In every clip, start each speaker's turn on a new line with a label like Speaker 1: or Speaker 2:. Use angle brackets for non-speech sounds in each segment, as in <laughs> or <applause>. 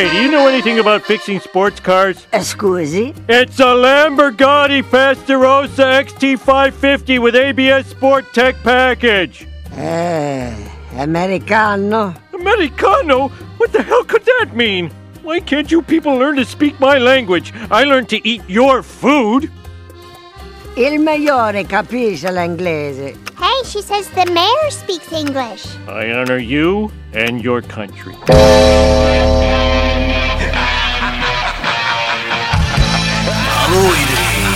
Speaker 1: anything about fixing sports cars?
Speaker 2: Eh, Scusi?
Speaker 1: It's a Lamborghini Fasterosa XT550 with ABS Sport Tech package.
Speaker 2: Eh, Americano?
Speaker 1: Americano? What the hell could that mean? Why can't you people learn to speak my language? I learned to eat your food.
Speaker 2: Il migliore capisce l'inglese.
Speaker 3: Hey, she says the mayor speaks English.
Speaker 1: I honor you and your country.
Speaker 4: Hallo iedereen.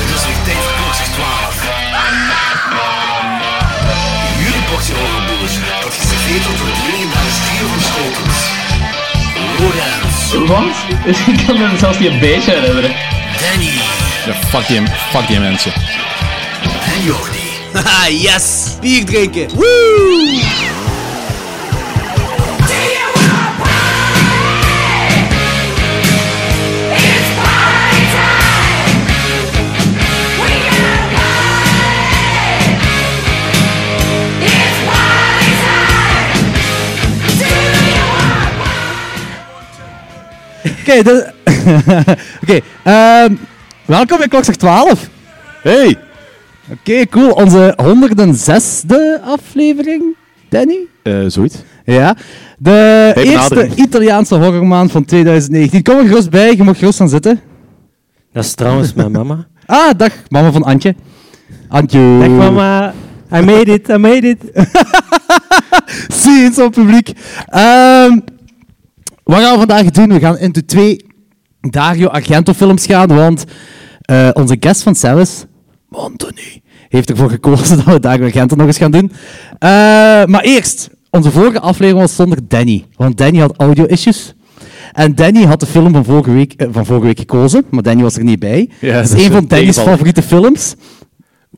Speaker 4: Het is weer tijd voor klokslag 12. Jullie boxje overboers, dat geserveerd wordt door dringend naar de stier van Schotens. Lorenz,
Speaker 5: Wat? <laughs> Ik kan me zelfs niet een beetje herinneren.
Speaker 4: Danny
Speaker 6: Ja, fuck die, fuck die mensen.
Speaker 4: en Jordi.
Speaker 7: Haha, yes! Bier drinken! Woo!
Speaker 8: Oké, dat- <laughs> Oké, ehm, welkom bij Klokzak 12.
Speaker 6: Hey!
Speaker 8: Oké, cool. Onze 106e aflevering, Danny.
Speaker 6: Eh, zoiets.
Speaker 8: Ja. De
Speaker 6: Bij benadering.
Speaker 8: eerste Italiaanse horrormaand van 2019. Kom er gerust bij, je mag gerust gaan zitten.
Speaker 9: Dat is trouwens mijn
Speaker 8: <laughs>
Speaker 9: mama.
Speaker 8: Ah, dag, mama van Antje. Antje.
Speaker 9: Dag mama, I made it, I made it.
Speaker 8: Zie eens op publiek. Ehm, wat gaan we vandaag doen? We gaan in de twee Dario Argento films gaan, want eh, onze guest van Cellis, Anthony, heeft ervoor gekozen <laughs> dat we Dario Argento nog eens gaan doen. Eh, maar eerst, onze vorige aflevering was zonder Danny, want Danny had audio-issues. En Danny had de film van vorige, week, eh, van vorige week gekozen, maar Danny was er niet bij.
Speaker 6: Ja,
Speaker 8: dat
Speaker 6: dat
Speaker 8: is
Speaker 6: is
Speaker 8: een van Danny's
Speaker 6: een tegenvaller.
Speaker 8: favoriete films.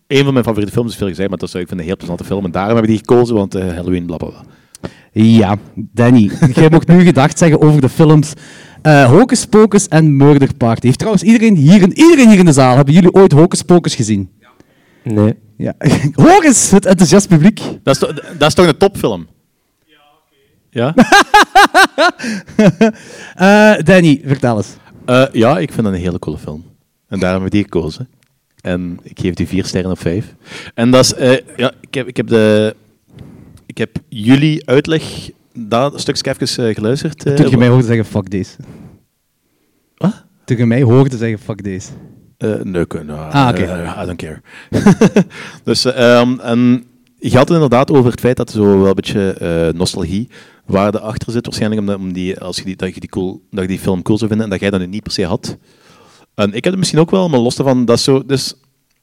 Speaker 6: Een van mijn favoriete films is veel gezegd, maar dat is, ik vind een heel plezante film. En daarom heb ik die gekozen, want eh, Halloween, blablabla.
Speaker 8: Ja, Danny, jij mocht nu gedacht zeggen over de films eh Hocus Pocus en Murder Party. Heeft trouwens iedereen hier, in, iedereen hier in de zaal, hebben jullie ooit Hocus Pocus gezien?
Speaker 9: Nee.
Speaker 8: Ja. <laughs> Hoor eens, het enthousiast publiek.
Speaker 6: Dat is, to- dat is toch een topfilm? Ja, oké.
Speaker 8: Eh, Danny, vertel eens.
Speaker 6: Ja? Eh, ja, ik vind dat een hele coole film. En daarom heb ik die gekozen. En ik geef die vier sterren op vijf. En dat is... eh, ja, ik heb, ik heb de... Ik heb jullie uitleg... Dat stukje even eh, geluisterd. eh,
Speaker 8: Toen je mij hoorde zeggen fuck deze.
Speaker 6: Wat?
Speaker 8: Toen je mij hoorde zeggen fuck deze.
Speaker 6: Eh, nee, ik- nou,
Speaker 8: Ah, oké.
Speaker 6: eh, I don't care. <laughs> dus, eh, ehm, en je had het inderdaad over het feit dat zo wel een beetje eh, nostalgiewaarde achter zit waarschijnlijk, omdat om die, als je die, dat, je die cool, dat je die film cool zou vinden en dat jij dat nu niet per se had. En ik heb het misschien ook wel, maar los daarvan, dat is zo, dus,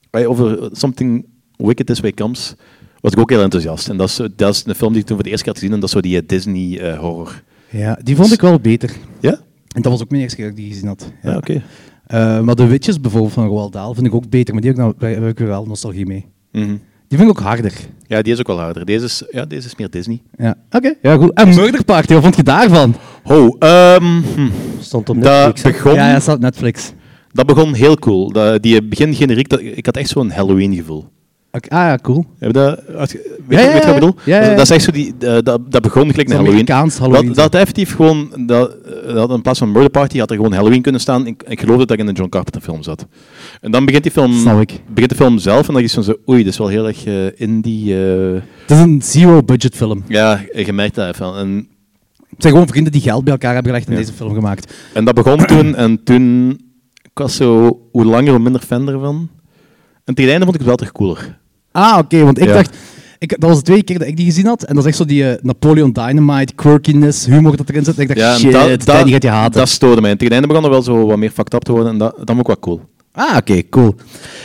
Speaker 6: wij over Something Wicked This Way Comes was ik ook heel enthousiast. En dat is, zo- dat is een film die ik toen voor de eerste keer had gezien en dat is zo die eh, Disney eh, horror.
Speaker 8: Ja, die vond ik wel beter.
Speaker 6: Ja?
Speaker 8: En dat was ook mijn eerste keer dat ik die gezien had.
Speaker 6: Ja, oké.
Speaker 8: Eh, maar de Witches bijvoorbeeld van Roald Dahl vind ik ook beter, maar die heb ik, nou, daar heb ik weer wel nostalgie mee.
Speaker 6: Mhm.
Speaker 8: Die vind ik ook harder.
Speaker 6: Ja, die is ook wel harder. Deze is, ja, deze is meer Disney.
Speaker 8: Ja, oké. Ja, goed. En Murder Party, wat vond je daarvan?
Speaker 6: Ho, ehm, hm.
Speaker 9: Stond op
Speaker 6: Dat
Speaker 9: Netflix. hè?
Speaker 6: begon,
Speaker 8: Ja, ja, staat op Netflix.
Speaker 6: dat begon heel cool. Dat, die begingeneriek, dat, ik had echt zo'n Halloween-gevoel.
Speaker 8: Oké, Ah ja, cool.
Speaker 6: Heb je dat, als je-
Speaker 8: Ja,
Speaker 6: weet, je-
Speaker 8: ja,
Speaker 6: weet je wat
Speaker 8: ja.
Speaker 6: ik bedoel?
Speaker 8: Ja, ja, ja.
Speaker 6: Dat is echt zo die, eh, dat, dat begon gelijk naar Halloween.
Speaker 8: Amerikaans Halloween,
Speaker 6: Dat, dat effectief gewoon, dat, eh, dat in plaats van Murder Party had er gewoon Halloween kunnen staan. Ik, ik geloofde dat ik in een John Carpenter film zat. En dan begint die film,
Speaker 8: Snap ik.
Speaker 6: begint de film zelf en dan is het zo, oei, dat is wel heel erg eh, indie. eh,
Speaker 8: Het is een zero-budget film.
Speaker 6: ja, je merkt dat even. En
Speaker 8: Het zijn gewoon vrienden die geld bij elkaar hebben gelegd en deze film gemaakt.
Speaker 6: En dat begon
Speaker 8: <clears throat>
Speaker 6: toen, en toen, ik was zo, hoe langer, hoe minder fan ervan. En tegen het einde vond ik het wel toch cooler.
Speaker 8: Ah, oké, want ik
Speaker 6: Ja.
Speaker 8: dacht... Ik, dat was de tweede keer dat ik die gezien had. En dat is echt zo die eh, Napoleon Dynamite, quirkiness, humor dat erin zit. En <laughs> ik dacht,
Speaker 6: en
Speaker 8: shit,
Speaker 6: dat- dat-
Speaker 8: Danny gaat je haten.
Speaker 6: Dat stoorde mij. En tegen het einde begon er wel zo wat meer fucked up te worden, en dat, dat vond ik wel cool.
Speaker 8: ah, oké, cool.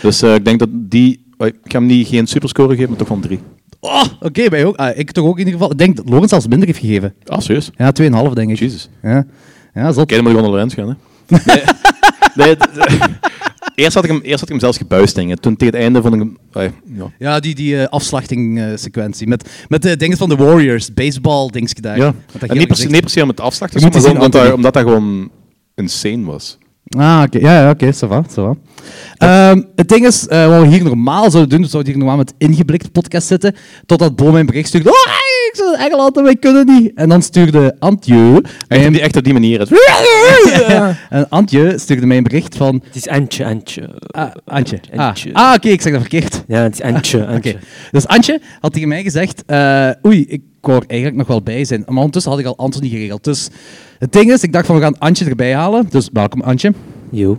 Speaker 6: Dus eh, ik denk dat die, oei, ik ga hem niet geen superscore geven, maar toch van drie.
Speaker 8: Oh, oké, wij ook. Ah, ik toch ook in ieder geval. Ik denk dat Lorenz zelfs minder heeft gegeven.
Speaker 6: Ah, serieus?
Speaker 8: Ja, 2,5 denk ik.
Speaker 6: Jezus. Oké,
Speaker 8: Ja, ja zot.
Speaker 6: dan moet ik onder Lorenz gaan, hè. Nee, nee, het- eerst, had ik hem, eerst had ik hem zelfs gebuist, denk ik. Toen tegen het einde vond ik hem, oei, ja.
Speaker 8: Ja, die, die eh, afslachting-sequentie. met, met de dingen van de Warriors, baseball-dings gedaan.
Speaker 6: ja. En niet per se- niet per se om het afslag te
Speaker 8: Je moet
Speaker 6: maar
Speaker 8: die
Speaker 6: gewoon
Speaker 8: zien,
Speaker 6: omdat, dat-
Speaker 8: Anthony.
Speaker 6: omdat dat gewoon insane was.
Speaker 8: Ah, oké. Ja, ja, oké. ça va, ça va. Ehm, het ding is, eh, wat we hier normaal zouden doen, dus zouden we hier normaal met ingeblikte podcast zitten, totdat Bo mijn bericht stuurde, oh, ik zit in Engeland en wij kunnen niet. En dan stuurde Antje...
Speaker 6: Echt, op
Speaker 8: mij-
Speaker 6: die, echt op
Speaker 8: <laughs>
Speaker 6: die manier. Het- <laughs>
Speaker 8: en Antje stuurde mij een bericht van...
Speaker 9: Het is Antje, Antje.
Speaker 8: Ah, Antje. Ah,
Speaker 9: Antje.
Speaker 8: Ah, oké, ik zeg dat verkeerd.
Speaker 9: Ja, het is Antje, Antje.
Speaker 8: <laughs> Oké. Dus Antje had tegen mij gezegd, eh, oei, ik wou er eigenlijk nog wel bij zijn. Maar ondertussen had ik al Anthony geregeld. Dus het ding is, ik dacht van, we gaan Antje erbij halen. Dus welkom, Antje.
Speaker 9: Jo.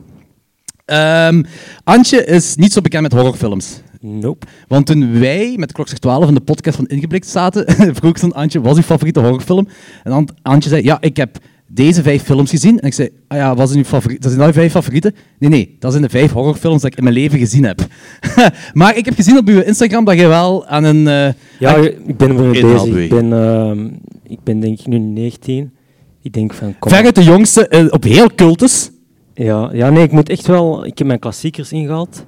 Speaker 8: Ehm, Antje is niet zo bekend met horrorfilms.
Speaker 9: Nope.
Speaker 8: Want toen wij met Klokster 12 in de podcast van Ingeblikt zaten, <laughs> vroeg ze aan Antje, was uw favoriete horrorfilm? En Ant- Antje zei, ja, ik heb deze vijf films gezien. En ik zei, ah ja, was uw favoriet? dat zijn nou uw vijf favorieten? Nee, nee, dat zijn de vijf horrorfilms dat ik in mijn leven gezien heb. <laughs> maar ik heb gezien op uw Instagram dat jij wel aan een... eh,
Speaker 9: Ja,
Speaker 8: aan-
Speaker 9: ik ben ermee
Speaker 6: Inhaal,
Speaker 9: bezig. Ik
Speaker 6: doei.
Speaker 9: ben, ehm, ik ben denk ik nu 19. Ik denk van, kom
Speaker 8: veruit de jongste, eh, op heel cultus.
Speaker 9: Ja, ja, nee, ik moet echt wel... Ik heb mijn klassiekers ingehaald.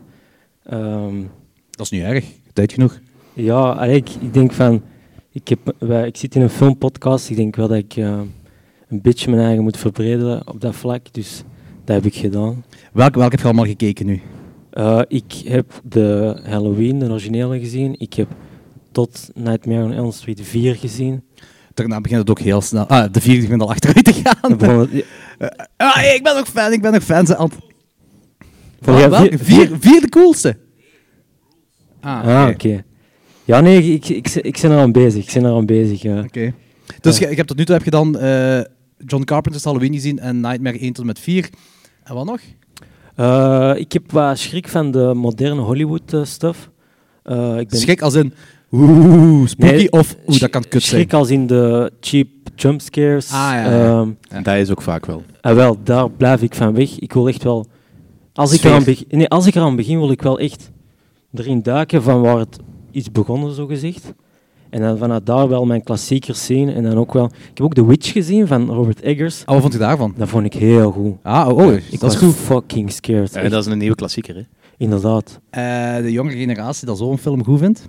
Speaker 9: Ehm,
Speaker 8: Dat is niet erg, tijd genoeg.
Speaker 9: ja, allee, ik, ik denk van... Ik, heb, wij- ik zit in een filmpodcast. Ik denk wel dat ik ehm, een beetje mijn eigen moet verbreden op dat vlak. Dus dat heb ik gedaan.
Speaker 8: Welke, welke heb je allemaal gekeken nu?
Speaker 9: Eh, ik heb de Halloween, de originele, gezien. Ik heb tot Nightmare on Elm Street
Speaker 8: <laughs>
Speaker 9: 4 gezien.
Speaker 8: Daarna begint het ook heel snel. Ah, de vierde begint al achteruit te gaan.
Speaker 9: <laughs> Dan begon het-
Speaker 8: Ah, hey, ik ben nog fan, ik ben nog fan. Ze ant-
Speaker 9: Vond jij
Speaker 8: Wel-
Speaker 9: vier-
Speaker 8: vier, vier de coolste. Ah, oké.
Speaker 9: Ah, oké. Ja, nee, ik, ik, ik, ik ben er aan bezig. Ik ben er aan bezig, ja.
Speaker 8: Oké. Dus je- ik heb tot nu toe heb je dan eh, John Carpenter's Halloween gezien en Nightmare 1 tot en met 4. En wat nog?
Speaker 9: Eh, ik heb wat schrik van de moderne Hollywood-stuff. Eh, ik ben
Speaker 8: Schrik als in oeh, spooky
Speaker 9: Nee,
Speaker 8: of oeh, dat
Speaker 9: sch-
Speaker 8: kan kut zijn.
Speaker 9: Schrik als in de cheap jumpscares.
Speaker 8: Ah, ja, ja.
Speaker 9: Ehm,
Speaker 6: Dat is ook vaak wel.
Speaker 9: ah, wel, daar blijf ik van weg. Ik wil echt wel... Als ik,
Speaker 8: Sfeer.
Speaker 9: eraan beg- nee, als ik eraan begin, wil ik wel echt erin duiken van waar het is begonnen, zo gezegd. En dan vanuit daar wel mijn klassiekers zien. En dan ook wel... Ik heb ook The Witch gezien van Robert Eggers.
Speaker 8: Ah, wat vond je daarvan?
Speaker 9: Dat vond ik heel goed.
Speaker 8: Ah, oh, oh,
Speaker 9: Ik
Speaker 8: dat is
Speaker 9: was
Speaker 8: goed.
Speaker 9: fucking scared.
Speaker 6: Eh, dat is een nieuwe klassieker, hè?
Speaker 9: Echt, Inderdaad.
Speaker 8: Eh, de jongere generatie dat zo'n film goed vindt.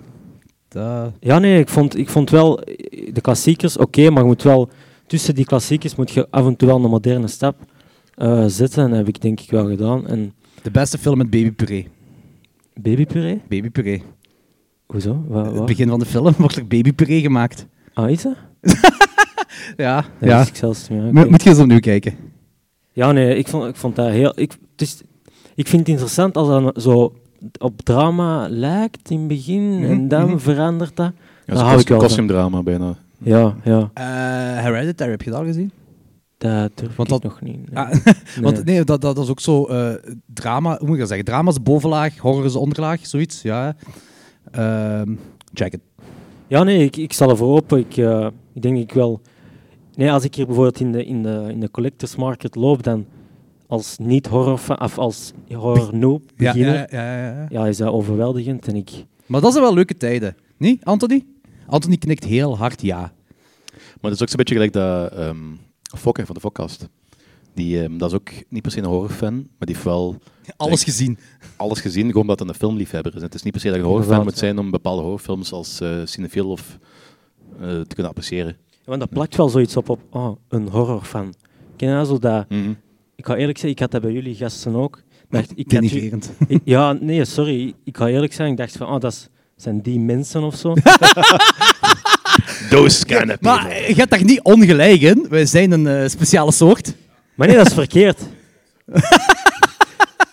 Speaker 8: Dat-
Speaker 9: Ja, nee, ik vond, ik vond wel eh, de klassiekers oké, maar je moet wel tussen die klassiekers moet je af en toe wel een moderne stap eh, zetten. En dat heb ik denk ik wel gedaan. En
Speaker 8: de beste film met babypuree.
Speaker 9: babypuree?
Speaker 8: Babypuree.
Speaker 9: Hoezo? Wa-
Speaker 8: Het
Speaker 9: waar?
Speaker 8: Eh, begin van de film <laughs> wordt er babypuree gemaakt.
Speaker 9: Ah, is dat?
Speaker 8: Ja,
Speaker 9: Dat
Speaker 8: ja.
Speaker 9: wist ik zelfs niet. ja,
Speaker 8: Mo-
Speaker 9: oké.
Speaker 8: Moet je eens opnieuw kijken.
Speaker 9: Ja, nee, ik vond, ik vond dat heel... Ik, het is, ik vind het interessant als dat zo op drama lijkt in
Speaker 8: Mhm,
Speaker 9: het begin en dan verandert dat.
Speaker 6: Ja,
Speaker 9: Daar
Speaker 6: zo'n
Speaker 9: hou ik
Speaker 6: kost-
Speaker 9: wel van.
Speaker 6: kostuumdrama bijna.
Speaker 9: Ja, ja.
Speaker 8: Eh, Hereditary, heb je dat al gezien?
Speaker 9: Dat durf
Speaker 8: Want
Speaker 9: ik
Speaker 8: dat-
Speaker 9: nog niet. nee.
Speaker 8: Ah, <laughs> want nee, dat, dat, dat is ook zo. eh, drama, hoe moet ik dat zeggen? Drama is bovenlaag, horror is onderlaag, zoiets. Ja. Ehm check it.
Speaker 9: Ja, nee, ik, ik zal ervoor open. Ik, eh, ik denk ik wel. Nee, als ik hier bijvoorbeeld in de, in de, in de collectors market loop, dan als niet horror of als horror noob
Speaker 8: Ja,
Speaker 9: beginner, ja,
Speaker 8: ja, ja, ja, ja.
Speaker 9: is dat overweldigend en ik.
Speaker 8: Maar dat zijn wel leuke tijden. Niet, Anthony? Anthony knikt heel hard ja.
Speaker 6: Maar dat is ook zo'n beetje gelijk dat ehm Fokker van de Fokkast. Die, ehm, dat is ook niet per se een horrorfan, maar die heeft wel
Speaker 8: Alles
Speaker 6: Kijk.
Speaker 8: gezien.
Speaker 6: alles gezien, gewoon omdat het een filmliefhebber is. Het is niet per se dat je een horrorfan
Speaker 9: Inderdaad,
Speaker 6: moet zijn om bepaalde horrorfilms als eh cinefiel of eh, te kunnen appreciëren.
Speaker 9: Want dat plakt wel zoiets op op oh, een horrorfan. Ken je dat zo dat?
Speaker 6: Mhm.
Speaker 9: Ik ga eerlijk zijn, ik had dat bij jullie gasten ook. Ik Dacht, ik had ju-
Speaker 8: Denigrerend.
Speaker 9: <laughs> ik- ja, nee, sorry. Ik ga eerlijk zijn, ik dacht van, oh, dat is- zijn die mensen of zo.
Speaker 6: Those kind of
Speaker 8: Maar eh, je hebt daar niet ongelijk in. Wij zijn een eh, speciale soort.
Speaker 9: maar nee, dat is verkeerd.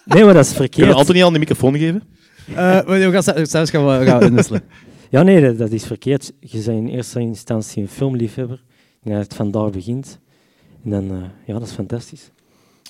Speaker 9: nee, maar dat is
Speaker 6: Kunnen we
Speaker 9: verkeerd.
Speaker 6: Anthony al een microfoon geven?
Speaker 8: Eh, we we gaan ze- zelfs gaan we, gaan we inwisselen.
Speaker 9: <laughs> Ja, nee, dat, dat is verkeerd. Je bent in eerste instantie een filmliefhebber. En dat het vandaar begint. En dan, eh, ja, dat is fantastisch.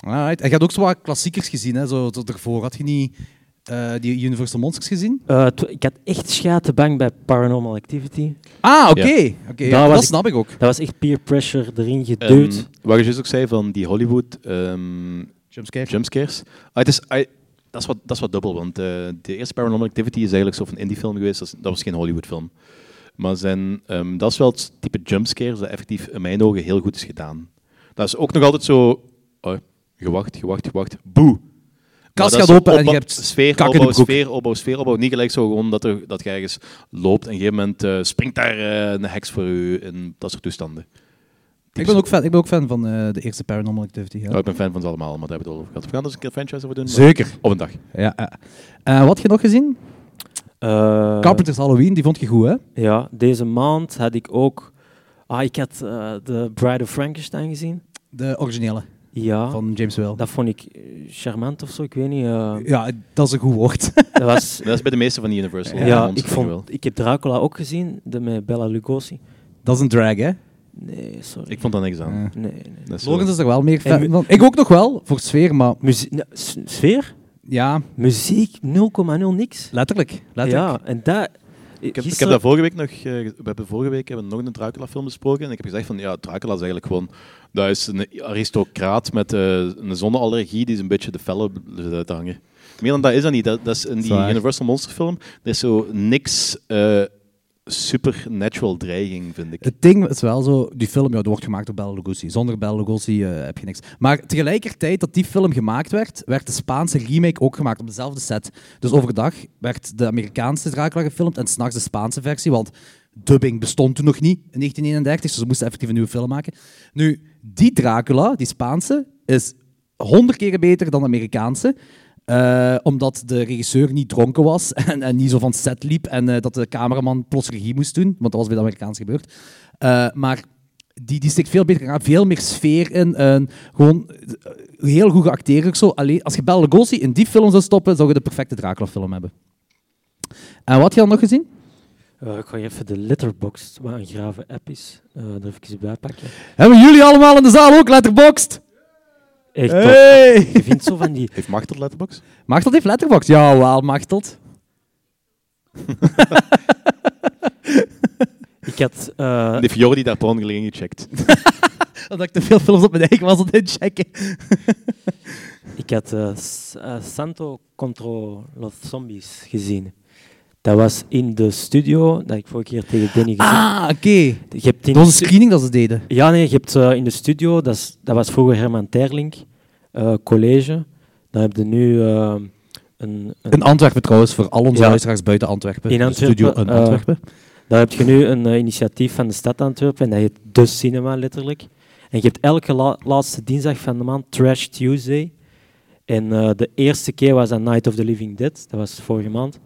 Speaker 8: Alright. En je had ook zo wat klassiekers gezien, hè? Zo, zo daarvoor. Had je niet eh, die Universal Monsters gezien?
Speaker 9: Eh, tw- ik had echt schaten bang bij Paranormal Activity.
Speaker 8: Ah, oké.
Speaker 6: Ja.
Speaker 8: Oké,
Speaker 9: Daar
Speaker 8: ja,
Speaker 9: was
Speaker 8: dat
Speaker 9: ik-
Speaker 8: snap ik ook.
Speaker 9: Dat was echt peer pressure erin geduwd.
Speaker 6: Dude. waar je Ehm, juist ook zei van die Hollywood ehm,
Speaker 8: Jumpscare.
Speaker 6: jumpscares. Ah, het is, ah, dat, is wat, dat is wat dubbel, want eh, de eerste Paranormal Activity is eigenlijk zo van indie film geweest. Dat, is- dat was geen Hollywood film. Maar zijn, ehm, dat is wel het type jumpscares dat effectief in mijn ogen heel goed is gedaan. Dat is ook nog altijd zo... Oh, gewacht, gewacht, gewacht. Boe! Maar dat
Speaker 8: gaat
Speaker 6: is
Speaker 8: open en je
Speaker 6: opbouw-
Speaker 8: hebt
Speaker 6: sfeer,
Speaker 8: kak in de
Speaker 6: opbouw,
Speaker 8: broek.
Speaker 6: sfeer, opbouw, sfeer, opbouw. Niet gelijk zo gewoon dat, er, dat je ergens loopt en op een gegeven moment eh, springt daar eh, een heks voor u in dat soort toestanden.
Speaker 8: Ik ben ook fan, ik ben ook fan van eh, de eerste Paranormal Activity. Ja.
Speaker 6: Nou, ik ben fan van ze allemaal, maar daar hebben we het over gehad. We gaan dus een keer franchise over doen. maar
Speaker 8: Zeker.
Speaker 6: Op een dag.
Speaker 8: Ja, ja. Eh, wat heb je nog gezien?
Speaker 9: Eh,
Speaker 8: Carpenter's Halloween, die vond je goed, hè?
Speaker 9: Ja, deze maand had ik ook... Ah, ik had eh, de Bride of Frankenstein gezien.
Speaker 8: De originele
Speaker 9: Ja,
Speaker 8: van James Whale.
Speaker 9: dat vond ik eh, charmant of zo, ik weet niet. eh,
Speaker 8: Ja, dat is een goed woord. <laughs>
Speaker 9: dat
Speaker 6: <laughs>
Speaker 9: was...
Speaker 6: Dat is bij de meeste van die Universal.
Speaker 9: Ja,
Speaker 6: films,
Speaker 9: ik,
Speaker 6: denk wel.
Speaker 9: vond, ik heb Dracula ook gezien, de, met Bella Lugosi.
Speaker 8: dat is een drag, hè?
Speaker 9: Nee, sorry.
Speaker 6: Ik vond daar niks aan.
Speaker 8: Ja.
Speaker 9: Nee, nee.
Speaker 6: Dat is
Speaker 8: Logans
Speaker 6: zo.
Speaker 8: is er wel meer fan
Speaker 9: En-
Speaker 8: van. Ik ook nog wel, voor sfeer, maar
Speaker 9: Muzie- nou, s- sfeer?
Speaker 8: ja,
Speaker 9: Muziek 0,0 niks.
Speaker 8: letterlijk. letterlijk.
Speaker 9: Ja, en dat...
Speaker 6: Ik heb, ik heb daar vorige week nog, eh, we hebben vorige week hebben we nog een Dracula-film besproken. En ik heb gezegd van, ja, Dracula is eigenlijk gewoon, dat is een aristocraat met eh, een zonneallergie die is een beetje de felle blijft uithangen. Meer dan dat is dat niet. Dat, dat is in die
Speaker 8: Zwaar.
Speaker 6: Universal Monster film, er is zo niks eh, supernatural dreiging, vind ik.
Speaker 8: Het ding is wel zo, die film ja, die wordt gemaakt door Bela Lugosi. Zonder Bela Lugosi eh, heb je niks. Maar tegelijkertijd dat die film gemaakt werd, werd de Spaanse remake ook gemaakt op dezelfde set. Dus overdag werd de Amerikaanse Dracula gefilmd en s'nachts de Spaanse versie, want dubbing bestond toen nog niet in 1931, dus ze moesten effectief een nieuwe film maken. Nu, die Dracula, die Spaanse, is honderd keer beter dan de Amerikaanse. Eh, omdat de regisseur niet dronken was <laughs> en, en niet zo van set liep en eh, dat de cameraman plots regie moest doen, want dat was bij de Amerikaans gebeurd. Eh, maar die, die steekt veel beter aan, veel meer sfeer in. en gewoon eh, heel goed geacteerd ook zo. Alleen, als je Bela Lugosi in die film zou stoppen, zou je de perfecte Dracula-film hebben. En wat had je dan nog gezien?
Speaker 9: Eh, ik ga even de letterbox, waar een grave app is, eh, daar even iets bij pakken.
Speaker 8: Hebben jullie allemaal in de zaal ook letterboxd?
Speaker 9: Echt,
Speaker 6: Eh.
Speaker 9: top.
Speaker 8: Hey! <laughs>
Speaker 9: je vindt zo van die... <laughs>
Speaker 6: Heeft Machteld letterbox?
Speaker 8: Machteld heeft letterboxd. Ja, wel, Machteld.
Speaker 9: Ik had... eh,
Speaker 6: De Fiore die daar per ongeluk in gecheckt.
Speaker 8: Dat ik te veel films op mijn eigen was aan het checken.
Speaker 9: Ik had eh, S- eh, Santo contro los Zombies gezien. Dat was in de studio dat ik vorige keer tegen Danny gezien
Speaker 8: Ah, oké.
Speaker 9: Je hebt in
Speaker 8: Dat was een
Speaker 9: de stu-
Speaker 8: screening dat ze deden.
Speaker 9: Ja, nee, je hebt eh, in de studio, dat, is- dat was vroeger Herman Terling, eh, college. Dan heb je nu eh, een, een-
Speaker 8: In Antwerpen trouwens, voor al onze
Speaker 9: Ja.
Speaker 8: luisteraars buiten Antwerpen.
Speaker 9: In
Speaker 8: De
Speaker 9: Antwerpen,
Speaker 8: Studio in
Speaker 9: eh,
Speaker 8: Antwerpen.
Speaker 9: Daar heb je nu een eh, initiatief van de stad Antwerpen en dat heet De Cinema letterlijk. En je hebt elke la- laatste dinsdag van de maand Trash Tuesday. En eh, de eerste keer was dat Night of the Living Dead, dat was vorige maand.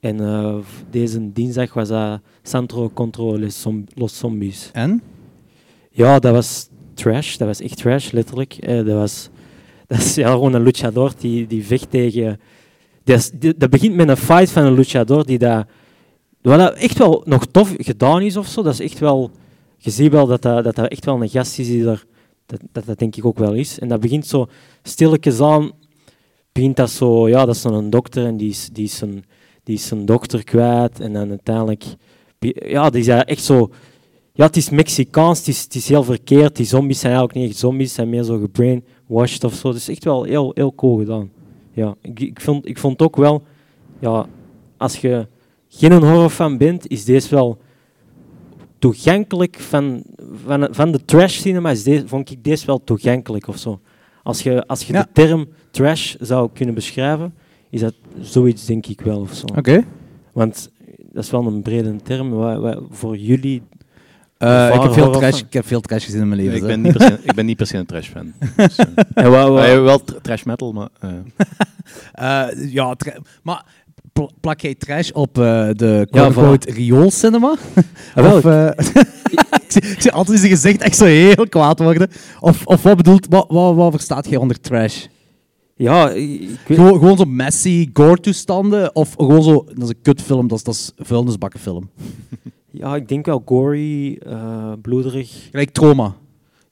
Speaker 9: En eh, v- deze dinsdag was dat Centro Contro les, Zom- los Zombies.
Speaker 8: En?
Speaker 9: Ja, dat was trash, dat was echt trash letterlijk. Eh, dat, was, <laughs> dat is ja, gewoon een luchador die, die vecht tegen. Dat, is- die- dat begint met een fight van een luchador die daar. Wat dat echt wel nog tof gedaan is of zo. Dat is echt wel. Je ziet wel dat dat, dat, dat echt wel een gast is die er. Dat, dat dat denk ik ook wel is. En dat begint zo stilletjes aan. Begint dat zo. Ja, dat is dan een dokter en die is, die is, zijn, die is zijn dokter kwijt. En dan uiteindelijk. Ja, die is daar echt zo. Ja, het is Mexicaans, het is, het is heel verkeerd. Die zombies zijn eigenlijk niet echt zombies, ze zijn meer zo gebrainwashed of zo. Het is echt wel heel, heel cool gedaan. Ja, ik, ik, vond, ik vond ook wel, ja, als je geen horrorfan bent, is deze wel toegankelijk van, van, van de trash cinema. Is deze, vond ik deze wel toegankelijk of zo. Als je, als je
Speaker 8: Ja.
Speaker 9: de term trash zou kunnen beschrijven, is dat zoiets denk ik wel of zo.
Speaker 8: Oké.
Speaker 9: Want dat is wel een brede term. wa- wa- voor jullie <laughs>
Speaker 8: Eh, ik, heb veel
Speaker 9: Horror-
Speaker 8: trash, ik heb veel trash gezien in mijn leven.
Speaker 6: Ik
Speaker 8: hè.
Speaker 6: ben niet per
Speaker 8: <laughs>
Speaker 6: se, ik ben niet per se een trash-fan. Dus, eh.
Speaker 9: En
Speaker 8: Oh,
Speaker 9: wa- wa-
Speaker 6: Ah, ja, wel tr- trash metal, maar... eh,
Speaker 8: Eh, ja, tra- maar pl- plak jij trash op eh, de
Speaker 9: Ja,
Speaker 8: quote-unquote rioolcinema?
Speaker 9: Ah, wel,
Speaker 8: Of, eh, <laughs> ik, zie, ik zie altijd zijn gezicht echt zo heel kwaad worden. Of, of wat bedoelt, wat, wat, wat verstaat jij onder trash?
Speaker 9: Ja, ik ik weet,
Speaker 8: Gewoon, gewoon zo messy gore-toestanden? Of gewoon zo, dat is een kutfilm, dat is, dat is vuilnisbakkenfilm.
Speaker 9: ja, ik denk wel gory, eh, bloederig,
Speaker 8: Gelijk trauma.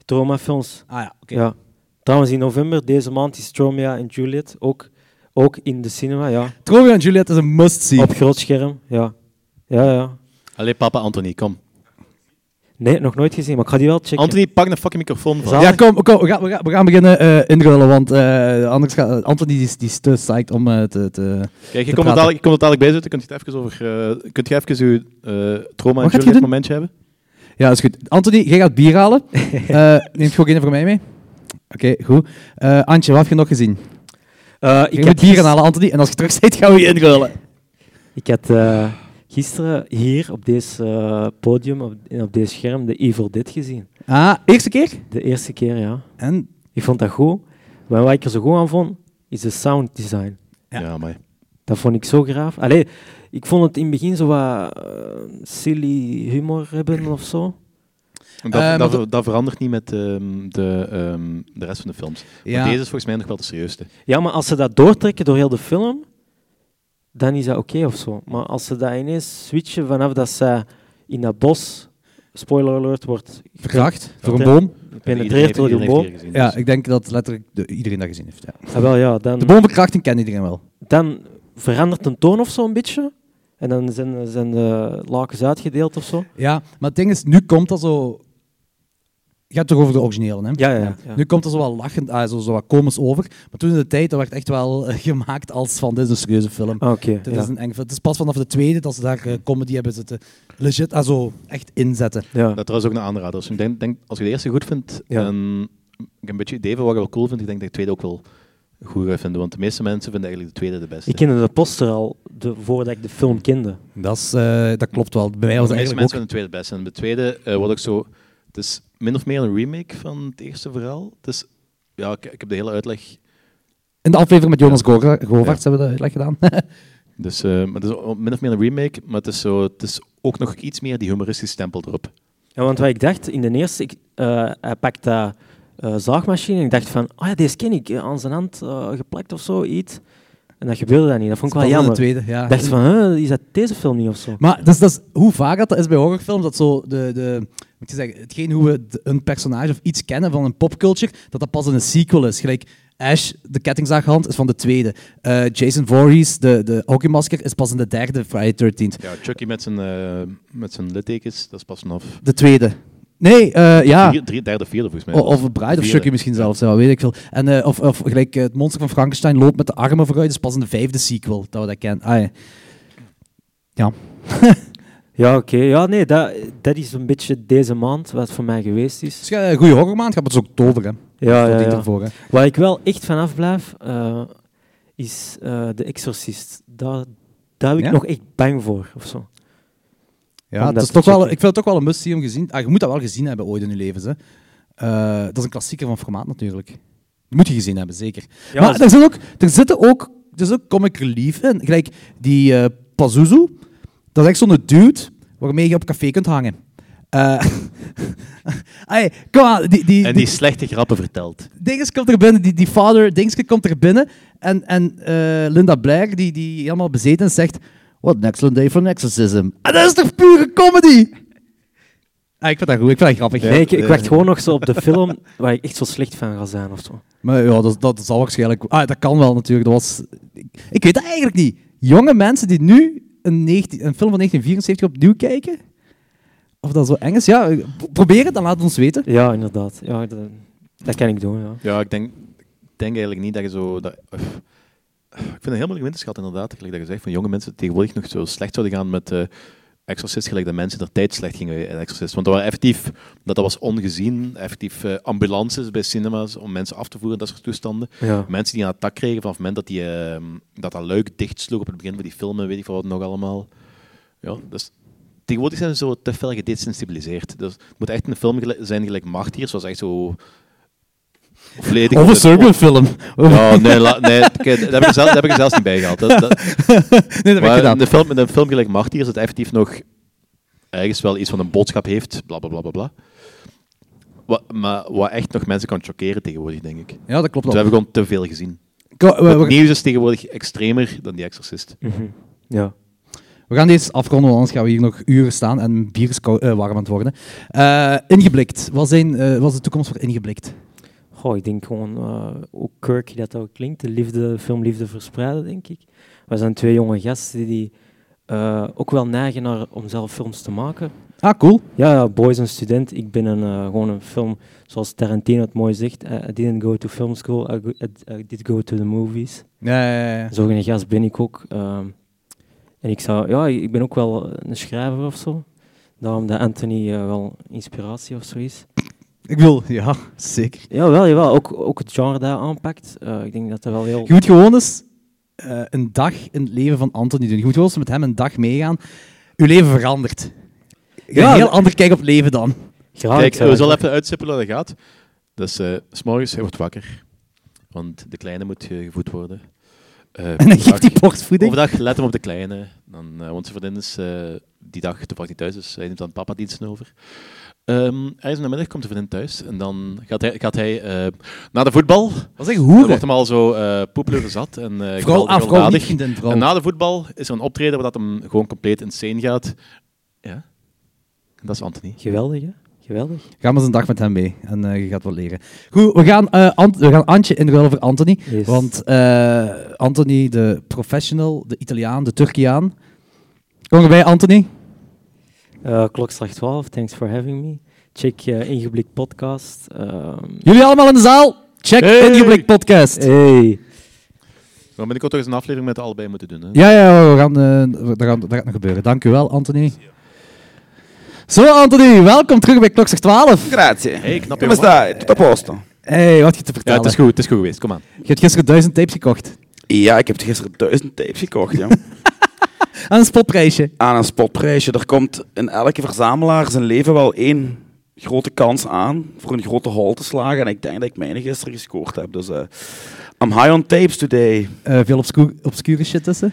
Speaker 9: traumafilms.
Speaker 8: Ah ja, oké.
Speaker 9: Ja. Trouwens, in november deze maand is Tromia en Juliet ook, ook in de cinema, ja.
Speaker 8: Tromeo en Juliet is een must-see.
Speaker 9: Op groot scherm, ja. Ja, ja.
Speaker 6: Allee, papa Anthony, kom.
Speaker 9: Nee, nog nooit gezien, maar ik ga die wel checken.
Speaker 6: Anthony, pak een fucking microfoon van.
Speaker 9: Zal-
Speaker 8: Ja, kom, kom we, gaan, we, gaan, we gaan beginnen eh inrullen, want eh, anders gaat Anthony die is, die is te psyched om eh, te... te...
Speaker 6: Kijk, je
Speaker 8: te
Speaker 6: komt er
Speaker 8: praten.
Speaker 6: dadelijk, je komt er dadelijk bij zitten. Kunt je het even over... eh, kunt je even je eh trauma en
Speaker 8: gaat je
Speaker 6: Juliet
Speaker 8: doen?
Speaker 6: momentje hebben?
Speaker 8: Ja, is goed. Anthony, jij gaat bier halen. Eh neemt gewoon één voor mij mee. Oké, goed. Eh, Antje, wat heb je nog gezien?
Speaker 9: Eh,
Speaker 8: Je
Speaker 9: ik,
Speaker 8: moet
Speaker 9: had
Speaker 8: bier
Speaker 9: gis-
Speaker 8: gaan halen, Anthony, en als je terug zit, gaan we je inrullen.
Speaker 9: ik had eh, gisteren hier op deze eh, podium, op, op deze scherm, de Evil Dead gezien.
Speaker 8: Ah, eerste keer?
Speaker 9: De eerste keer, ja.
Speaker 8: En?
Speaker 9: Ik vond dat goed. Maar wat ik er zo goed aan vond, is de sound design.
Speaker 6: Ja, amai.
Speaker 9: Dat vond ik zo graaf. Allee, ik vond het in het begin zo wat eh, silly humor hebben of zo.
Speaker 8: Eh,
Speaker 6: En Dat,
Speaker 8: maar
Speaker 6: dat,
Speaker 8: dat-
Speaker 6: dat verandert niet met ehm, de, ehm, de rest van de films. Maar
Speaker 8: Ja.
Speaker 6: deze is volgens mij nog wel de serieusste.
Speaker 9: Ja, maar als ze dat doortrekken door heel de film, dan is dat oké of zo. Maar als ze dat ineens switchen vanaf dat ze in dat bos, spoiler alert, wordt
Speaker 8: Verkracht. Voor een
Speaker 9: Ja.
Speaker 8: boom.
Speaker 9: gepenetreerd door die boom.
Speaker 6: eh, dus-
Speaker 8: Ja, ik denk dat letterlijk de- iedereen dat gezien heeft. Ja.
Speaker 9: Ah, wel, ja,
Speaker 8: De
Speaker 9: dan,
Speaker 8: boomverkrachting kent iedereen wel.
Speaker 9: dan verandert een toon of zo een beetje. En dan zijn, zijn de lakens uitgedeeld of zo.
Speaker 8: Ja, maar het ding is, nu komt dat zo... Je hebt het toch over de originele, hè?
Speaker 9: Ja, ja, ja. Ja.
Speaker 8: Nu komt er zo wat lachend, ah, zo, zo wat komisch over. Maar toen in de tijd, dat werd echt wel eh, <laughs> gemaakt als van, dit is een serieuze film.
Speaker 9: Ah, Oké,
Speaker 8: Dit
Speaker 9: ja.
Speaker 8: is een eng, film. het is pas vanaf de tweede dat ze daar eh, comedy hebben zitten. Legit, ah, zo echt inzetten.
Speaker 9: ja.
Speaker 6: Dat is trouwens ook een aanrader. Dus ik denk, denk, als je de eerste goed vindt,
Speaker 9: Ja.
Speaker 6: en ik heb een beetje idee van wat je wel cool vindt, ik denk dat je de tweede ook wel goed gaat vinden. Want de meeste mensen vinden eigenlijk de tweede de beste.
Speaker 9: Ik kende de poster al de, voordat ik de film kende.
Speaker 8: Dat, is, eh, dat klopt wel. Bij mij was
Speaker 6: de
Speaker 8: het
Speaker 6: meeste
Speaker 8: eigenlijk
Speaker 6: mensen
Speaker 8: ook...
Speaker 6: vinden de tweede de beste. En de tweede eh wordt ook zo... Het is min of meer een remake van het eerste verhaal. Het is, ja, ik, ik heb de hele uitleg...
Speaker 8: In de aflevering met Jonas Goga- Govaerts hebben we dat uitleg gedaan. <laughs>
Speaker 6: Dus, eh, maar het is o- min of meer een remake, maar het is, zo, het is ook nog iets meer die humoristische stempel erop.
Speaker 9: Ja, want wat ik dacht in de eerste, ik, eh, hij pakt dat eh, zaagmachine en ik dacht van, oh ja, deze ken ik, eh, aan zijn hand eh, geplakt of zo, iets. En dat gebeurde dan niet, dat vond ik wel
Speaker 8: Pas in de
Speaker 9: jammer.
Speaker 8: tweede, ja.
Speaker 9: Ik dacht van, huh, is dat deze film niet of zo?
Speaker 8: Maar dus, dat is hoe vaak dat is bij horrorfilms, dat zo de, de moet je zeggen, hetgeen hoe we d- een personage of iets kennen van een popculture, dat dat pas in een sequel is. Gelijk Ash, de kettingzaaghand, is van de tweede. Eh, Jason Voorhees, de, de hockeymasker, is pas in de derde Friday 13th.
Speaker 6: Ja, Chucky met zijn, eh, met zijn littekens, dat is pas vanaf
Speaker 8: De tweede. Nee, eh, ja.
Speaker 6: vier, drie, derde, vierde volgens mij.
Speaker 8: O- Of een Bride of
Speaker 6: Vierde.
Speaker 8: Chucky misschien
Speaker 6: Ja.
Speaker 8: zelfs, ja, weet ik veel. En, eh, of, of gelijk eh, het monster van Frankenstein loopt met de armen vooruit, dat is pas in de vijfde sequel dat we dat kennen. Ah, ja. ja.
Speaker 9: Ja, oké. Ja, nee, dat, dat is een beetje deze maand wat voor mij geweest is.
Speaker 8: Dus ja, een goede horrormaand gaat het dus oktober, hè.
Speaker 9: Ja, ja,
Speaker 8: Tot die
Speaker 9: ja.
Speaker 8: ervoor, hè.
Speaker 9: Waar ik wel echt vanaf blijf, eh, is eh, De Exorcist. Daar, daar ben ik
Speaker 8: Ja?
Speaker 9: nog echt bang voor, of zo.
Speaker 8: Ja,
Speaker 9: Om
Speaker 8: het is
Speaker 9: dat
Speaker 8: toch
Speaker 9: te
Speaker 8: wel, ik
Speaker 9: checken.
Speaker 8: vind het toch wel een must see om gezien. Ah, je moet dat wel gezien hebben ooit in je leven. Hè. Eh, dat is een klassieker van formaat natuurlijk. Dat moet je gezien hebben, zeker.
Speaker 9: Ja,
Speaker 8: maar
Speaker 9: als-
Speaker 8: er, zit ook, er zitten ook, er zit ook comic relief in. Gelijk die eh Pazuzu, dat is echt zo'n dude waarmee je op café kunt hangen. Eh <laughs> ey, kom aan, die, die,
Speaker 6: En die slechte grappen vertelt.
Speaker 8: Dinges komt er binnen, die, die vader Dingske komt er binnen. En, en eh, Linda Blair, die, die helemaal bezeten is, zegt... What an excellent day for an exorcism. En dat is toch pure comedy? Ah, ik vind dat goed, ik vind dat grappig.
Speaker 9: Nee, ik, ik
Speaker 6: eh,
Speaker 9: wacht gewoon nog zo op de film waar ik echt zo slecht van ga zijn, of zo.
Speaker 8: Maar ja, dat, dat zal waarschijnlijk... Ah, dat kan wel natuurlijk. Dat was, ik, ik weet dat eigenlijk niet. Jonge mensen die nu een, 19 een film van 1974 opnieuw kijken... Of dat zo eng is, ja. pro- Probeer het, dan laat het ons weten.
Speaker 9: Ja, inderdaad. Ja, dat, dat kan ik doen, ja.
Speaker 6: Ja, ik denk, ik denk eigenlijk niet dat je zo... Dat, uf. ik vind het heel moeilijk in te schatten, inderdaad. Gelijk dat je zegt, van jonge mensen tegenwoordig nog zo slecht zouden gaan met eh Exorcist, gelijk dat mensen er tijd slecht gingen bij Exorcist. Want dat was effectief, dat, dat was ongezien, effectief eh, ambulances bij cinema's om mensen af te voeren, dat soort toestanden.
Speaker 9: Ja.
Speaker 6: Mensen die een attack kregen vanaf het moment dat die, eh, dat, dat luik dichtsloeg op het begin van die filmen, weet ik veel wat nog allemaal. Ja, dus tegenwoordig zijn ze zo te veel gedesensibiliseerd. Dus het moet echt een film gel- zijn gelijk Martyrs, was echt zo... Volledig
Speaker 8: Of een Serbian-film.
Speaker 6: ja, nee, la- nee <laughs> kijk, daar, heb ik zelf, daar heb ik er zelfs niet bij gehaald.
Speaker 8: <laughs>
Speaker 6: Dat, dat,
Speaker 8: nee, dat heb ik
Speaker 6: maar
Speaker 8: gedaan.
Speaker 6: in een film, in een film gelijk Martyrs, dat effectief nog ergens wel iets van een boodschap heeft, bla bla bla bla. bla. Wat, maar wat echt nog mensen kan chockeren tegenwoordig, denk ik.
Speaker 8: Ja, dat klopt
Speaker 6: Dus
Speaker 8: wel.
Speaker 6: we hebben gewoon te veel gezien.
Speaker 8: Ko- we-
Speaker 6: Het
Speaker 8: we-
Speaker 6: nieuws is tegenwoordig extremer dan die Exorcist.
Speaker 9: Ja.
Speaker 8: We gaan deze afronden, want anders gaan we hier nog uren staan en bier is kou- eh, warm aan het worden. Eh, ingeblikt. Wat, zijn, eh, wat is de toekomst voor Ingeblikt?
Speaker 9: Goh, ik denk gewoon eh, hoe quirky dat ook klinkt, de liefde, filmliefde verspreiden, denk ik. We zijn twee jonge gasten die eh, ook wel neigen naar, om zelf films te maken.
Speaker 8: Ah, cool.
Speaker 9: Ja, ja, Boy is een student. Ik ben een, eh, gewoon een film, zoals Tarantino het mooi zegt, eh, I, I didn't go to film school, I, go- I- I did go to the movies.
Speaker 8: Ja, ja, ja.
Speaker 9: Zo'n gast ben ik ook. ehm, en ik zou, ja, ik ben ook wel een schrijver of zo. Daarom dat Anthony eh, wel inspiratie of zo is.
Speaker 8: Ik wil, ja, zeker.
Speaker 9: Jawel, jawel. Ook, ook het genre daar aanpakt. Eh, ik denk dat dat wel heel...
Speaker 8: Je moet gewoon eens eh, een dag in het leven van Anthony doen. Je moet gewoon eens met hem een dag meegaan. Uw leven verandert. Je hebt
Speaker 9: Ja,
Speaker 8: een heel
Speaker 9: dat-
Speaker 8: ander kijk op het leven dan.
Speaker 9: Graag. Eh,
Speaker 6: Kijk, we
Speaker 9: eigenlijk.
Speaker 6: zullen even uitstippelen hoe dat gaat. Dus eh, s s'morgens, hij wordt wakker. Want de kleine moet eh, gevoed worden.
Speaker 8: <laughs>
Speaker 6: Eh,
Speaker 8: En dan
Speaker 6: overdag-
Speaker 8: geeft hij borstvoeding.
Speaker 6: Overdag, let hem op de kleine. Dan, eh, want zijn vriendin is eh, die dag toevallig niet thuis, dus hij neemt dan papa diensten over. Ehm ergens in de middag komt de vriendin thuis en dan gaat hij, gaat hij eh, naar de voetbal.
Speaker 8: Dat is echt
Speaker 6: Dan wordt
Speaker 8: hoeren.
Speaker 6: hem al zo eh poepeleur zat en eh
Speaker 8: Vooral
Speaker 6: geweldig
Speaker 8: af, vooral niet
Speaker 6: gewelddadig.
Speaker 8: vriendin, vooral.
Speaker 6: En na de voetbal is er een optreden waar dat hem gewoon compleet insane gaat. Ja, dat is Anthony.
Speaker 9: Geweldig, hè? Geweldig.
Speaker 8: Ga maar eens een dag met hem mee en eh, je gaat wat leren. Goed, we gaan, eh, Ant- we gaan Antje inruilen voor Anthony.
Speaker 9: Yes.
Speaker 8: Want eh, Anthony, de professional, de Italiaan, de Turkiaan. Kom erbij, Anthony.
Speaker 9: Eh, klokslag 12, thanks for having me. Check eh Ingeblik podcast. ehm,
Speaker 8: Jullie allemaal in de zaal? Check
Speaker 6: Hey.
Speaker 8: Ingeblik Podcast.
Speaker 9: hey.
Speaker 6: We gaan binnenkort toch eens een aflevering met de allebei moeten doen. Hè?
Speaker 8: Ja, ja, we gaan, eh, we- dat, gaat, dat gaat nog gebeuren. Dank u wel, Anthony. Zo, Anthony, welkom terug bij Klokzicht 12.
Speaker 7: Grazie.
Speaker 6: Hey, knap
Speaker 7: Come stai? Tutto a posto?
Speaker 8: hey, wat heb je te
Speaker 6: Ja,
Speaker 8: vertellen?
Speaker 6: het is goed, het is goed geweest. Kom aan.
Speaker 8: Je hebt gisteren duizend tapes gekocht.
Speaker 7: Ja, ik heb gisteren duizend tapes gekocht, joh.
Speaker 8: Aan een spotprijsje.
Speaker 7: Aan een spotprijsje. Er komt in elke verzamelaar zijn leven wel één grote kans aan voor een grote hol te slagen. En ik denk dat ik mijne gisteren gescoord heb. Dus eh I'm high on tapes today.
Speaker 8: Eh, veel obscu- obscure shit tussen.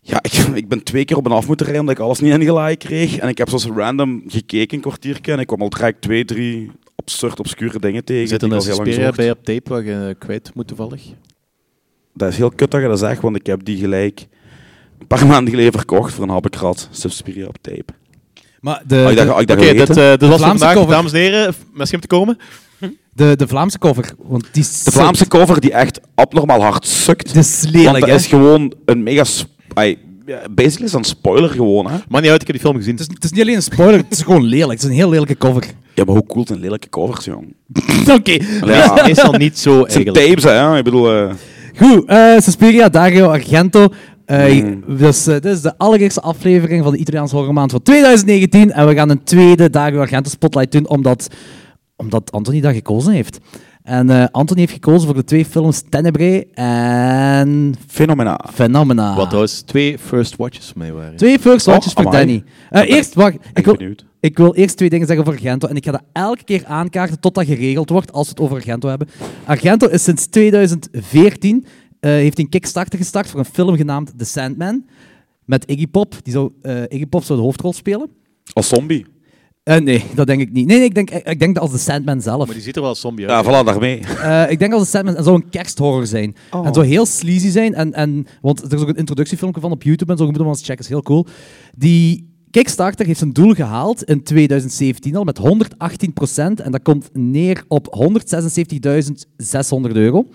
Speaker 7: Ja, ik, <laughs> ik ben twee keer op een af moeten rijden omdat ik alles niet ingeladen kreeg. En ik heb zoals random gekeken een kwartiertje en ik kwam al direct twee, drie absurd obscure dingen tegen.
Speaker 6: Er zit
Speaker 7: die
Speaker 6: een
Speaker 7: ik al heel lang
Speaker 6: Xperia
Speaker 7: zocht.
Speaker 6: bij op tape waar je eh, kwijt moet toevallig.
Speaker 7: Dat is heel kut dat je dat zegt, want ik heb die gelijk een paar <laughs> maanden geleden verkocht voor een habbekrat. Subspiria op tape.
Speaker 8: Maar de,
Speaker 7: Oh, ik dacht,
Speaker 8: de,
Speaker 7: oh, ik dacht
Speaker 6: Oké, dit,
Speaker 7: weten.
Speaker 6: eh, dit was het
Speaker 8: Vlaamse
Speaker 6: vandaag.
Speaker 8: cover.
Speaker 6: Dames en heren, misschien om te komen.
Speaker 8: de, de Vlaamse cover. Want die is
Speaker 7: De Vlaamse cover die echt abnormaal hard sukt.
Speaker 8: Het is
Speaker 7: Want
Speaker 8: lelijk,
Speaker 7: dat
Speaker 8: hè?
Speaker 7: is gewoon een mega... sp- ai, ja, Basically is dat een spoiler gewoon, hè?
Speaker 6: Maar niet uit, ik heb die film gezien.
Speaker 8: Het is, het is niet alleen een spoiler, het is gewoon lelijk. Het is een heel lelijke
Speaker 7: <laughs>
Speaker 8: cover.
Speaker 7: Ja, maar hoe cool zijn lelijke covers, jong?
Speaker 8: Oké.
Speaker 7: <laughs> Ja, het
Speaker 6: is al niet zo
Speaker 7: zijn
Speaker 6: eigenlijk.
Speaker 7: tapes, hè? Ik bedoel... eh,
Speaker 8: Goed, eh Suspiria, Dario Argento. Eh,
Speaker 7: Hmm.
Speaker 8: dus, eh, dit is de allereerste aflevering van de Italiaanse Horrormaand van 2019. En we gaan een tweede Dario Argento Spotlight doen, omdat, omdat Anthony dat gekozen heeft. En eh, Anthony heeft gekozen voor de twee films Tenebrae en
Speaker 7: fenomenaal.
Speaker 8: Phenomena.
Speaker 6: Wat trouwens twee first watches voor mij waren.
Speaker 8: Ah. Twee first watches
Speaker 7: Oh,
Speaker 8: voor
Speaker 7: amai.
Speaker 8: Danny. Eh, eerst, wacht, ik wil,
Speaker 7: benieuwd.
Speaker 8: ik wil eerst twee dingen zeggen over Argento. En ik ga dat elke keer aankaarten tot dat geregeld wordt als we het over Argento hebben. Argento is sinds 2014 eh, heeft een kickstarter gestart voor een film genaamd The Sandman. Met Iggy Pop. Die zou, eh, Iggy Pop zou de hoofdrol spelen.
Speaker 7: Als zombie.
Speaker 8: Eh, nee, dat denk ik niet. Nee, nee ik, denk, eh, ik, ik denk dat als The Sandman zelf.
Speaker 6: Maar die ziet er wel zombie
Speaker 7: Ja,
Speaker 6: uit.
Speaker 7: voilà, daarmee.
Speaker 8: Eh, ik denk als de Sandman en zou een kersthorror zijn. En zou heel sleazy zijn. En, en, want er is ook een introductiefilmpje van op YouTube en zo. Je moet hem wel eens checken, is heel cool. Die Kickstarter heeft zijn doel gehaald in 2017 al met 118 En dat komt neer op 176.600 euro.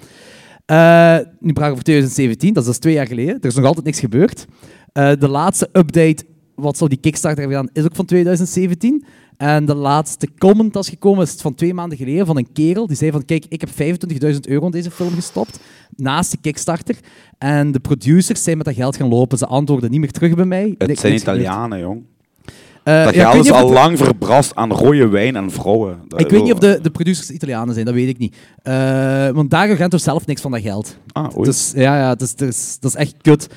Speaker 8: Eh, nu praten we over 2017, dat is dus twee jaar geleden. Er is nog altijd niks gebeurd. Eh, de laatste update, wat zou die Kickstarter hebben gedaan, is ook van 2017. En de laatste comment dat is gekomen, is van twee maanden geleden, van een kerel. Die zei van, kijk, ik heb 25.000 euro in deze film gestopt, naast de Kickstarter. En de producers zijn met dat geld gaan lopen. Ze antwoorden niet meer terug bij mij.
Speaker 7: Het
Speaker 8: Niks-
Speaker 7: zijn
Speaker 8: niks gebeurd.
Speaker 7: Italianen, jong. Dat
Speaker 8: Eh, ja, ik
Speaker 7: geld
Speaker 8: weet
Speaker 7: is
Speaker 8: niet of
Speaker 7: al
Speaker 8: het-
Speaker 7: lang verbrast aan rode wijn en vrouwen. Dat-
Speaker 8: Ik weet niet of de, de producers Italianen zijn, dat weet ik niet. Eh, want Dario Gento zelf niks van dat geld.
Speaker 7: Ah, oei.
Speaker 8: Dus, ja, ja het is, het is- dat is echt kut.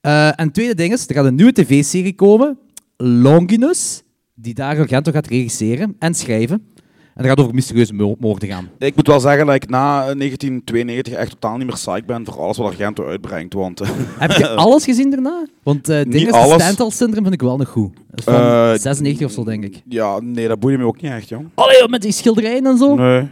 Speaker 8: Eh, en het tweede ding is, er gaat een nieuwe tv-serie komen, Longinus, die Dario Gento gaat regisseren en schrijven. En dat gaat over mysterieuze mo- moorden gaan.
Speaker 7: Ik moet wel zeggen dat ik na 1992 echt totaal niet meer psyched ben voor alles wat Argento uitbrengt. Want eh,
Speaker 8: <laughs>
Speaker 7: <laughs>
Speaker 8: Heb je alles gezien daarna? Want eh ding
Speaker 7: Niet
Speaker 8: is,
Speaker 7: alles.
Speaker 8: het Stental-syndroom vind ik wel nog goed. Dat is van
Speaker 7: Eh,
Speaker 8: 96 of zo, denk ik.
Speaker 7: ja, nee, dat boeide me ook niet echt, jong.
Speaker 8: Allee, met die schilderijen en zo.
Speaker 7: Nee.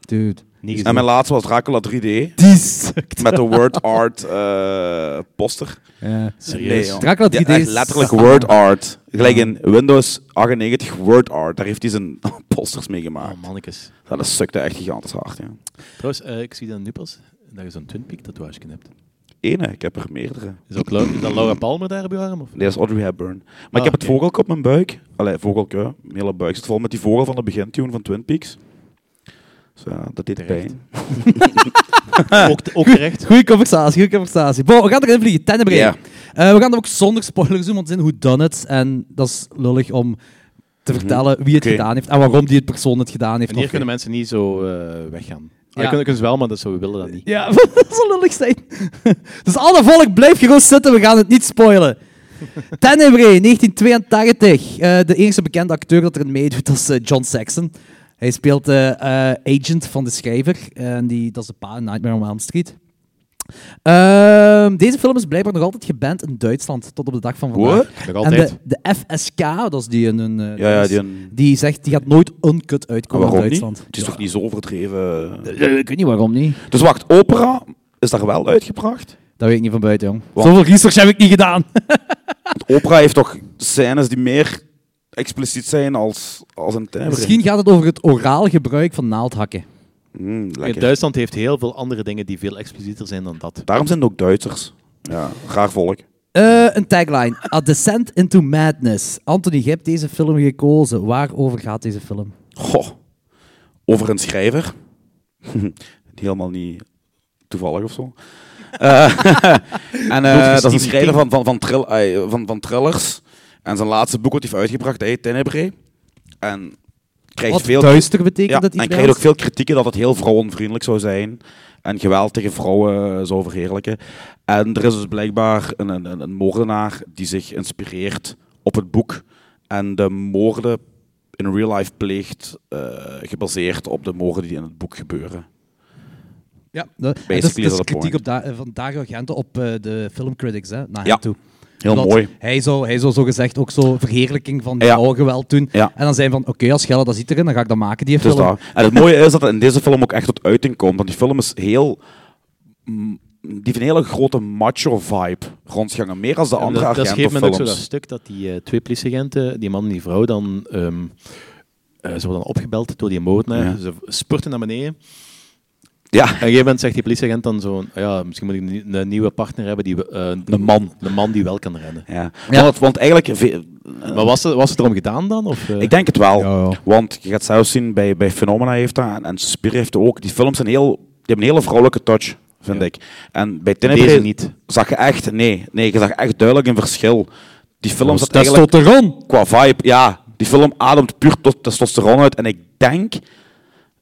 Speaker 8: Dude.
Speaker 7: En mijn laatste was Dracula 3D.
Speaker 8: <laughs> Die sukt.
Speaker 7: Met de word art eh, poster.
Speaker 8: Ja.
Speaker 7: Nee,
Speaker 6: Serieus.
Speaker 7: jong.
Speaker 8: Dracula 3D
Speaker 7: Ja, echt
Speaker 8: is-
Speaker 7: letterlijk word art. Gelijk in Windows 98 word art. Daar heeft hij zijn <laughs> posters mee gemaakt.
Speaker 6: Oh, mannetjes.
Speaker 7: Ja, dat sukte echt gigantisch hard, ja.
Speaker 6: Trouwens, eh, ik zie dat nu pas, dat je zo'n Twinpeak tatoeage hebt.
Speaker 7: Ene, ik heb er meerdere.
Speaker 6: Is, ook Lau- is dat Laura Palmer daar op je arm? Of?
Speaker 7: <laughs> Nee, dat is Audrey Hepburn. Maar
Speaker 6: Ah,
Speaker 7: ik heb het
Speaker 6: oké.
Speaker 7: vogelke op mijn buik. Allee, vogelke, mijn hele buik zit vol met die vogel van de begintune van Twin Peaks. Dus ja, dat deed
Speaker 6: Terecht.
Speaker 7: pijn.
Speaker 6: ook, ook
Speaker 8: <laughs>
Speaker 6: terecht.
Speaker 8: Goeie conversatie, goede conversatie. Bon, we gaan erin vliegen, Tenebrae.
Speaker 7: Ja.
Speaker 8: Eh, we gaan dat ook zonder spoilers doen, want het is een whodunit. En dat is lullig om te vertellen wie het
Speaker 7: Oké.
Speaker 8: gedaan heeft en waarom die het persoon het gedaan heeft.
Speaker 6: Mhm. En hier
Speaker 8: Oké.
Speaker 6: kunnen mensen niet zo eh, weggaan. Ja.
Speaker 8: Ja.
Speaker 6: kunnen, kunnen ze wel, maar dat zo, we willen dat niet.
Speaker 8: <laughs>
Speaker 7: <laughs>
Speaker 8: Ja, dat zal lullig zijn. dus alle volk, blijf gerust zitten, we gaan het niet spoilen. Tenebrae, 1982. Eh, de eerste bekende acteur dat erin meedoet, dat is eh, John Saxon. Hij speelt de eh, agent van de schrijver. En die, dat is de pa in Nightmare on Elm Street. Ehm, deze film is blijkbaar nog altijd geband in Duitsland, tot op de dag van vandaag.
Speaker 7: What?
Speaker 6: Nog altijd.
Speaker 8: En de, de FSK, dat is die een... een eh,
Speaker 7: Ja, ja,
Speaker 8: is-
Speaker 7: die een- Ah,
Speaker 8: die zegt, die gaat nooit uncut uitkomen in
Speaker 7: waarom niet?
Speaker 8: Duitsland.
Speaker 7: Het is toch niet zo overdreven?
Speaker 8: Eh, Ik weet niet waarom niet.
Speaker 7: Dus wacht, opera is daar wel uitgebracht?
Speaker 8: Dat weet ik niet van buiten, jong.
Speaker 7: Wat?
Speaker 8: Zoveel research heb ik niet gedaan.
Speaker 7: Opera heeft toch scènes die meer expliciet zijn als, als een timbre?
Speaker 8: <laughs> Misschien gaat het over het oraal gebruik van naaldhakken.
Speaker 7: Mm, lekker.
Speaker 6: Duitsland heeft heel veel andere dingen die veel explicieter zijn dan dat.
Speaker 7: Daarom zijn het ook Duitsers. Ja, raar volk.
Speaker 8: Eh, een tagline. A Descent into Madness. Anthony, je hebt deze film gekozen. Waarover gaat deze film?
Speaker 7: Goh. Over een schrijver. <laughs> Die helemaal niet toevallig of zo. <laughs> Eh, en eh, dat is een schrijver van, van, van, trill- eh, van, van thrillers. En zijn laatste boek wat hij heeft uitgebracht, hey, Tenebrae. En krijgt
Speaker 8: Wat
Speaker 7: veel...
Speaker 8: duister betekent
Speaker 7: Ja,
Speaker 8: dat
Speaker 7: en
Speaker 8: iets
Speaker 7: krijgt ook
Speaker 8: bij
Speaker 7: veel kritieken dat het heel vrouwenvriendelijk zou zijn. En geweld tegen vrouwen eh, zou verheerlijken. En er is dus blijkbaar een, een, een- een moordenaar die zich inspireert op het boek. En de moorden in real life pleegt, eh, gebaseerd op de moorden die in het boek gebeuren.
Speaker 8: ons? Ja, dat-
Speaker 7: Basically
Speaker 8: dat is, dat is
Speaker 7: is dat de
Speaker 8: kritiek
Speaker 7: point.
Speaker 8: op da- eh, van Dario Argento op eh, de filmcritics, hè, naar
Speaker 7: Ja.
Speaker 8: hem toe.
Speaker 7: Heel
Speaker 8: Dat
Speaker 7: mooi.
Speaker 8: Hij zou, hij zou zogezegd ook zo verheerlijking van
Speaker 7: Ja.
Speaker 8: vrouwengeweld doen.
Speaker 7: Ja.
Speaker 8: En dan zijn van, oké, als Gelle dat ziet erin, dan ga ik dat maken, die
Speaker 7: Het is
Speaker 8: film.
Speaker 7: dat. En het mooie is dat het in deze film ook echt tot uiting komt. Want die film is heel... mm, Die heeft een hele grote macho-vibe rondgangen. Meer als de
Speaker 6: En
Speaker 7: andere
Speaker 6: dat, dat is op een
Speaker 7: Argento
Speaker 6: gegeven moment ook zo dat
Speaker 7: films.
Speaker 6: stuk dat die eh, twee politieagenten, die man en die vrouw, dan ehm, eh, ze worden dan opgebeld door die moordenaar.
Speaker 7: Ja.
Speaker 6: Ze spurten naar beneden.
Speaker 7: Ja,
Speaker 6: En op een gegeven moment zegt die politieagent dan zo'n, "Ah ja, misschien moet ik een, nie- een nieuwe partner hebben, die, we- eh,
Speaker 7: een man.
Speaker 6: een man die wel kan rennen.
Speaker 7: Ja. Want, want eigenlijk, ve-
Speaker 6: Maar was het, was het erom gedaan dan? Of, eh?
Speaker 7: ik denk het wel.
Speaker 8: Ja, ja.
Speaker 7: Want je gaat zelfs zien, bij, bij Phenomena heeft dat, en, en Spier heeft ook, die films zijn heel, die hebben een hele vrouwelijke touch, vind
Speaker 6: Ja.
Speaker 7: ik. En bij
Speaker 6: Deze
Speaker 7: Tenebrae
Speaker 6: niet.
Speaker 7: zag je echt, nee, nee, je zag echt duidelijk een verschil. Die film zat
Speaker 8: dat is
Speaker 7: eigenlijk
Speaker 8: tot de rond.
Speaker 7: qua vibe, ja, die film ademt puur tot testosteron uit. En ik denk,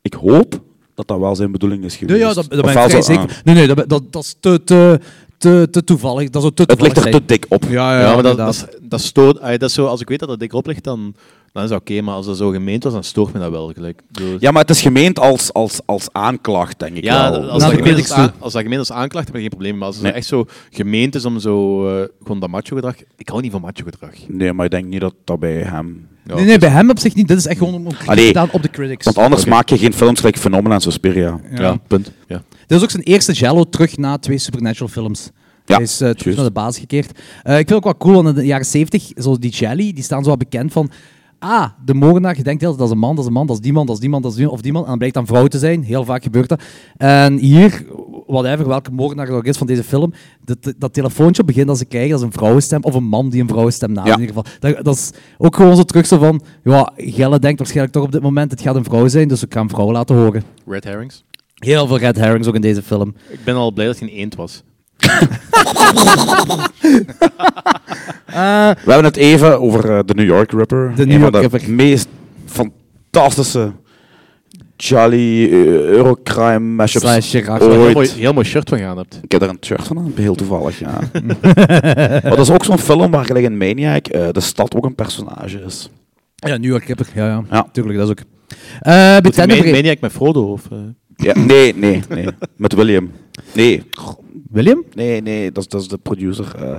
Speaker 7: ik hoop dat dat wel zijn bedoeling is
Speaker 8: Nee,
Speaker 7: geweest.
Speaker 8: ja, dat, dat ben
Speaker 7: Ofwel
Speaker 8: ik vrij
Speaker 7: zo- ah,
Speaker 8: zeker. Nee, nee, dat, dat, dat is te, te, te, te toevallig. Dat zou te
Speaker 7: het ligt
Speaker 8: toevallig
Speaker 7: er te
Speaker 8: zijn.
Speaker 7: dik op.
Speaker 8: Ah, Ja, ja,
Speaker 6: Ja, maar dat,
Speaker 8: inderdaad.
Speaker 6: dat, is- dat stoort. ah, dat is zo, als ik weet dat dat dik oplicht, dan, dan is dat oké. maar als dat zo gemeend was, dan stoort me dat wel. Gelijk. Ik bedoel-
Speaker 7: Ja, maar het is gemeend als, als, als aanklacht, denk ik
Speaker 6: Ja,
Speaker 7: wel.
Speaker 6: als
Speaker 8: Naar
Speaker 6: dat,
Speaker 8: de
Speaker 6: gemeend
Speaker 8: critics
Speaker 6: als, aan- als dat gemeend als aanklacht heb ik geen probleem. Maar als het
Speaker 7: Nee.
Speaker 6: echt zo gemeend is om zo eh, gewoon dat macho gedrag. Ik hou niet van macho gedrag.
Speaker 7: Nee, maar ik denk niet dat dat bij hem...
Speaker 6: Ja.
Speaker 8: Nee, nee, bij hem op zich niet. Dit is echt gewoon om om kritiek
Speaker 7: dus- Allee,
Speaker 8: te staan op de critics.
Speaker 7: Want anders maak je geen films gelijk Phenomena en Suspiria.
Speaker 6: Ja, punt. Ja.
Speaker 8: Dit is ook zijn eerste Jello terug na twee Supernatural films.
Speaker 7: Ja,
Speaker 8: Hij is eh, terug
Speaker 7: juist.
Speaker 8: naar de baas gekeerd. Eh, ik vind ook wel cool, want in de jaren 70, zoals die Jelly, die staan zo wel bekend van... Ah, de moordenaar, je denkt altijd dat is een man, dat is een man, dat is die man, dat is die man, dat is die man, of die man. En dan blijkt dan vrouw te zijn. Heel vaak gebeurt dat. En hier, whatever, welke moordenaar er ook is van deze film, dat, dat telefoontje op het begin dat ze krijgen, dat is een vrouwenstem, of een man die een vrouwenstem nadoet
Speaker 7: Ja.
Speaker 8: in ieder geval. Dat, dat is ook gewoon zo terug zo van... Ja, Gelle denkt waarschijnlijk toch op dit moment, het gaat een vrouw zijn, dus ik ga een vrouw laten horen.
Speaker 6: Red herrings.
Speaker 8: Heel veel red herrings ook in deze film.
Speaker 6: Ik ben al blij dat hij een eend was.
Speaker 7: We hebben het even over eh, de New York Rapper.
Speaker 8: De
Speaker 7: Een
Speaker 8: New
Speaker 7: van
Speaker 8: York
Speaker 7: de
Speaker 8: Rapper.
Speaker 7: meest fantastische Jolly eh, Eurocrime mashups
Speaker 8: Slash Chirac.
Speaker 6: Waar je
Speaker 7: ooit.
Speaker 6: een mooi- heel mooi shirt van gedaan hebt.
Speaker 7: Ik heb daar een shirt van aan, heel toevallig, ja. maar
Speaker 8: <laughs>
Speaker 7: dat is ook zo'n film waar gelijk in Maniac eh, de stad ook een personage is.
Speaker 8: Ja, New York Kipper. Ja, ja.
Speaker 7: Ja.
Speaker 8: Tuurlijk, dat is ook. Eh bij
Speaker 6: Meen,
Speaker 8: Tenebrae.
Speaker 6: meen jij ik met Frodo? Of, eh?
Speaker 7: Ja, nee, nee, nee. Met William. Nee,
Speaker 8: William?
Speaker 7: nee, nee, dat is, dat is de producer. eh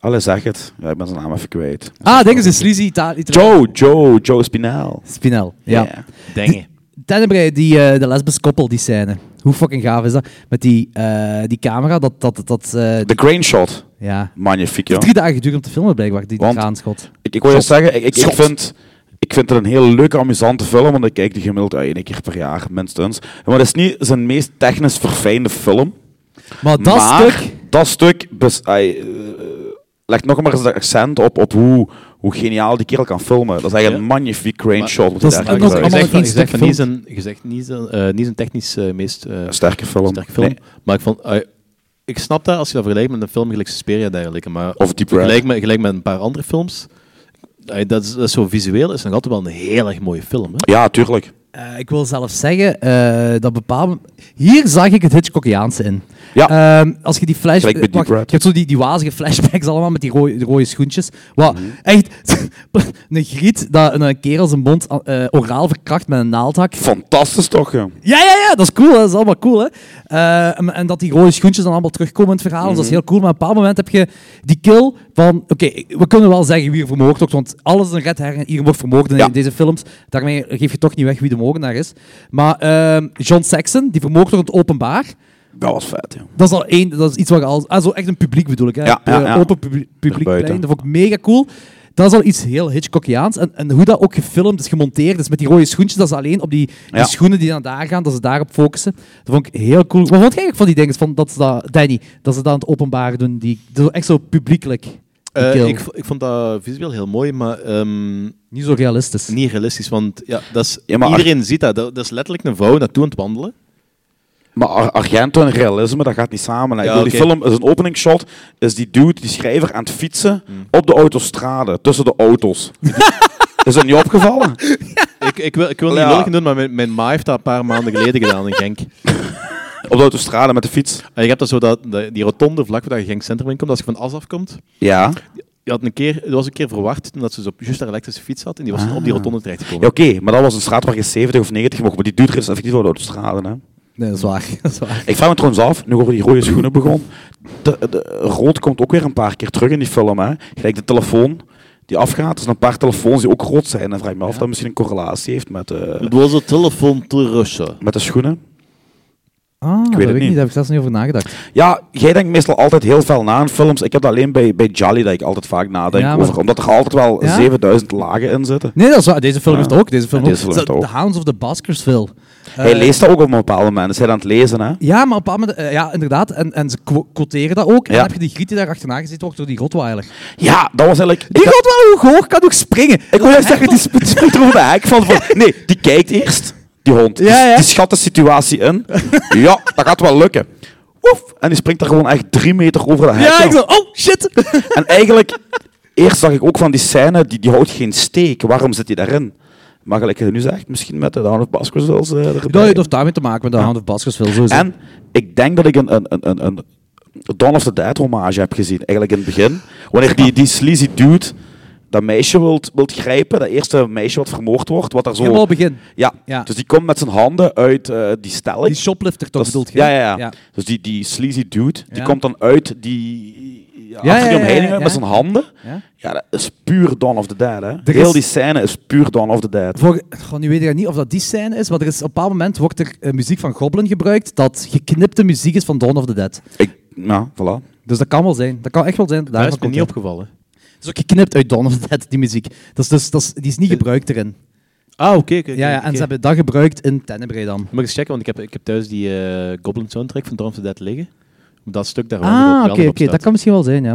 Speaker 7: Allee, zeg het. Ja, ik ben zijn naam even kwijt.
Speaker 8: Ah, denk eens, de Sleazy Italië.
Speaker 7: Joe, Joe, Joe Spinel.
Speaker 8: Spinel, ja.
Speaker 7: Ja.
Speaker 6: Dengen.
Speaker 8: Tenebrae, die, eh, de lesbisch koppel, die scène. Hoe fucking gaaf is dat? Met die, eh, die camera, dat... dat, dat eh,
Speaker 7: De crane shot.
Speaker 8: ja.
Speaker 7: Magnifiek,
Speaker 8: Het
Speaker 7: ja.
Speaker 8: heeft drie dagen geduurd om te filmen, blijkbaar, die
Speaker 7: Want-
Speaker 8: graanschot.
Speaker 7: Ik, ik wil je
Speaker 8: Schot.
Speaker 7: zeggen, ik, ik, ik vind, ik vind het een heel leuke, amusante film, want ik kijk die gemiddeld uit één keer per jaar, minstens. Maar het is niet zijn meest technisch verfijnde film.
Speaker 8: Maar dat
Speaker 7: maar
Speaker 8: stuk...
Speaker 7: Dat stuk bes- ai, eh, legt nog maar eens het accent op, op hoe, hoe geniaal die kerel kan filmen. Dat is eigenlijk een magnifiek crane
Speaker 6: Maar-
Speaker 7: shot. Wat
Speaker 8: dat
Speaker 7: hij
Speaker 8: is
Speaker 7: daar
Speaker 8: ook
Speaker 7: gebruikt.
Speaker 8: allemaal
Speaker 6: Gezegd
Speaker 8: nog
Speaker 6: van,
Speaker 8: één
Speaker 6: gezegd
Speaker 8: stuk
Speaker 6: van niet zijn, gezegd niet zijn, eh, niet zijn technisch eh, meest eh,
Speaker 7: Een sterke film.
Speaker 6: sterke film.
Speaker 7: Nee.
Speaker 6: Maar ik vond... ah, ik snap dat als je dat vergelijkt met een film gelijk Suspiria dergelijke, maar
Speaker 7: Of Deep Red.
Speaker 6: gelijk met, gelijk met een paar andere eh, films, ah, dat is, dat is zo visueel, is het nog altijd wel een heel erg mooie film. Hè?
Speaker 7: Ja, tuurlijk.
Speaker 8: Eh, ik wil zelf zeggen, eh, dat bepaalde... Hier zag ik het Hitchcockiaanse in.
Speaker 7: Ja.
Speaker 8: Ehm, als je die flash...
Speaker 7: Gelijk bij
Speaker 8: eh, wacht,
Speaker 7: Deep
Speaker 8: je
Speaker 7: Red.
Speaker 8: hebt zo die, die wazige flashbacks <laughs> allemaal met die rode, de rode schoentjes. Wat
Speaker 7: Mhm.
Speaker 8: echt... <laughs> een griet dat een kerel zijn mond eh, oraal verkracht met een naaldhak.
Speaker 7: Fantastisch toch, joh.
Speaker 8: Ja, ja, ja, dat is cool. hè. Dat is allemaal cool, hè. Eh, en, en dat die rode schoentjes dan allemaal terugkomen in het verhaal. Dus dat is heel cool. Maar op een bepaald moment heb je die kill van... Oké, we kunnen wel zeggen wie er vermoord wordt, want alles is een red herring. Hier wordt vermoord in
Speaker 7: Ja.
Speaker 8: deze films. Daarmee geef je toch niet weg wie de moordenaar is. Maar ehm, John Saxon, die vermoord wordt in het openbaar.
Speaker 7: Dat was vet, joh.
Speaker 8: Dat is al één, dat is iets wat je al... Ah, zo echt een publiek bedoel ik, hè.
Speaker 7: Ja, ja,
Speaker 8: Eh,
Speaker 7: ja.
Speaker 8: Open publiek,
Speaker 7: Daarbuiten.
Speaker 8: publiekplein. Dat vond ik mega cool. Dat is al iets heel Hitchcockiaans. En, en hoe dat ook gefilmd is, gemonteerd is met die rode schoentjes, dat is alleen op die, die
Speaker 7: Ja.
Speaker 8: schoenen die dan daar gaan, dat ze daarop focussen. Dat vond ik heel cool. Wat vond jij eigenlijk van die dingen, van dat ze dat, Danny, dat ze dat aan het openbaar doen, die, dat is echt zo publiekelijk, die
Speaker 6: Eh,
Speaker 8: kill.
Speaker 6: ik, vo- ik vond dat visueel heel mooi, maar ehm,
Speaker 8: Niet zo realistisch.
Speaker 6: niet realistisch. Want ja, dat is,
Speaker 7: Ja, maar ach-
Speaker 6: iedereen ziet dat. dat. Dat is letterlijk een vrouw naartoe aan het wandelen.
Speaker 7: Maar Ar- Argento en realisme, dat gaat niet samen. hè. Ik
Speaker 6: Ja,
Speaker 7: bedoel,
Speaker 6: oké.
Speaker 7: Die film is een openingsshot, is die dude, die schrijver, aan het fietsen op de autostrade, tussen de <laughs> auto's. is dat niet opgevallen?
Speaker 6: Ik, ik wil, ik wil
Speaker 7: Ja.
Speaker 6: niet lullig doen, maar mijn, mijn ma heeft dat een paar maanden geleden gedaan in Genk.
Speaker 7: Op de autostrade met de fiets.
Speaker 6: En je hebt dat zo dat, dat- die rotonde vlak waar je Genk Centrum in komt, als je van As afkomt.
Speaker 7: Ja.
Speaker 6: Je had een keer, er was een keer verward toen dat ze zo, juist haar elektrische fiets had en die was op die rotonde
Speaker 7: Ja,
Speaker 6: terechtgekomen.
Speaker 7: oké, maar dat was een straat waar je 70 of 90 mocht. Maar die duurt er is effectief over de autostrade. Hè.
Speaker 8: Nee, dat is waar. <laughs> Dat is waar.
Speaker 7: Ik vraag me trouwens af, nu over die rode schoenen begon. De, de- rood komt ook weer een paar keer terug in die film. Hè. Gelijk de telefoon die afgaat. Er zijn een paar telefoons die ook rood zijn. Dan vraag ik me af of dat misschien een correlatie heeft met, eh,
Speaker 6: Het was een telefoon te Russen.
Speaker 7: met de schoenen.
Speaker 8: Ah, dat weet ik
Speaker 7: het
Speaker 8: niet.
Speaker 7: niet.
Speaker 8: Daar heb ik zelfs niet over nagedacht.
Speaker 7: Ja, jij denkt meestal altijd heel veel na aan films. Ik heb dat alleen bij, bij Jolly dat ik altijd vaak nadenk
Speaker 8: Ja, maar-
Speaker 7: over. Omdat er altijd wel
Speaker 8: Ja?
Speaker 7: 7000 lagen in zitten.
Speaker 8: Nee, dat is waar. Deze film
Speaker 7: Ja.
Speaker 8: heeft ook. Deze film
Speaker 7: Ja, deze film
Speaker 8: ook.
Speaker 7: heeft ook.
Speaker 8: The Hounds of the Baskersville.
Speaker 7: Hij
Speaker 8: Eh,
Speaker 7: leest dat ook op een bepaald moment. Is hij aan het lezen, hè?
Speaker 8: Ja, maar op een bepaald moment, eh, ja, inderdaad. En, en ze quo- quoteren dat ook. En
Speaker 7: Ja.
Speaker 8: dan heb je die griet die daar achterna gezeten wordt door die Rottweiler.
Speaker 7: Ja, dat was eigenlijk...
Speaker 8: Die
Speaker 7: ik-
Speaker 8: Rottweiler hoe hoog kan ook springen.
Speaker 7: Ik wil juist zeggen, die sp- springt er over de hek van, van... Nee, die kijkt eerst, die hond. Die-
Speaker 8: Ja,
Speaker 7: Die,
Speaker 8: ja.
Speaker 7: schat de situatie in. Ja, dat gaat wel lukken. Woef, en die springt er gewoon echt drie meter over de hek.
Speaker 8: Ja,
Speaker 7: van.
Speaker 8: ik zo, oh shit.
Speaker 7: En eigenlijk, eerst zag ik ook van die scène, die, die houdt geen steek. Waarom zit hij daarin? Maar gelijk je nu zegt, misschien met de Down of Baskervilles eh, erbij.
Speaker 8: Dat heeft daarmee te maken met de Hound of Baskersville. Sowieso.
Speaker 7: En ik denk dat ik een, een, een, een, een Dawn of the Dead hommage heb gezien, eigenlijk in het begin. Wanneer die, die sleazy dude dat meisje wilt, wilt grijpen, dat eerste meisje wat vermoord wordt, wat daar zo...
Speaker 8: Helemaal begin.
Speaker 7: Ja.
Speaker 8: Ja.
Speaker 7: dus die komt met zijn handen uit eh, die stelling.
Speaker 8: Die shoplifter toch
Speaker 7: Dat is-
Speaker 8: bedoelt je?
Speaker 7: ja, ja, ja, Dus die, die sleazy dude, die
Speaker 8: Ja.
Speaker 7: komt dan uit die... Ja,
Speaker 8: ja,
Speaker 7: achter die
Speaker 8: ja,
Speaker 7: omheining
Speaker 8: ja, ja.
Speaker 7: met zijn handen.
Speaker 8: Ja.
Speaker 7: Ja, dat is puur Dawn of the Dead, hè.
Speaker 8: Er
Speaker 7: Heel
Speaker 8: is-
Speaker 7: die scène is puur Dawn of the Dead.
Speaker 8: Voor, goh, nu weet ik niet of dat die scène is, maar er is, op een bepaald moment wordt er eh, muziek van Goblin gebruikt dat geknipte muziek is van Dawn of the Dead.
Speaker 7: Ik, ja, voilà.
Speaker 8: Dus dat kan wel zijn. Dat kan echt wel zijn. dat
Speaker 6: Daar
Speaker 8: daarvan
Speaker 6: is me
Speaker 8: komt,
Speaker 6: niet
Speaker 8: ja.
Speaker 6: opgevallen.
Speaker 8: Het is ook geknipt uit Dawn of the Dead, die muziek. Dat is dus, dat is, die is niet gebruikt erin.
Speaker 6: Ah, oké. oké, oké,
Speaker 8: Ja, ja, en
Speaker 6: oké.
Speaker 8: ze hebben dat gebruikt in Tenebrae dan.
Speaker 6: Moet ik eens checken, want ik heb, ik heb thuis die eh, Goblin soundtrack van Dawn of the Dead liggen. Dat stuk daar waar
Speaker 8: Ah,
Speaker 6: erop-
Speaker 8: oké,
Speaker 6: waar erop
Speaker 8: oké, dat
Speaker 6: staat.
Speaker 8: kan misschien wel zijn, ja.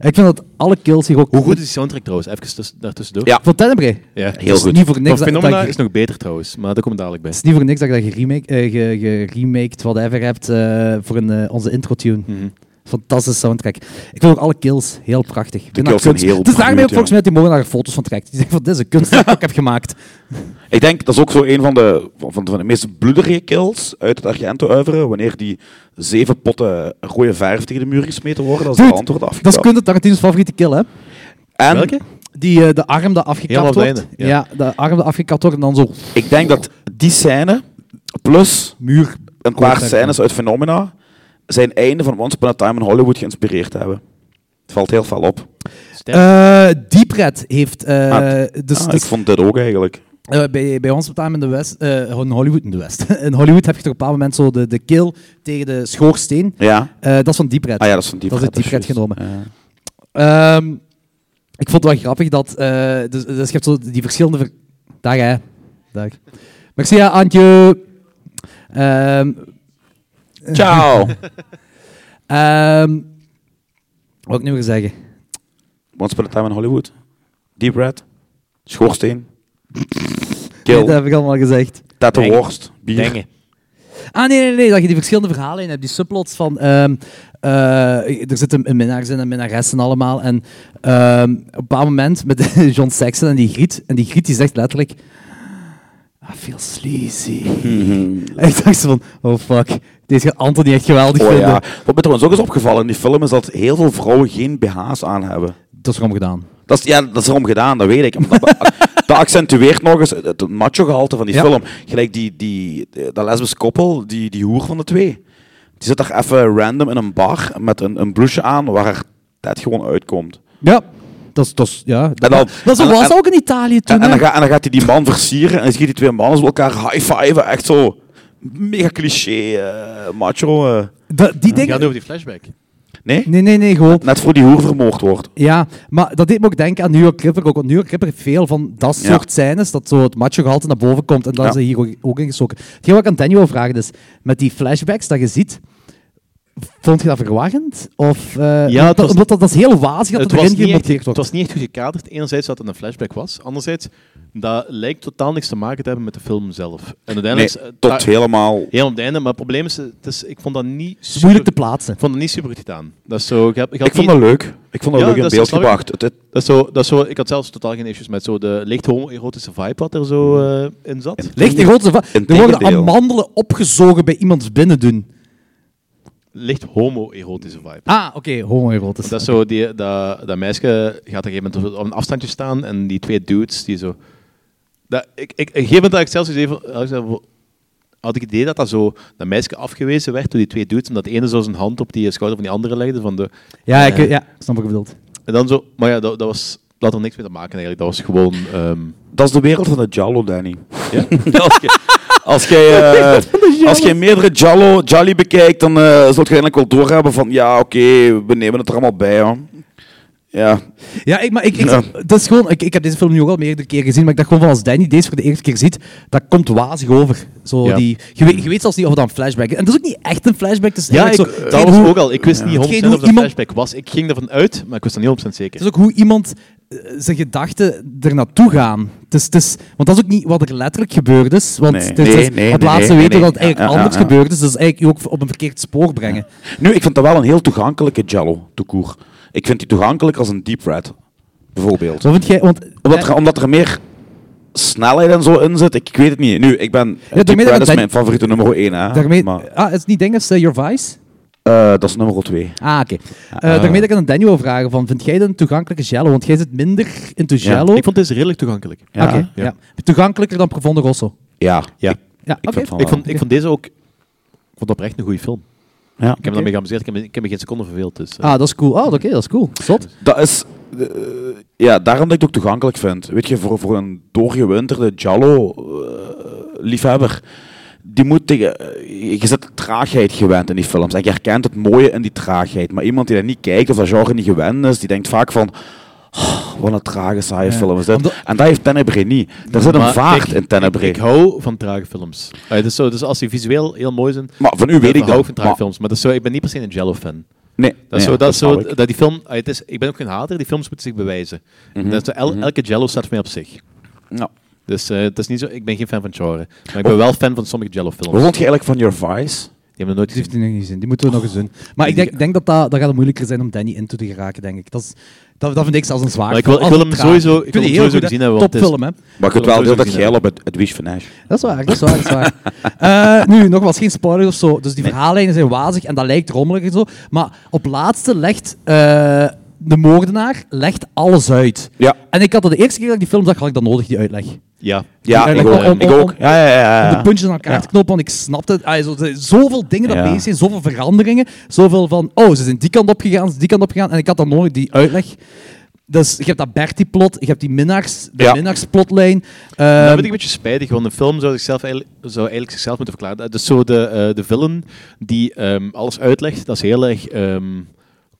Speaker 8: Ik vind dat alle kills hier ook...
Speaker 6: Hoe goed is die soundtrack trouwens? Even tuss- daartussendoor.
Speaker 7: Ja.
Speaker 8: Van Tenebrae.
Speaker 6: ja.
Speaker 7: Heel
Speaker 8: Dus
Speaker 7: goed.
Speaker 8: Niet voor niks dat,
Speaker 6: Maar
Speaker 8: dat,
Speaker 6: Phenomena
Speaker 8: je-
Speaker 6: is nog beter trouwens, maar daar komt het dadelijk bij.
Speaker 8: het is niet voor niks dat je dat geremake, eh, ge- geremaked, whatever hebt, eh, voor een, eh, onze intro-tune. Fantastische soundtrack. Ik vind ook alle kills heel prachtig. Ik vind dat
Speaker 7: kills zijn
Speaker 8: kunst.
Speaker 7: heel
Speaker 8: Het is daarmee
Speaker 7: bruut,
Speaker 8: ook volgens
Speaker 7: ja.
Speaker 8: mij dat die mogen daar foto's van trekt. Die zeggen van, dit is een kunstwerk dat ik heb gemaakt.
Speaker 7: Ik denk, dat is ook zo een van de, van, van de meest bloederige kills uit het Argento-uiveren. Wanneer die zeven potten rode verf tegen de muur gesmeten worden als de
Speaker 8: Dude,
Speaker 7: hand wordt
Speaker 8: Dat is
Speaker 7: afgekapt.
Speaker 8: Quentin Tarantino's favoriete kill, hè?
Speaker 7: en
Speaker 6: Welke?
Speaker 8: Die, eh, de arm dat afgekapt
Speaker 6: Helemaal op het
Speaker 8: wordt.
Speaker 6: einde, ja.
Speaker 8: ja. de arm dat afgekapt wordt en dan zo...
Speaker 7: ik denk dat die scène, plus
Speaker 8: Muur.
Speaker 7: een paar
Speaker 8: Goed,
Speaker 7: scènes uit Phenomena, zijn einde van Once Upon a Time in Hollywood geïnspireerd hebben. Het valt heel fel op.
Speaker 8: Eh Deep Red heeft... eh,
Speaker 7: Ah,
Speaker 8: dus,
Speaker 7: Ah,
Speaker 8: dus-
Speaker 7: ik vond dit ook eigenlijk.
Speaker 8: Eh, bij, bij ons op time in de West, eh, in Hollywood in de West. <laughs> in Hollywood heb je toch op een bepaald moment zo de, de kill tegen de schoorsteen.
Speaker 7: Ja.
Speaker 8: Eh, dat is van Deep Red.
Speaker 7: Ah ja, dat is van die
Speaker 8: Dat is uit Deep Red
Speaker 7: juist.
Speaker 8: genomen.
Speaker 7: Ja.
Speaker 8: <laughs> Ehm, ik vond het wel grappig dat... eh, dus, dus je hebt zo die verschillende... Ver... Dag hè. Dag. Merci hè, Antje. Ehm,
Speaker 7: Ciao!
Speaker 8: ehm, wat wil ik nu weer zeggen?
Speaker 7: Once Upon a Time in Hollywood. Deep Red. Schoorsteen. Kill.
Speaker 8: Nee, <laughs> dat heb ik allemaal gezegd.
Speaker 7: Tette
Speaker 6: Deng.
Speaker 7: worst. Bier.
Speaker 6: Dengen.
Speaker 8: Ah, nee, nee, nee, dat je die verschillende verhalen in hebt, die subplots van... ehm, eh, er zitten een minnaars in en minnaressen allemaal. En <laughs> ehm, op een bepaald moment met John Saxon en die Griet. En die Griet die zegt letterlijk... "Ah, I feel sleazy.
Speaker 7: Mhm.
Speaker 8: En <laughs> ik dacht zo van, oh fuck, deze gaat Anthony echt geweldig
Speaker 7: Oh
Speaker 8: vinden.
Speaker 7: ja. Wat me trouwens ook is opgevallen in die film is dat heel veel vrouwen geen BH's aan hebben.
Speaker 8: Dat is erom gedaan.
Speaker 7: Dat is, ja, dat is erom gedaan, dat weet ik. Maar Dat, <laughs> dat accentueert nog eens het macho-gehalte van die
Speaker 8: Ja.
Speaker 7: film. Gelijk die, die, eh, dat lesbisch koppel, die, die hoer van de twee. Die zit daar even random in een bar met een, een blouseje aan waar haar tijd gewoon uitkomt.
Speaker 8: Ja, dat is, dat is, ja.
Speaker 7: En dan-
Speaker 8: dat
Speaker 7: en-
Speaker 8: was
Speaker 7: en-
Speaker 8: ook in Italië toen.
Speaker 7: En, en,
Speaker 8: hè.
Speaker 7: dan, ga- en dan gaat hij die man versieren en dan zie je die twee mannen zo elkaar high-fiven. Echt zo mega cliché eh, macho. eh.
Speaker 8: Da- die
Speaker 6: Het gaat
Speaker 8: dingen...
Speaker 6: over die flashback.
Speaker 7: Nee?
Speaker 8: Nee, nee, nee, gewoon.
Speaker 7: Net voor die hoer vermoord wordt.
Speaker 8: Ja, maar dat deed me ook denken aan New York Clipper ook. Want New York Clipper heeft veel van dat
Speaker 7: Ja.
Speaker 8: soort scènes, dat zo het macho gehalte naar boven komt. En dat
Speaker 7: Ja.
Speaker 8: is er hier ook, ook in gestoken. Hetgeen wat ik aan Daniel wil vragen is, met die flashbacks dat je ziet, vond je dat verwarrend? Of, eh,
Speaker 6: Ja,
Speaker 8: dat,
Speaker 6: het was-
Speaker 8: omdat dat, dat is heel wazig dat
Speaker 6: Het
Speaker 8: er
Speaker 6: was,
Speaker 8: erin
Speaker 6: niet echt,
Speaker 8: gemonteerd
Speaker 6: het
Speaker 8: wordt.
Speaker 6: was niet echt goed gekaderd. Enerzijds dat het een flashback was. Anderzijds, dat lijkt totaal niks te maken te hebben met de film zelf. En uiteindelijk...
Speaker 7: Nee,
Speaker 6: is- eh,
Speaker 7: tot
Speaker 6: daar-
Speaker 7: helemaal.
Speaker 6: Heel op het einde, maar het probleem is, het is ik vond dat niet
Speaker 8: Het is moeilijk
Speaker 6: super-
Speaker 8: te plaatsen.
Speaker 6: ik vond het niet super goed gedaan. Dat is zo, ik heb, ik had
Speaker 7: Ik vond
Speaker 6: niet-
Speaker 7: dat leuk. Ik vond dat
Speaker 6: Ja,
Speaker 7: leuk in
Speaker 6: dat is-
Speaker 7: beeld
Speaker 6: dat snap ik.
Speaker 7: gebracht. Het- het-
Speaker 6: dat is zo, dat is zo, ik had zelfs totaal geen issues met zo de licht homoerotische vibe wat er zo eh, in zat.
Speaker 8: Ligt in grote va- Er worden
Speaker 7: Integendeel.
Speaker 8: amandelen opgezogen bij iemands binnen doen.
Speaker 6: Licht homoerotische vibe.
Speaker 8: Ah, oké, homoerotisch.
Speaker 6: Dat, is zo die, dat, dat meisje gaat op een gegeven moment op een afstandje staan en die twee dudes die zo... Dat, ik, ik, op een gegeven moment had ik zelfs eens even, had ik zelf- had ik het idee dat dat, zo, dat meisje afgewezen werd door die twee dudes en dat de ene zo zijn hand op die schouder van die andere legde. Van de,
Speaker 8: Ja, ik,
Speaker 6: eh,
Speaker 8: ja, snap wat je bedoelt.
Speaker 6: En dan zo... Maar ja, dat, dat, was, dat had er niks mee te maken eigenlijk. Dat was gewoon... ehm,
Speaker 7: Dat is de wereld van de Jallo, Danny.
Speaker 6: Ja?
Speaker 7: <laughs> als je, als jij, eh, als jij meerdere Jallo, Jolly bekijkt, dan eh zult je eigenlijk wel doorhebben van ja, oké, we nemen het er allemaal bij. Hoor. Ja,
Speaker 8: Ja, ik, maar ik, ik,
Speaker 7: Ja.
Speaker 8: Dat is gewoon, ik, ik heb deze film nu ook al meerdere keren gezien, maar ik dacht gewoon van als Danny deze voor de eerste keer ziet, dat komt wazig over. Zo
Speaker 6: Ja.
Speaker 8: die, je, weet, je weet zelfs niet of dat een flashback is. En dat is ook niet echt een flashback. Het is
Speaker 6: Ja, ik,
Speaker 8: eigenlijk zo,
Speaker 6: dat
Speaker 8: hetgeen
Speaker 6: was
Speaker 8: hoe-
Speaker 6: ook al. Ik wist niet 100%
Speaker 8: Hetgeen
Speaker 6: of
Speaker 8: hoe
Speaker 6: dat
Speaker 8: iemand-
Speaker 6: flashback was. Ik ging ervan uit, maar ik wist er niet 100% zeker.
Speaker 8: Het is ook hoe iemand eh, zijn gedachten er naartoe gaan. Het is, het is, want dat is ook niet wat er letterlijk gebeurd is. Want
Speaker 7: Nee,
Speaker 8: het is,
Speaker 7: nee,
Speaker 8: het is
Speaker 7: nee,
Speaker 8: op
Speaker 7: nee,
Speaker 8: laatste
Speaker 7: nee,
Speaker 8: weten
Speaker 7: nee.
Speaker 8: dat het eigenlijk
Speaker 7: Ja, ja,
Speaker 8: anders
Speaker 7: ja.
Speaker 8: gebeurd is. Dus eigenlijk je ook op een verkeerd spoor brengen.
Speaker 7: nu, ik vind dat wel een heel toegankelijke Jallo, de koer. Ik vind die toegankelijk als een Deep Red, bijvoorbeeld.
Speaker 8: Zo vind jij, want,
Speaker 7: Omdat er, omdat er meer snelheid en zo in zit, ik, ik weet het niet. Nu, ik ben.
Speaker 8: daarmee
Speaker 7: Deep
Speaker 8: dat
Speaker 7: Red is
Speaker 8: Ben-
Speaker 7: mijn favoriete nummer 1, hè?
Speaker 8: daarmee,
Speaker 7: Maar
Speaker 8: ah, is het niet dinges, eh, Your Vice?
Speaker 7: eh, dat is nummer 2.
Speaker 8: Ah, oké. Eh, daarmee dat ik aan Daniel wil vragen, van, vind jij dat een toegankelijke Jello? Want jij zit minder into Jello.
Speaker 6: Ik vond deze redelijk toegankelijk.
Speaker 8: Ja,
Speaker 6: ja.
Speaker 8: ja. Toegankelijker dan Profondo Rosso.
Speaker 7: Ja,
Speaker 6: Ja.
Speaker 8: Ja,
Speaker 7: ik
Speaker 8: oké.
Speaker 7: vind van
Speaker 6: Ik, vond,
Speaker 7: wel.
Speaker 6: ik vond deze ook... Ik vond oprecht een goede film.
Speaker 7: Ja.
Speaker 6: Ik heb me daarmee geamuseerd. Ik heb, me- ik heb me geen seconde verveeld. Dus, eh.
Speaker 8: Ah, dat is cool. Oh, oké, dat is cool. Zot.
Speaker 7: Dat is... eh, ja, daarom dat ik het ook toegankelijk vind. Weet je, voor, voor een doorgewinterde Jallo-liefhebber, die moet tegen... eh, je zit de traagheid gewend in die films. En je herkent het mooie in die traagheid. Maar iemand die daar niet kijkt of dat genre niet gewend is, die denkt vaak van... "Oh, wat een trage, saaie film is dit.
Speaker 8: Omdat-
Speaker 7: En dat heeft Tenebrae niet. Er zit een
Speaker 6: Maar
Speaker 7: vaart
Speaker 6: kijk,
Speaker 7: in Tenebrae.
Speaker 6: Ik hou van trage films. Ah, dus, zo, dus als die visueel heel mooi zijn...
Speaker 7: maar van u weet ik
Speaker 6: hou
Speaker 7: dat.
Speaker 6: van trage
Speaker 7: Maar-
Speaker 6: films. Maar dat is zo, ik ben niet per se een Jello-fan.
Speaker 7: Nee,
Speaker 6: Dat is
Speaker 7: nee,
Speaker 6: zo, dat is
Speaker 7: snap
Speaker 6: zo,
Speaker 7: ik.
Speaker 6: dat die film, ah, het is, ik ben ook geen hater, die films moeten zich bewijzen.
Speaker 7: Mhm,
Speaker 6: Dat is zo, el- Elke Jello staat voor mij op zich.
Speaker 7: Ja.
Speaker 6: Dus eh, het is niet zo, ik ben geen fan van het genre. Maar ik ben wel fan van sommige Jello-films.
Speaker 7: Wat vond je eigenlijk van Your Vice?
Speaker 6: Die hebben we nooit gezien.
Speaker 8: Die nog niet zien. Die moeten we nog eens doen. Ah. Maar ik denk, denk dat, dat dat gaat het moeilijker zijn om Danny into te geraken, denk ik. Dat, is, dat, dat vind ik zelfs een zwaar.
Speaker 6: Maar ik wil-
Speaker 8: film,
Speaker 6: ik wil
Speaker 8: als
Speaker 6: hem
Speaker 8: een traag.
Speaker 6: sowieso- ik wil
Speaker 8: vind
Speaker 6: hem
Speaker 8: die
Speaker 6: sowieso
Speaker 8: heel
Speaker 6: gezien
Speaker 8: goed, hè.
Speaker 6: hebben, want het is-
Speaker 8: Topfilm, hè.
Speaker 7: Maar ik
Speaker 6: wil
Speaker 7: weet wel
Speaker 6: hem
Speaker 7: heel dat
Speaker 6: sowieso
Speaker 7: geil op het, het Wish Finesse.
Speaker 8: Dat is waar, dat is waar, dat is
Speaker 7: <laughs>
Speaker 8: waar. Eh, nu, nogmaals, geen spoilers of zo. Dus die verhaallijnen zijn wazig en dat lijkt rommelig en zo. Maar op laatste legt eh, de moordenaar legt alles uit.
Speaker 7: Ja.
Speaker 8: En ik had dat de eerste keer dat ik die film zag, had ik dat nodig, die uitleg.
Speaker 6: Ja.
Speaker 7: Ja,
Speaker 8: Die
Speaker 7: ik
Speaker 8: uitleg
Speaker 7: ook.
Speaker 8: om-
Speaker 7: ik
Speaker 8: om-
Speaker 7: ook.
Speaker 8: om-
Speaker 7: Ja, ja, ja, ja.
Speaker 8: Om de puntjes aan elkaar
Speaker 7: Ja.
Speaker 8: te knopen, want ik snapte het. Ah, zo, er zijn zoveel dingen dat
Speaker 7: Ja.
Speaker 8: bezig zijn, zoveel veranderingen. Zoveel van, oh, ze zijn die kant op gegaan, ze zijn die kant op gegaan. En ik had dan nodig die uitleg. Dus je hebt dat Bertie-plot, je hebt die minnaars, de
Speaker 7: Ja. Nou,
Speaker 8: minnaarssplotlijn.
Speaker 6: dat
Speaker 8: ehm,
Speaker 6: vind ik een beetje spijtig, want een film zou zichzelf eigenlijk, zou eigenlijk zichzelf moeten verklaren. Dus zo de, eh, de villain die ehm, alles uitlegt, dat is heel erg ehm,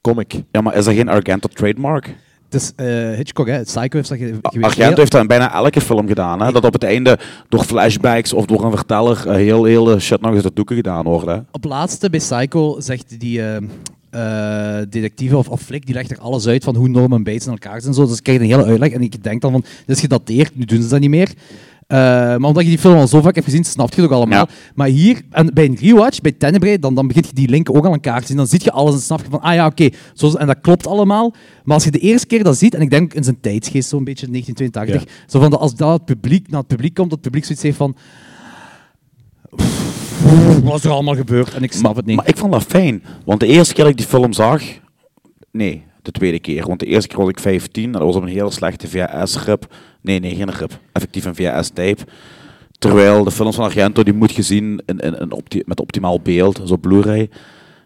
Speaker 6: comic.
Speaker 7: Ja, maar is dat geen Argento trademark?
Speaker 8: het is eh, Hitchcock, hè. Psycho heeft dat ge- geweest.
Speaker 7: Argento heeft dat in bijna elke film gedaan. Hè? Dat op het einde door flashbacks of door een verteller eh, heel, heel eh, shit nog eens de doeken gedaan wordt. Hè?
Speaker 8: Op laatste bij Psycho zegt die eh, eh, detectieve of, of Flick, die legt er alles uit van hoe Norman Bates in elkaar zit en zo. Dus ik krijg een hele uitleg en ik denk dan van, dit is gedateerd, nu doen ze dat niet meer. Eh, Eh, maar omdat je die film al zo vaak hebt gezien, snap je het ook allemaal.
Speaker 7: Ja.
Speaker 8: Maar hier, en bij een rewatch, bij Tenebrae, dan, dan begint je die linken ook aan elkaar te zien. Dan zie je alles en snap je van, ah ja, oké, zo- en dat klopt allemaal. Maar als je de eerste keer dat ziet, en ik denk in zijn tijdsgeest, zo'n beetje 1982, zo van dat als dat het publiek naar het publiek komt, dat het publiek zoiets heeft van... "Pff, Wat is er allemaal gebeurd? En ik snap het niet.
Speaker 7: Maar ik vond dat fijn. Want de eerste keer dat ik die film zag... Nee, de tweede keer. Want de eerste keer was ik 15 en dat was op een heel slechte VHS-rip. Nee, nee, geen rip. Effectief een VHS-tape. Terwijl de films van Argento, die moet gezien in, in, in opti- met optimaal beeld, zo Blu-ray.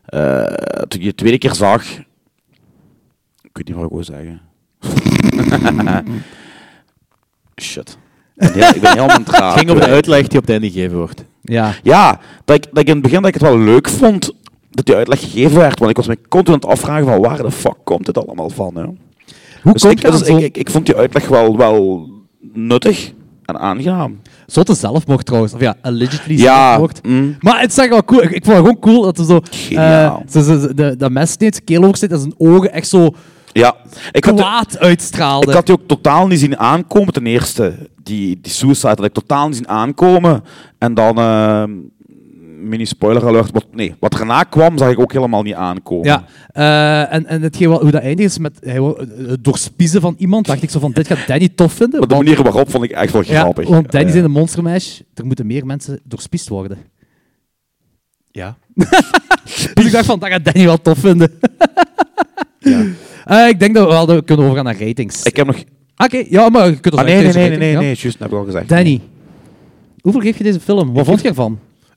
Speaker 7: Eh, toen ik die de tweede keer zag... Ik weet niet wat ik wil zeggen. <laughs> Shit. Ik ben, heel- ik ben
Speaker 6: <laughs>
Speaker 7: helemaal in traag.
Speaker 6: Het ging op
Speaker 8: Ah,
Speaker 6: de uitleg die op het einde gegeven wordt.
Speaker 8: ja.
Speaker 7: Ja, dat ik, dat ik in het begin dat ik het wel leuk vond dat die uitleg gegeven werd. Want ik was me continu aan het afvragen van waar de fuck komt dit allemaal van. Hè?
Speaker 8: Hoe
Speaker 7: Dus,
Speaker 8: komt
Speaker 7: ik,
Speaker 8: dat
Speaker 7: dus
Speaker 8: zo-
Speaker 7: ik, ik, ik vond die uitleg wel, wel nuttig en aangenaam.
Speaker 8: Zotte zelfmoord trouwens. Of ja, allegedly
Speaker 7: Ja,
Speaker 8: zelfmoord.
Speaker 7: mm.
Speaker 8: Maar het is echt wel cool. Ik, ik vond het gewoon cool dat er zo...
Speaker 7: Geniaal.
Speaker 8: eh, ze- ze- ze- de, dat mes sneed, zijn keel oversteekt en zijn ogen echt zo
Speaker 7: Ja, ik had, die-
Speaker 8: kwaad uitstraalden.
Speaker 7: ik had die ook totaal niet zien aankomen ten eerste. Die, die suicide had ik totaal niet zien aankomen. En dan, eh, mini spoiler alert, wat, nee, wat erna kwam zag ik ook helemaal niet aankomen.
Speaker 8: Ja, eh, en, en hetgeen wat, hoe dat eindigt is met hij wil- eh, het doorspiezen van iemand, dacht ik zo van, dit gaat Danny tof vinden.
Speaker 7: Maar de
Speaker 8: want-
Speaker 7: manier waarop vond ik echt wel
Speaker 8: ja,
Speaker 7: grappig.
Speaker 8: want Danny is
Speaker 7: Eh,
Speaker 8: in een monstermeisje, er moeten meer mensen doorspiest worden.
Speaker 6: Ja.
Speaker 8: <laughs> Dus ik dacht van, dat gaat Danny wel tof vinden. <laughs> Eh, ik denk dat we wel dat we kunnen overgaan naar ratings.
Speaker 7: Ik heb nog...
Speaker 8: Oké, ja, maar je kunt
Speaker 7: Ah,
Speaker 8: ons
Speaker 7: nee, nee, nee, nee,
Speaker 8: ratings rating,
Speaker 7: nee,
Speaker 8: ja.
Speaker 7: nee, juist, dat heb ik al gezegd.
Speaker 8: Danny, hoeveel geef je deze film? Wat vond je ervan?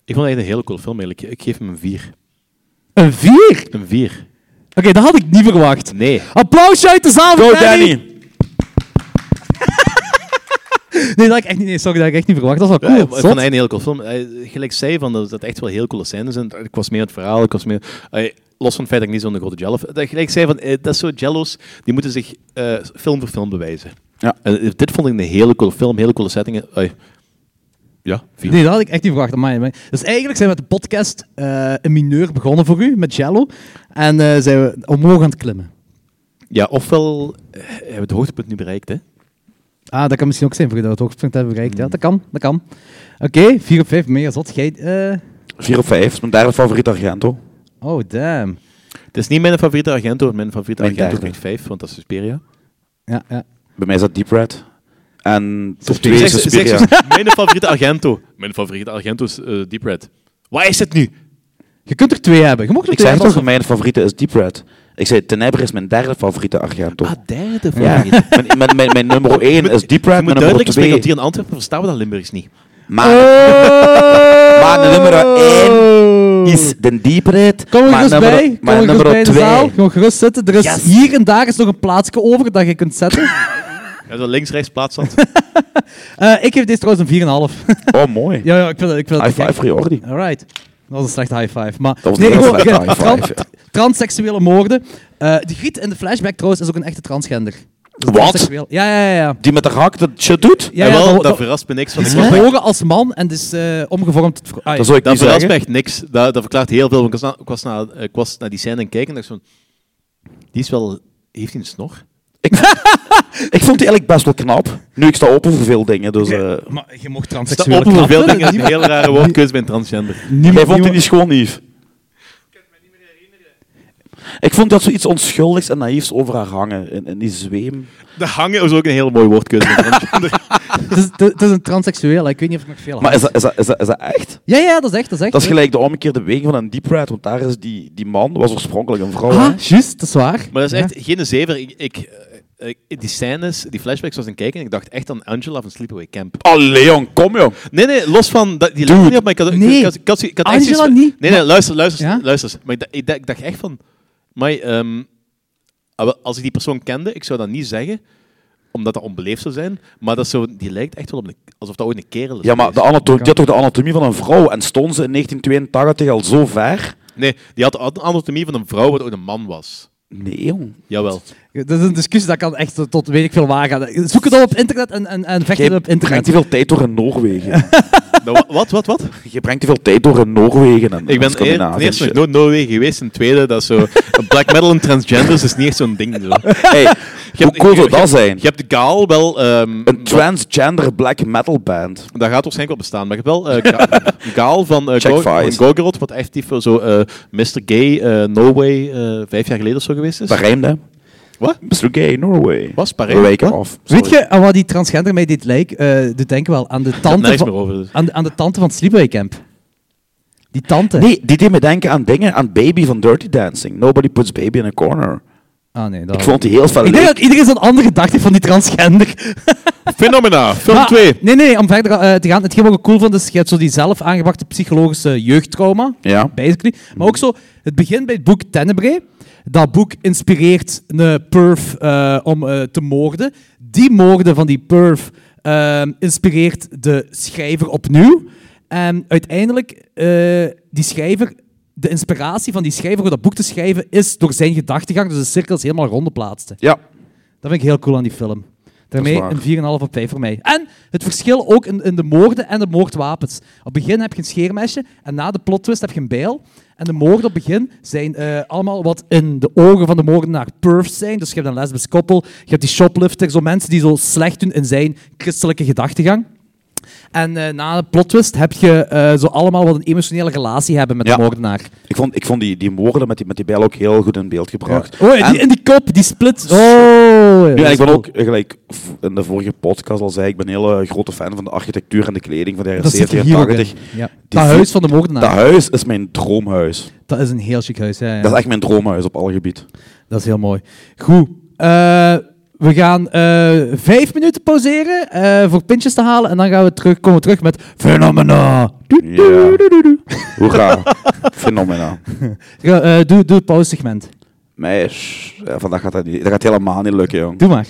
Speaker 6: Ik vond het echt een hele cool film eigenlijk. Ik geef hem een 4.
Speaker 8: Een 4? Oké,
Speaker 6: Een 4.
Speaker 8: dat had ik niet verwacht.
Speaker 6: Nee.
Speaker 8: Applausje uit de zaal
Speaker 7: Go
Speaker 8: voor
Speaker 7: Danny!
Speaker 8: Nee, dat had ik echt niet, nee, sorry, dat had ik echt niet verwacht. Dat is wel
Speaker 6: Ja,
Speaker 8: cool.
Speaker 6: ik vond het
Speaker 8: zot.
Speaker 6: een heel cool film. Eh, Gelijk zei van dat dat echt wel heel coole scènes zijn. Ik was mee aan het verhaal, ik was mee... eh, los van het feit dat ik niet zo'n grote jello... Dat ik gelijk zei van, eh, dat is zo jello's, die moeten zich eh, film voor film bewijzen.
Speaker 7: Ja.
Speaker 6: En, eh, dit vond ik een hele coole film, hele coole settingen. Ai. ja, vier.
Speaker 8: Nee, dat had ik echt niet verwacht. Amai, amai. Dus eigenlijk zijn we met de podcast eh een mineur begonnen voor u, met Jello. En eh, zijn we omhoog aan het klimmen.
Speaker 6: Ja, ofwel eh, hebben we het hoogtepunt nu bereikt, hè.
Speaker 8: Ah, dat kan misschien ook zijn voor u, dat we het hoogtepunt hebben bereikt.
Speaker 7: Hmm.
Speaker 8: Ja, dat kan, dat kan. Oké, 4 op 5, mega zot. Jij, eh,
Speaker 7: 4 op 5, mijn derde favoriet Argento.
Speaker 8: Oh, damn.
Speaker 6: Het is niet mijn favoriete Argento, want mijn favoriete
Speaker 7: Mijn
Speaker 6: Argento
Speaker 7: derde.
Speaker 6: krijgt vijf, want dat is Suspiria.
Speaker 8: Ja, ja.
Speaker 7: Bij mij is dat Deep Red. En top 2
Speaker 6: Zeg-
Speaker 7: is
Speaker 6: zeg-
Speaker 7: Suspiria.
Speaker 6: zeg- <laughs> Mijn favoriete Argento. Mijn favoriete Argento is eh, Deep Red. Waar is het nu?
Speaker 8: Je kunt er twee hebben. Je mag er
Speaker 7: Ik
Speaker 8: twee
Speaker 7: zeg
Speaker 8: hebben.
Speaker 7: toch, mijn favoriete is Deep Red. Ik zei, Tenebre is mijn derde favoriete Argento.
Speaker 6: Ah, derde
Speaker 7: ja.
Speaker 6: favoriet.
Speaker 7: <laughs> mijn, mijn, mijn, mijn nummer 1 is Deep Red,
Speaker 6: Je moet
Speaker 7: mijn nummer
Speaker 6: duidelijk spreken,
Speaker 7: 2...
Speaker 6: want hier in Antwerpen verstaan we dat Limburgs niet.
Speaker 7: Maar,
Speaker 8: Oh!
Speaker 7: <laughs> maar de nummer 1 is de Deep Red.
Speaker 8: Oh. Kom er
Speaker 7: maar
Speaker 8: gerust
Speaker 7: nummer,
Speaker 8: bij. Kom
Speaker 7: Maar
Speaker 8: er gerust
Speaker 7: nummer
Speaker 8: bij in de
Speaker 7: 2...
Speaker 8: zaal. Gewoon gerust zitten. Er is
Speaker 7: Yes.
Speaker 8: hier en daar is nog een plaatsje over dat je kunt zetten.
Speaker 7: <laughs>
Speaker 6: Ja, zo links, rechts, plaatsstand.
Speaker 8: Eh, ik geef deze trouwens een 4,5.
Speaker 7: Oh, mooi.
Speaker 8: <laughs> ja, ja, ik vind dat... Ik vind dat
Speaker 7: High
Speaker 8: te gek.
Speaker 7: five voor Jordi.
Speaker 8: Alright. Dat was een slechte high five. Maar
Speaker 7: was een heel
Speaker 8: gewoon,
Speaker 7: slechte
Speaker 8: eh, <laughs>
Speaker 7: high
Speaker 8: tran-
Speaker 7: five, ja.
Speaker 8: Transseksuele moorden. Eh, de Griet in de flashback trouwens is ook een echte transgender. Dus
Speaker 7: Wat?
Speaker 8: transseksueel. Ja, ja, ja. ja.
Speaker 7: Die met de hak dat shit doet?
Speaker 8: ja,
Speaker 6: En
Speaker 8: ja
Speaker 6: wel, dat,
Speaker 8: dat- dat-
Speaker 6: verrast me niks. Want
Speaker 8: Is
Speaker 6: ik was echt-
Speaker 8: geboren als man en dus eh, omgevormd tot vrou- Ah, ja.
Speaker 7: Dat zou ik
Speaker 6: dat
Speaker 7: niet
Speaker 6: verrast
Speaker 7: zeggen.
Speaker 6: me echt niks. Dat, dat verklaart heel veel. Want ik was, na- ik, was na, ik was naar die scène en kijken en dacht zo... Die is wel... Heeft hij een snor?
Speaker 7: Ik vond die eigenlijk best wel knap. Nu, ik sta open voor veel dingen, dus... eh
Speaker 8: Maar je mocht
Speaker 6: Sta
Speaker 8: transseksueel
Speaker 6: open voor veel
Speaker 8: knappen.
Speaker 6: dingen. Dat is een heel rare woordkeus bij een transgender.
Speaker 7: Jij vond die niet schoon, Yves? Ik vond dat zoiets onschuldigs en naïefs over haar hangen. In, in die zweem.
Speaker 6: De hangen is ook een heel mooi woordkeus bij een transgender.
Speaker 8: Het is- Het is een transseksueel. Ik weet niet of ik nog veel
Speaker 7: Maar is dat, is, dat, is, dat, is dat echt?
Speaker 8: Ja, ja, dat is echt. Dat is, echt,
Speaker 7: Dat is
Speaker 8: ja.
Speaker 7: gelijk de omgekeerde weging van een deep red. Want daar is die, die man, was oorspronkelijk een vrouw. hè?
Speaker 8: Ah, juist. Dat is waar.
Speaker 6: Maar dat is
Speaker 8: Ja.
Speaker 6: echt geen zever. Ik, ik, eh, ik- die scènes, die flashbacks was een kijken en ik dacht echt aan Angela van Sleepaway Camp.
Speaker 7: Allee, jong, kom jong.
Speaker 6: Nee, nee, los van... Dat, die lijkt me niet op, maar ik had... ik-
Speaker 8: Nee.
Speaker 6: ik had- ik had- ik had echt
Speaker 8: Angela
Speaker 6: zoiets van-
Speaker 8: niet,
Speaker 6: Nee, nee, luister, luister,
Speaker 8: Ja?
Speaker 6: luister. eens. Maar ik, dacht- ik, dacht- ik dacht echt van... Maar ehm, ah, wel, als ik die persoon kende, ik zou dat niet zeggen, omdat dat onbeleefd zou zijn. Maar dat zo, die lijkt echt wel op een, alsof dat ooit een kerel is.
Speaker 7: Ja, maar de
Speaker 6: geweest.
Speaker 7: anatomie, die had toch de anatomie van een vrouw? En stond ze in 1982 al zo ver?
Speaker 6: Nee, die had de an- anatomie van een vrouw wat ooit een man was.
Speaker 7: Nee, jong. <laughs>
Speaker 6: Jawel.
Speaker 8: Dat is een discussie dat kan echt tot- tot weet ik veel waar gaan. Zoek het al op internet en, en, en vecht
Speaker 7: Jij
Speaker 8: het op internet.
Speaker 7: brengt te veel tijd door in Noorwegen.
Speaker 6: Nou, wa- wat, wat, wat?
Speaker 7: Je brengt te veel tijd door in Noorwegen. En
Speaker 6: Ik
Speaker 7: en
Speaker 6: ben eer- ten
Speaker 7: Scandinavië en
Speaker 6: eerste
Speaker 7: shit.
Speaker 6: nog <laughs> nooit Noorwegen geweest. Ten tweede, dat is zo... black metal en transgenders is niet echt zo'n ding. Zo.
Speaker 7: Hey, Hoe cool zou dat zijn?
Speaker 6: Je hebt de Gaal wel... ehm,
Speaker 7: Een transgender black metal band.
Speaker 6: Dat gaat waarschijnlijk wel bestaan. Maar je hebt wel eh,
Speaker 7: <laughs>
Speaker 6: Ga- Gaal van eh,
Speaker 7: Check
Speaker 6: Go-
Speaker 7: Vice.
Speaker 6: van Gogurot, wat effectief zo eh, Mr. Gay eh, Norway eh, vijf jaar geleden of zo geweest is.
Speaker 7: Dat rijmde.
Speaker 6: Wat?
Speaker 7: Mr. Gay, Norway.
Speaker 6: Was Paré.
Speaker 7: Een week
Speaker 6: Wat?
Speaker 7: af.
Speaker 8: Weet je aan wat die transgender mij dit lijkt? Eh doet denken wel aan de tante
Speaker 6: Nergens meer
Speaker 8: van,
Speaker 6: over. dus.
Speaker 8: aan, de- aan de tante van het Sleepaway Camp. Die tante.
Speaker 7: Nee, die deed me denken aan dingen, aan Baby van Dirty Dancing. Nobody puts baby in a corner.
Speaker 8: Ah nee, dat...
Speaker 7: Ik vond die heel fel
Speaker 8: Ik denk
Speaker 7: leuk.
Speaker 8: dat iedereen zo'n andere gedachte heeft van die transgender.
Speaker 6: Phenomena, film
Speaker 8: Maar-
Speaker 6: 2.
Speaker 8: Nee, nee, om verder eh, te gaan. Hetgeen wat ik cool vond, is je hebt zo die zelf aangebrachte psychologische jeugdtrauma.
Speaker 7: Ja.
Speaker 8: Basically. Maar ook zo, het begint bij het boek Tenebrae. Dat boek inspireert een perf eh, om eh, te moorden. Die moorden van die perf eh, inspireert de schrijver opnieuw. En uiteindelijk, eh, die schrijver, de inspiratie van die schrijver om dat boek te schrijven, is door zijn gedachtegang. Dus de cirkel is helemaal rond plaatste.
Speaker 7: Ja.
Speaker 8: Dat vind ik heel cool aan die film. Daarmee
Speaker 7: waar.
Speaker 8: een 4,5 op 5 voor mij. En het verschil ook in, in de moorden en de moordwapens. Op het begin heb je een scheermesje en na de plot twist heb je een bijl. En de moorden op het begin zijn eh, allemaal wat in de ogen van de moordenaar perfs zijn. Dus je hebt een lesbisch koppel, je hebt die shoplifter, zo mensen die zo slecht doen in zijn christelijke gedachtegang. En eh, na de plot twist heb je eh, zo allemaal wat een emotionele relatie hebben met
Speaker 7: Ja.
Speaker 8: de moordenaar.
Speaker 7: Ik vond, ik vond die, die moorden met die, met die bijl ook heel goed in beeld gebracht.
Speaker 8: Oh,
Speaker 7: En-
Speaker 8: die, in die kop, die split. Oh,
Speaker 7: Ja, en ik ben ook, eh, gelijk v- in de vorige podcast al zei, ik ben een hele grote fan van de architectuur en de kleding van de jaren
Speaker 8: Dat zit
Speaker 7: 70
Speaker 8: er
Speaker 7: en
Speaker 8: hier ook in.
Speaker 7: 80.
Speaker 8: Ja.
Speaker 7: Die
Speaker 8: Dat
Speaker 7: vo-
Speaker 8: huis van de moordenaar.
Speaker 7: Dat huis is mijn droomhuis.
Speaker 8: Dat is een heel chic huis. Ja, ja.
Speaker 7: Dat is echt mijn droomhuis op alle gebied.
Speaker 8: Dat is heel mooi. Goed. eh, we gaan eh, vijf minuten pauzeren eh, voor pintjes te halen. En dan gaan we terug, komen we terug met Phenomena. Doe,
Speaker 7: Ja. Hoera. <laughs> Fenomena.
Speaker 8: eh, doe, doe het pauzesegment.
Speaker 7: Meis, ja, vandaag gaat dat niet. Dat gaat helemaal niet lukken, jong.
Speaker 8: Doe maar.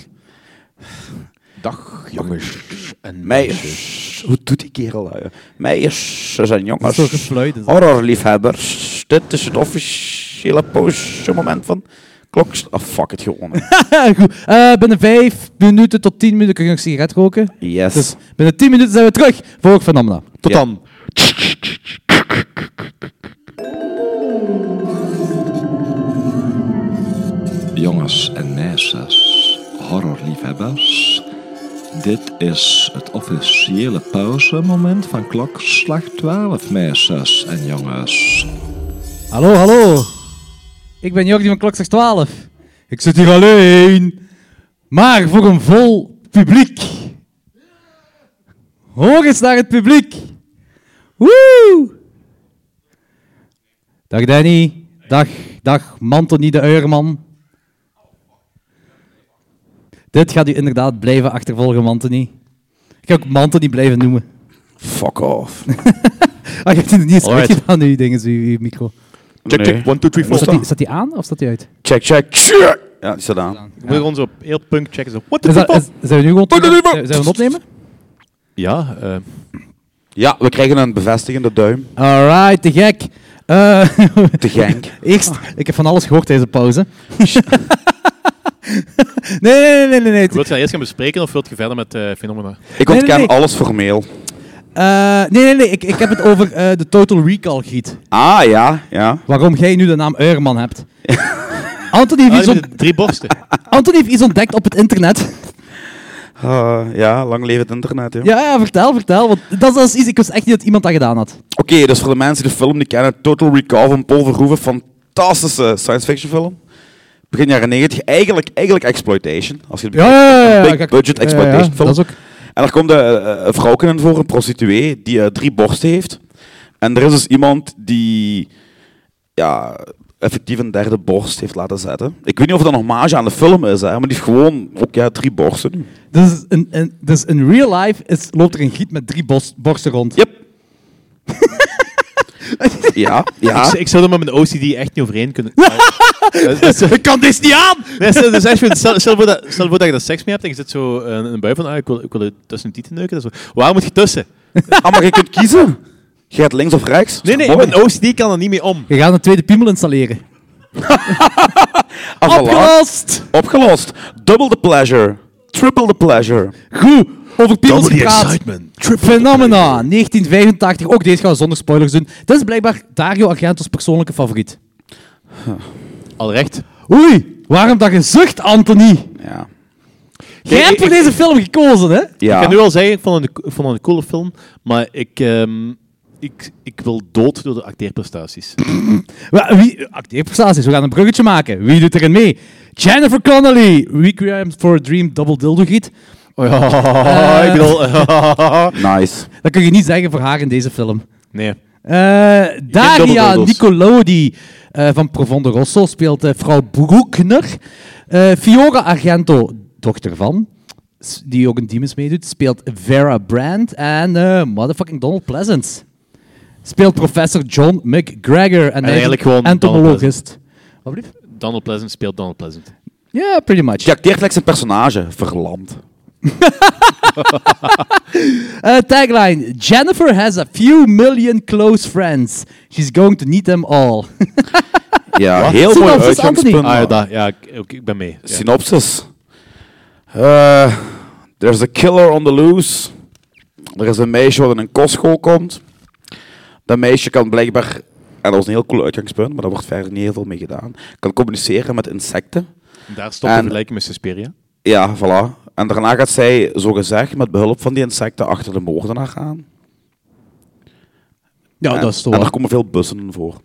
Speaker 8: <laughs>
Speaker 6: Dag jongens en
Speaker 7: Meis, hoe doet die kerel dat? joh? Meisjes en
Speaker 8: Dat is zo
Speaker 7: jongens,
Speaker 8: gefluit, is dat?
Speaker 7: horrorliefhebbers, dit is het officiële postmoment van klok. Ah, fuck het gewoon.
Speaker 8: <laughs> Goed. Eh, binnen vijf minuten tot tien minuten kun je nog een sigaret roken.
Speaker 7: Yes.
Speaker 8: Dus binnen tien minuten zijn we terug voor Phenomena.
Speaker 6: Tot
Speaker 7: Ja.
Speaker 6: dan.
Speaker 10: Jongens en meisjes, horrorliefhebbers. Dit is het officiële pauzemoment van klokslag 12, meisjes en jongens.
Speaker 8: Hallo, hallo. Ik ben Jordi van Klokslag 12. Ik zit hier alleen, maar voor een vol publiek. Hoor eens naar het publiek. Woe! Dag Danny. Dag, dag Mantony de Uierman. Dit gaat u inderdaad blijven achtervolgen, Mantony. Ik ga ook Mantony blijven noemen.
Speaker 7: Fuck off.
Speaker 8: <laughs> Ah, je hebt het niet eens
Speaker 6: Alright.
Speaker 8: uitgedaan, nu, dingen, zo, je micro.
Speaker 6: Check,
Speaker 7: Nee.
Speaker 6: check. 1, 2,
Speaker 7: Hoe
Speaker 6: 3, 4.
Speaker 8: Staat die, staat die aan of staat die uit?
Speaker 7: Check, check, check. Ja, die staat aan.
Speaker 6: Ik wil gewoon zo op heel punk checken. Zo. What the
Speaker 8: Is dat,
Speaker 6: fuck?
Speaker 8: is- zijn we nu gewoon
Speaker 7: Doe dat niet meer.
Speaker 8: zijn we aan het opnemen?
Speaker 6: Ja, eh,
Speaker 7: Ja, we krijgen een bevestigende duim.
Speaker 8: Alright, te gek. Eh, <laughs>
Speaker 7: Te genk.
Speaker 8: eerst, ik heb van alles gehoord tijdens de pauze. <laughs> nee, nee, nee, nee. nee.
Speaker 6: wilt je dat eerst gaan bespreken of wilt je verder met eh Phenomena?
Speaker 7: Ik
Speaker 8: nee,
Speaker 7: ontken
Speaker 8: nee.
Speaker 7: alles formeel.
Speaker 8: Eh, nee, nee, nee. Ik, ik heb het over eh, de Total Recall giet.
Speaker 7: Ah, ja, ja.
Speaker 8: Waarom jij nu de naam Uierman hebt. <laughs> Anthony heeft,
Speaker 6: Ah,
Speaker 8: iets
Speaker 6: <laughs> die
Speaker 8: ont-
Speaker 6: met de drie <laughs> borsten.
Speaker 8: Anthony heeft iets ontdekt op het internet.
Speaker 7: Ah, ja, lang leven het internet, joh.
Speaker 8: ja, ja, vertel, vertel. Want dat is, dat is iets, ik wist echt niet dat iemand dat gedaan had.
Speaker 7: Oké, dus voor de mensen die de film niet kennen, Total Recall van Paul Verhoeven, fantastische science fiction film. Begin jaren 90, eigenlijk, eigenlijk exploitation. Als je het
Speaker 8: Ja, ja, ja. ja,
Speaker 7: Een big
Speaker 8: kijk.
Speaker 7: budget
Speaker 8: Ja, ja,
Speaker 7: exploitation
Speaker 8: ja,
Speaker 7: film.
Speaker 8: Dat is ook...
Speaker 7: En daar komt eh, eh, een vrouw in voor, een prostituee, die eh, drie borsten heeft. En er is dus iemand die ja, effectief een derde borst heeft laten zetten. Ik weet niet of dat een hommage aan de film is, hè, maar die heeft gewoon ook ja, drie borsten nu.
Speaker 8: Dus in, in, dus in real life is, loopt er een giet met drie bos- borsten rond.
Speaker 7: Yep. <laughs> ja, ja.
Speaker 6: Ik, ik zou er met mijn OCD echt niet overheen kunnen. Ah, <laughs> ik kan dit niet aan! Nee, stel, dus echt, stel, stel, voor dat, stel voor dat je dat seks mee hebt en je zit zo eh, in een bui van, ah, ik wil, ik wil er tussen de tieten neuken. Dat is zo. Waar moet je tussen?
Speaker 7: Ah, maar je kunt kiezen. Je gaat links of rechts.
Speaker 6: Nee, nee,
Speaker 7: Mooi.
Speaker 6: mijn OCD kan er niet mee om.
Speaker 8: Je gaat een tweede piemel installeren.
Speaker 7: Ah, voilà.
Speaker 8: Opgelost!
Speaker 7: Opgelost. Double the pleasure. Triple the pleasure.
Speaker 8: Goed, over piemels gepraat.
Speaker 6: excitement.
Speaker 8: Phenomena, 1985. Ook deze gaan we zonder spoilers doen. Dit is blijkbaar Dario Argento's persoonlijke favoriet.
Speaker 6: Al recht.
Speaker 8: Oei, waarom dat gezucht, Anthony?
Speaker 7: Ja.
Speaker 8: Jij hebt voor deze film gekozen, hè?
Speaker 6: Ik
Speaker 7: Ja.
Speaker 6: kan nu al zeggen, ik vond het een, ik vond het een coole film, maar ik, ehm, ik, ik wil dood door de
Speaker 7: <laughs>
Speaker 6: acteerprestaties.
Speaker 8: Wa- Wie, acteerprestaties, we gaan een bruggetje maken. Wie doet erin mee? Jennifer Connelly, Requiem for a Dream, Double Dildo Giet.
Speaker 6: Oh ja, ik bedoel... <laughs>
Speaker 7: Nice.
Speaker 8: Dat kun je niet zeggen voor haar in deze film.
Speaker 6: nee.
Speaker 8: Eh, Daria
Speaker 6: dubbeldodels.
Speaker 8: Nicolodi eh, van Profondo Rosso speelt eh, vrouw Broekner. Eh, Fiora Argento, dochter van, s- die ook een Demons meedoet, speelt Vera Brand. En eh, motherfucking Donald Pleasance speelt professor John McGregor. En, hij is
Speaker 6: eigenlijk
Speaker 8: een
Speaker 6: gewoon Donald
Speaker 8: entomologist. Wat blieft?
Speaker 6: Donald Pleasant speelt Donald Pleasant.
Speaker 7: Ah,
Speaker 8: Ja, pretty much.
Speaker 7: Je acteert slechts een personage. Verlamd.
Speaker 8: Eh, tagline: Jennifer has a few million close friends. She's going to need them all. <laughs>
Speaker 7: Ja,
Speaker 6: Wat?
Speaker 7: heel mooi
Speaker 8: Synopsis,
Speaker 7: uitgangspunt.
Speaker 8: Anthony.
Speaker 6: Ah, ja, daar- ja ik, ook ik ben mee. Ja.
Speaker 7: Synopsis. Eh, there's a killer on the loose. Er is een meisje wat in een kostschool komt. Dat meisje kan blijkbaar, en dat is een heel cool uitgangspunt, maar daar wordt verder niet heel veel mee gedaan, kan communiceren met insecten.
Speaker 6: Daar stopt de
Speaker 7: En-
Speaker 6: vergelijking met Suspiria.
Speaker 7: Ja, voilà. En daarna gaat zij, zogezegd, met behulp van die insecten achter de moordenaar gaan.
Speaker 8: ja,
Speaker 7: en,
Speaker 8: dat is
Speaker 7: En er
Speaker 8: toch.
Speaker 7: komen veel bussen
Speaker 8: <laughs>
Speaker 7: voor.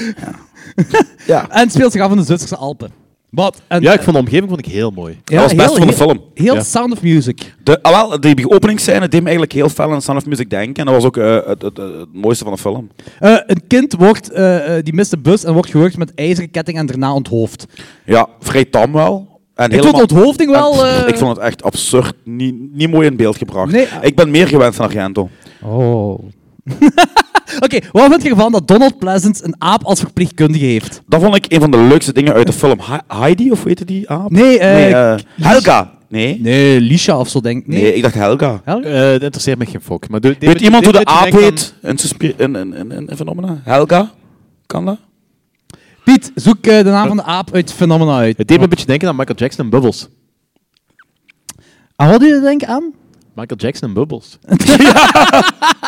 Speaker 7: ja. ja.
Speaker 8: En het speelt zich af in de Zwitserse Alpen. Wat? een-
Speaker 6: Ja, ik vond de omgeving vond ik heel mooi.
Speaker 8: Ja,
Speaker 7: Dat was het beste van de
Speaker 8: heel-
Speaker 7: film.
Speaker 8: Heel
Speaker 6: Ja.
Speaker 8: Sound of Music.
Speaker 7: De, ah, wel, die openingsscène deed me eigenlijk heel fel aan Sound of Music denken. En dat was ook eh, het, het, het mooiste van de film.
Speaker 8: Eh, een kind wordt, eh, eh, die mist de bus en wordt gewurgd met ijzeren ketting en daarna onthoofd.
Speaker 7: Ja, vrij tam wel. En
Speaker 8: Ik vond de onthoofding wel...
Speaker 7: en, pff,
Speaker 8: eh,
Speaker 7: Ik vond het echt absurd. Niet, niet mooi in beeld gebracht.
Speaker 8: Nee.
Speaker 7: ik ben meer gewend van Argento.
Speaker 8: Oh. Oké, wat vind je ervan dat Donald Pleasant een aap als verpleegkundige heeft?
Speaker 7: Dat vond ik een van de leukste dingen uit de film. Ha- Heidi, of weet je die aap?
Speaker 8: Nee, eh,
Speaker 7: eh, Helga. Nee. nee.
Speaker 8: Nee, Lisha of zo denk ik. Nee.
Speaker 7: ik dacht Helga.
Speaker 8: Helga?
Speaker 6: Eh, dat interesseert me geen fok. Maar doe- dit-
Speaker 7: Weet iemand
Speaker 6: dit-
Speaker 7: hoe de
Speaker 6: dit
Speaker 7: aap
Speaker 6: denk ik
Speaker 7: heet? In, Suspi- in, in, in, in, in Phenomena? Helga? Kan dat?
Speaker 8: Piet, zoek eh, de naam van de aap uit Phenomena uit.
Speaker 6: Het deed me een beetje denken aan Michael Jackson en Bubbles.
Speaker 8: Aan Ah, wat doe je denken <laughs> aan?
Speaker 6: Michael Jackson en Bubbles.
Speaker 7: Ah,